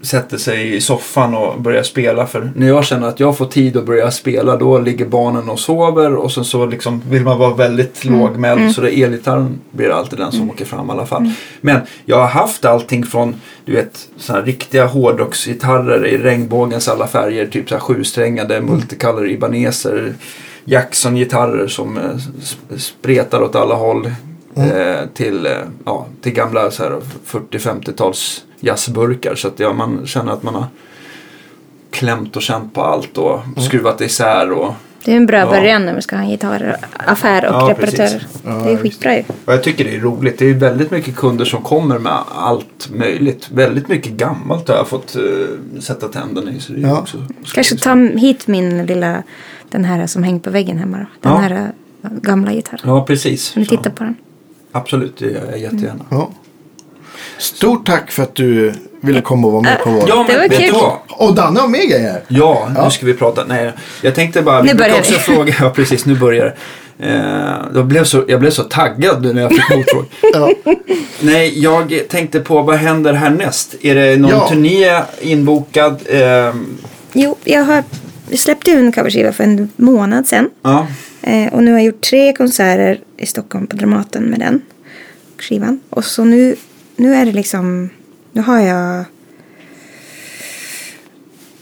sätter sig i soffan och börjar spela för när jag känner att jag får tid att börja spela då ligger barnen och sover och sen så liksom vill man vara väldigt lågmäld så det elgitarren blir alltid den som åker fram i alla fall. Men jag har haft allting från du vet sådana riktiga hårdrocksgitarrer i regnbågens alla färger typ så här sjusträngade multicolor ibaneser Jackson-gitarrer som eh, sp- spretar åt alla håll eh, till, eh, ja, till gamla så här 40-50-tals jazzburkar så att ja, man känner att man har klämt och känt på allt och skruvat isär och Det är en bra Ja. början när man ska ha en gitarraffär och Ja, reparatörer. precis. det är skitbra ju. Och jag tycker det är roligt. Det är väldigt mycket kunder som kommer med allt möjligt. Väldigt mycket gammalt har jag fått eh, sätta tänderna i. Så det är Ja. också skoj. Kanske ta hit min lilla, den här som hängt på väggen hemma då. Den Ja. här äh, gamla gitarren. Ja, precis. Kan vi Så. titta på den? Absolut, det gör jag jättegärna. Ja. Stort tack för att du ville komma och vara med på vår... Ja, Det men var vet du kul. vad? Och Danne har med grejer här. Ja, nu ska vi prata. Nej, jag tänkte bara, Nu vi brukar börjar också vi. fråga, ja precis, nu börjar det. Eh, jag, blev så, jag blev så taggad nu när jag fick motfråga. Ja. Nej, jag tänkte på vad händer härnäst? Är det någon Ja. turné inbokad? Ehm, Jo, jag har släppt ju en coverskiva för en månad sedan. ja, Eh, och nu har jag gjort tre konserter i Stockholm på Dramaten med den skivan. Och så nu, nu är det liksom, nu har jag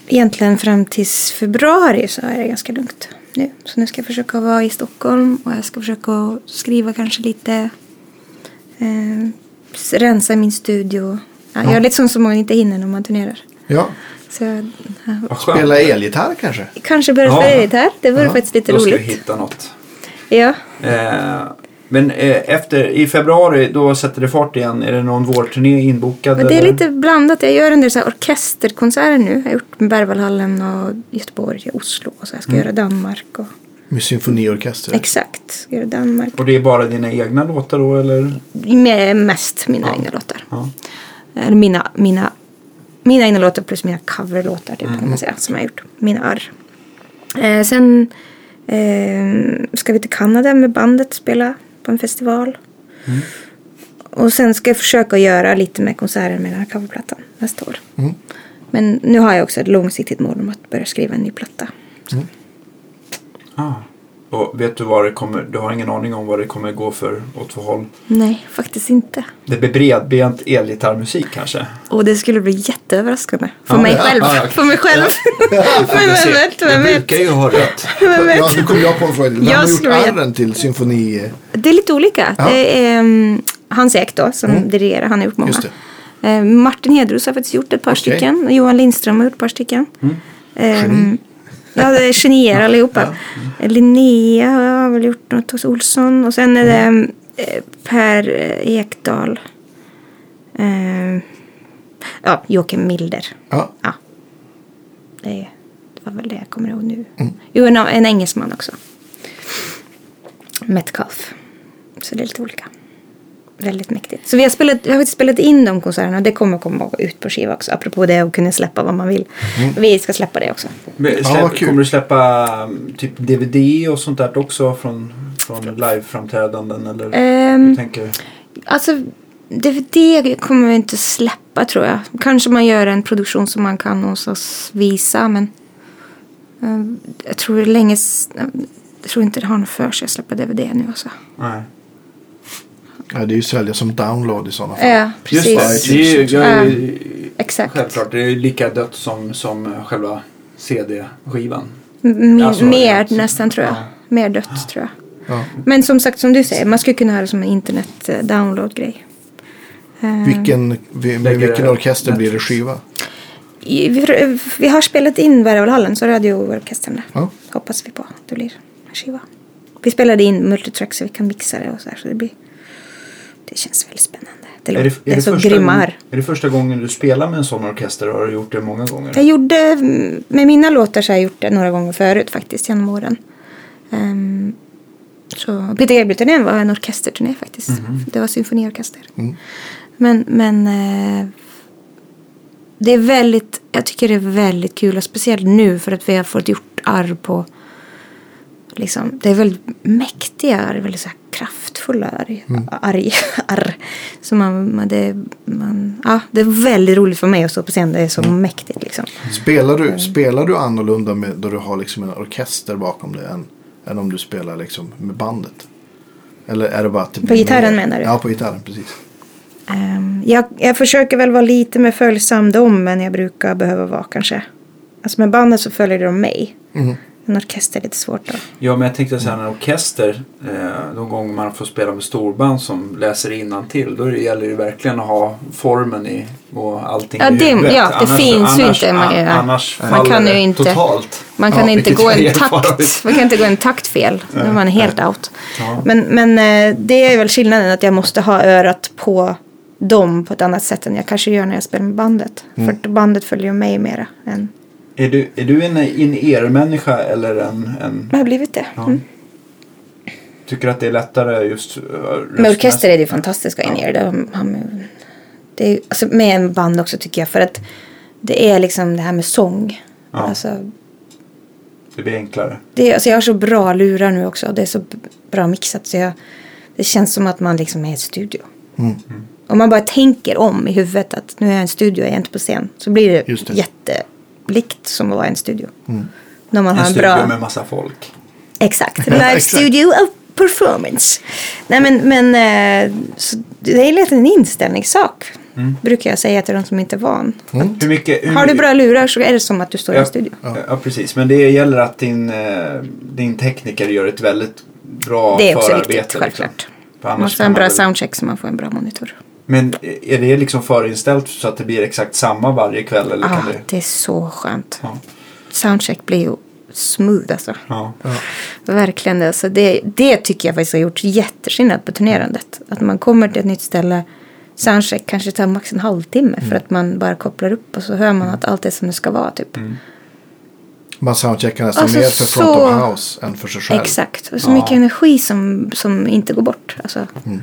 egentligen fram tills februari så är det ganska lugnt nu. Så nu ska jag försöka vara i Stockholm och jag ska försöka skriva kanske lite, eh, s- rensa i min studio. Ja, jag är lite sån som man inte hinner när man turnerar. Ja. Så jag, ja. vad skönt. Spela elgitarr kanske? Kanske börja Ja. spela gitarr, det vore faktiskt lite Då ska vi roligt. hitta något. Ja. Eh, men eh, efter, i februari, då sätter det fart igen. Är det någon vårturné inbokad? Men det är eller? lite blandat. Jag gör en del så här orkesterkonserter nu. Jag har gjort med Berwaldhallen och Göteborg och Oslo. Och så jag ska Mm. göra Danmark. Och... Med symfoniorkester? Exakt, ska göra Danmark. Och det är bara dina egna låtar då eller? Med mest mina egna låtar. Ja. Eller mina, mina, mina egna låtar plus mina coverlåtar typ, kan Mm. man säga, som jag har gjort. Mina arr. Eh, sen eh, ska vi till Kanada med bandet spela på en festival. Mm. Och sen ska jag försöka göra lite med konserter med den här coverplattan nästa år. Mm. Men nu har jag också ett långsiktigt mål om att börja skriva en ny platta. Ah. Och vet du vad det kommer, du har ingen aning om vad det kommer gå för åt för håll? Nej, faktiskt inte. Det blir bredbent elgitarrmusik kanske? Och det skulle bli jätteöverraskande. För Ja, mig ja, själv. ja, okej. För mig själv. Men Jag vem ser- vet, jag vem vet. brukar ju ha rätt. Vem vet. Ja, nu kom jag på en fråga. Vem Jag har gjort skulle veta. arren till symfoni... Det är lite olika. Ja. Mm. Det är, ehm, Hans Ek då, som dirigerar, han har gjort många. Just Eh, Martin Hedros har faktiskt gjort ett par stycken. Och Johan Lindström har gjort ett par stycken. Mm. Ehm, ja, det är genier allihopa. Eh, Linnea har väl gjort något hos Olsson. Och sen är det Mm. eh, Per eh, Ekdahl. Ehm, ja, Joakim Milder. Ja. Ja. Det är- det var väl det jag kommer ihåg nu. Jo, en, en engelsman också. Metcalf. Så det är lite olika. Väldigt mäktigt. Så vi har, spelat, vi har faktiskt spelat in de konserterna och det kommer komma ut på skiva också. Apropå det att kunna släppa vad man vill. Vi ska släppa det också. Men Ja, Släpp, vad kul. kommer du släppa mm, typ DVD och sånt där också från, från live-framträdanden eller Ehm. hur tänker du? Alltså, DVD kommer vi inte släppa tror jag. Kanske man gör en produktion som man kan någonstans visa men eh, jag tror det är länge... s- Jag tror inte det har något för sig att släppa DVD nu alltså. Nej. Ja, det är ju sälja som download i sådana fall. Ja, Eh, precis. Just Det är ju, jag är ju, Exakt. Självklart, det är ju lika dött som, som själva CD-skivan. M- Ja, så är det. mer nästan tror jag. Ja. Mer dött tror jag. Ja. Men som sagt som du säger, man skulle kunna ha det som en internet-download-grej. Eh, Vilken, vi, med Lägger vilken orkester blir det Netflix. skiva? i- vi, vi har spelat in Värövalhallen så radioorkestern där. Ja. Hoppas vi på att det blir en skiva. Vi spelade in multitrack så vi kan mixa det och så här. Så det, blir, det känns väldigt spännande. Det, låter, det, är så första grimmar. gången- är det första gången du spelar med en sån orkester? Har du gjort det många gånger? Jag gjorde, mm, med mina låtar så har jag gjort det några gånger förut faktiskt genom åren. Um, så Betegelturnén var en orkesterturné faktiskt. Det var symfoniorkester. Men, men eh, det är väldigt, jag tycker det är väldigt kul och speciellt nu för att vi har fått gjort arv på Liksom, det är väldigt mäktiga arr, väldigt så här kraftfulla arg. arg, arr. Så man, man, det, man, ja, det är väldigt roligt för mig att stå på scen, det är så mäktigt liksom. Spelar du, spelar du annorlunda med, då du har liksom en orkester bakom dig än, än om du spelar liksom med bandet? Eller är det bara att det blir gitarren mer? menar du? Ja, på gitarren. Precis. Ehm, jag, jag försöker väl vara lite mer följsam dem än jag brukar behöva vara kanske. Alltså med bandet så följer de mig. Mm. En orkester är lite svårt då. Ja, men jag tänkte så här, en orkester, eh, de gånger man får spela med storband som läser innantill, då gäller det verkligen att ha formen i och allting Ja, i det- huvudet. ja, det finns ju inte, man- an- ja. annars Man faller kan ju det inte- totalt. Man kan, Ja, inte vilket gå jag en erfarit. takt, man kan inte gå en takt fel. Då är man helt out. Ja. Men, men eh, det är väl skillnaden att jag måste ha örat på dem på ett annat sätt än jag kanske gör när jag spelar med bandet. Mm. För att bandet följer ju mig mera. Än... Är du, är du en in-ear-människa eller en, en... Det har blivit det. Ja. Mm. Tycker du att det är lättare just... eh, Med röstmässigt? orkester är det ju fantastiskt att gå in i det. De har med- det är, ju- alltså med en band också tycker jag. För att det är liksom det här med sång. Ja. Alltså, Det blir enklare. det, alltså jag har så bra lurar nu också. Det är så b- bra mixat. Så jag, det känns som att man liksom är i en studio. Mm. Om man bara tänker om i huvudet att nu är jag i en studio, jag är inte på scen. Så blir det, Just det. jättelikt som att vara i en studio. När man Mm. En har en studio bra... med massa folk. Exakt. Live studio of performance. Nej men, men eh, så det är lite en inställningssak. Mm. Brukar jag säga till de som inte är van. Mm. Hur mycket, hur, Har du bra lurar så är det som att du står i en studio. Ja. ja, precis. Men det gäller att din, eh, din tekniker gör ett väldigt bra det är också förarbete. viktigt, liksom. självklart. För Man annars måste kan ha en man bra väl- soundcheck så man får en bra monitor. Men är det liksom förinställt så att det blir exakt samma varje kväll? Eller Ja, kan det... Ah, det är så skönt. Ja. Soundcheck blir ju smooth alltså. Ja. Verkligen. Alltså det, det tycker jag faktiskt har gjort jätteskillnad på turnerandet. Att man kommer till ett nytt ställe, soundcheck kanske tar max en halvtimme för Mm. att man bara kopplar upp och så hör man att allt är som det ska vara. Typ. Mm. Mm. Man soundcheckar nästan Alltså, mer för så- front of house än för sig själv. Exakt. Och så mycket energi som, som inte går bort. Alltså, Mm.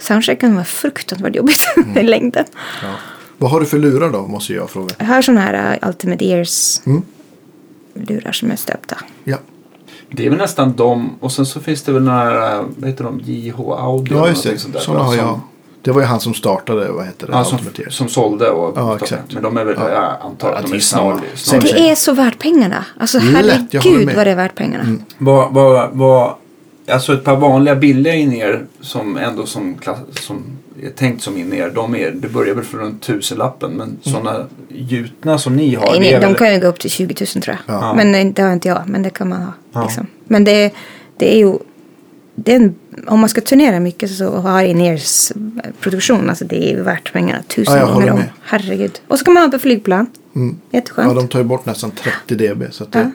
Soundcheck kan vara fruktansvärt jobbigt i längden. Ja. Vad har du för lurar då, måste jag fråga. Jag har sådana här uh, Ultimate Mm. Ears-lurar som är stöpta. Ja, Det är väl nästan dem och sen så finns det väl några, vad heter de, JH Audio? ja just det. någonting sånt där, Sådana va? har Som- jag. Det var ju han som startade, vad heter det? Ja, som, Ultimate Ears. som sålde och Ja, exakt. Men de är väl, Ja. jag antar Ja, att det de är är samma. snarlika. Sen- Det är så värt pengarna. Alltså Lätt, jag håller herregud med. Mm. vad det är värt pengarna. Vad, vad, vad, alltså ett par vanliga billiga in-ear som ändå som, klass, som är tänkt som in-ear, de är, det börjar väl för runt tusenlappen Mm. men sådana gjutna som ni har, Nej, det är de väl, kan ju gå upp till 20 000 tror jag. Ja. Men eh, det- det har inte jag, men det kan man ha. Ja. Liksom. Men det, det är ju... Det är en, om man ska turnera mycket så har in-ears produktion, alltså det är ju värt pengarna tusen Ja, jag gånger håller om. med. Herregud. Och så kan man ha på flygplan. Jätteskönt. Mm. Ja, de tar ju bort nästan 30 dB. Så att det,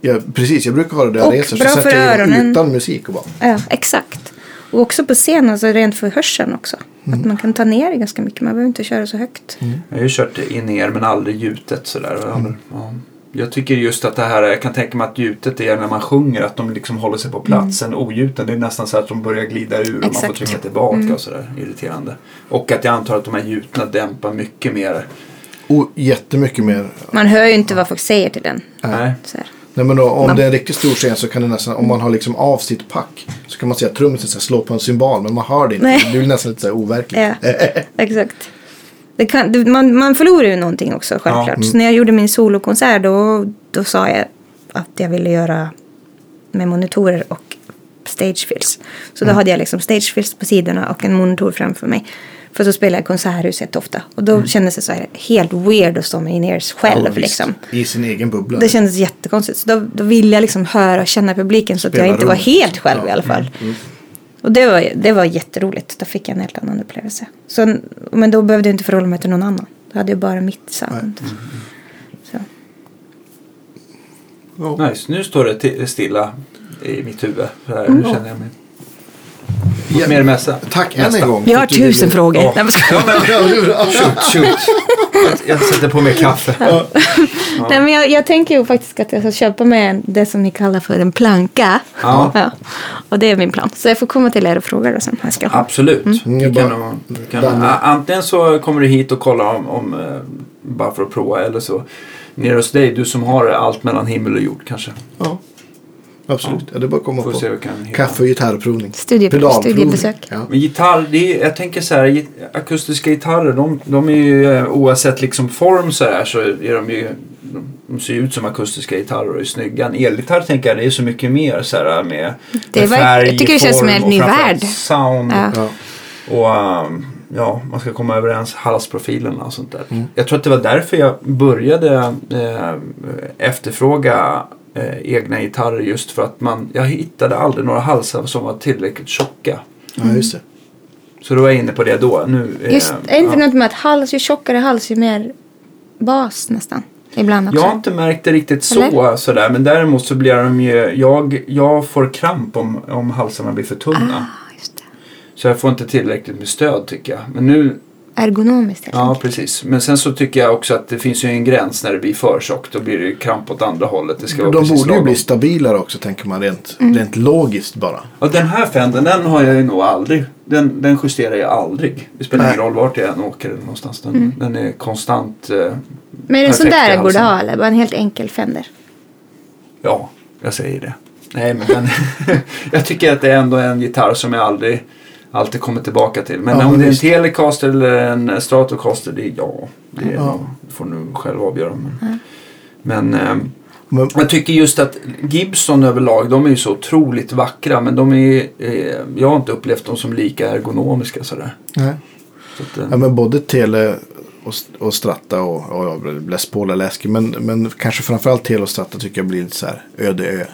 ja, precis, jag brukar ha det där Och reser. Så bra sätter för jag in öronen. utan musik och bara. Ja, exakt. Och också på scen, alltså rent för hörseln också. Mm. Att man kan ta ner det ganska mycket, man behöver inte köra så högt. jag har ju kört in-ear men aldrig gjutet sådär. Mm. Ja. Jag tycker just att det här, jag kan tänka mig att ljudet är när man sjunger, att de liksom håller sig på platsen. Oljuten, det är nästan så att de börjar glida ur och man får Exakt. trycka tillbaka och sådär. Irriterande. Och att jag antar att de här ljutna dämpar mycket mer. Och jättemycket mer. Man hör ju inte vad folk säger till den. Nej. Så här. Nej, men då, om det är en riktigt stor scen så kan det nästan, om man har liksom av sitt pack så kan man se att trummisen så här slår på en cymbal men man hör det inte. Nej. Det blir nästan lite så här overkligt. Ja, exakt. Det kan, det, man, man förlorar ju någonting också självklart. mm. Så när jag gjorde min solokonsert då, då sa jag att jag ville göra med monitorer och stagefills. Så Mm. då hade jag liksom stagefills på sidorna och en monitor framför mig. För så spelar jag konserthuset ofta. Och då kändes det så här helt weird att stå med in-ears själv. Mm. Ja, visst. liksom. I sin egen bubbla. Det kändes jättekonstigt. Så då, då ville jag liksom höra och känna publiken så att Spela jag inte var runt. liksom. helt själv Ja. Mm, i alla fall. Och det var, det var jätteroligt. Då fick jag en helt annan upplevelse. Så, men då behövde jag inte förhålla mig till någon annan. Då hade jag bara mitt sound. Så. Ja. Nice, nu står det ti- stilla i mitt huvud. Så här, Hur känner jag mig? Ja. Med det mesta. Tack än en gång. Jag för har att du tusen ville- frågor. Ja. Nej, men, Ja, men, Ja, du- ja. shoot, shoot. Jag sätter på mig kaffe. Nej, men jag, jag tänker ju faktiskt att jag ska köpa med en- det som ni kallar för en planka. Ja. Och det är min plan. Så jag får komma till er och fråga då sen. Jag ska ha. Absolut. Mm, Vi bara- kan, ha- vi kan, Danne. a- antingen så kommer du hit och kollar om, om eh, bara för att prova eller så ner hos dig, du som har allt mellan himmel och jord kanske. Ja. Absolut. Ja, det är bara att komma Får se hur på. vi kan hitta. Kaffe och gitarrprovning. Studie- Pedalprovning. studiebesök. Ja. Men gitarr, det är, jag tänker så här, git- akustiska gitarrer, de, de är ju eh, oavsett liksom form så här så är de ju, de, de ser ju ut som akustiska gitarrer och är snygga. En elgitarr tänker jag, det är så mycket mer så här med, Det med var- färg, jag tycker det känns som form en och ny framförallt värld. Sound. Ja. Ja. Och ehm, ja, man ska komma överens, halsprofilerna och sånt där. Jag tror att det var därför jag började eh, efterfråga eh, egna gitarrer just för att man, jag hittade aldrig några halsar som var tillräckligt tjocka. ja, just det. Så då var jag inne på det då. Nu, eh, Just, är inte ja. något med att hals, ju tjockare hals ju mer bas nästan. Ibland också. Jag har inte märkt det riktigt så, sådär, men däremot så blir de ju, jag, jag får kramp om, om halsarna blir för tunna. Ah, just det. Så jag får inte tillräckligt med stöd tycker jag. Men nu, Ergonomiskt helt Ja, enkelt. precis. Men sen så tycker jag också att det finns ju en gräns när det blir för tjockt. Då blir det ju kramp åt andra hållet. Det Mm. ska vara De precis borde ju lagom. bli stabilare också tänker man rent, Mm. rent logiskt bara. Ja, den här fänden, den har jag ju nog aldrig. Den, den justerar jag aldrig. Det spelar Nej. ingen roll vart jag än åker eller någonstans. Den, den är konstant. Eh, Men är det en sån perfekt i där jag borde halsen. ha eller? Bara en helt enkel Fender. Ja, jag säger det. Nej, men den, jag tycker att det är ändå en gitarr som jag aldrig alltid kommer tillbaka till. Men Ja, om men det är en visst. Telecaster eller en Stratocaster, det är ja. Det är Ja. nog- får du själv avgöra. Men, men ehm, Men, Mm. Jag tycker just att Gibson överlag, de är ju så otroligt vackra men de är, eh, jag har inte upplevt dem som lika ergonomiska sådär. nej. Så att, eh, Ja, men både Tele och, och Stratta och, och ja, Les Paul är läskig. Men, men kanske framförallt Tele och Stratta tycker jag blir lite så här öde ö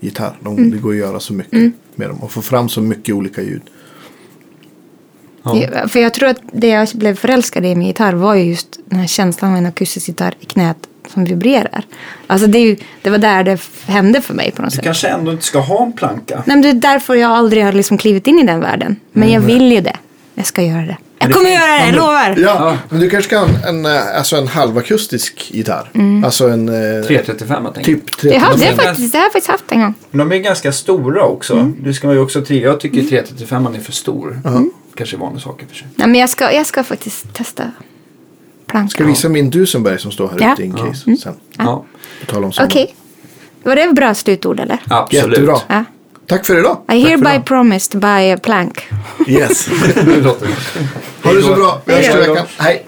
gitarr. De, Mm. Det går att göra så mycket med dem och få fram så mycket olika ljud. Det- För jag tror att det jag blev förälskad i med gitarr var ju just den här känslan av en akustisk gitarr i knät som vibrerar. Alltså det, är ju, det var där det f- hände för mig på något du sätt. kanske ändå inte ska ha en planka. Nej, men det är därför jag aldrig har liksom klivit in i den världen. Men Mm. jag vill ju det. Jag ska göra det. Jag kommer göra det, jag lovar! Ja, men du kanske kan en, eh, alltså en halvakustisk gitarr. Mm. Alltså en eh, 335 jag tänker. typ Det har, 335. det, har faktiskt, det har jag faktiskt haft en gång. Men de är ganska stora också. Du ska ju också tre. Jag tycker 335 är för stor. Kanske är vanlig sak i och för sig. Nej, men jag ska, jag ska faktiskt testa plankan. Ska visa min Dusenberg som står här Ja. Mm. ute in case sen. Ja, På tal om sommar. Okej. Var det bra slutord eller? absolut. Jättebra. Ja. Tack för idag. I hereby promised by a plank. Yes. Det låter bra. ha det så bra. Vi hörs i Hej då. veckan. Hej.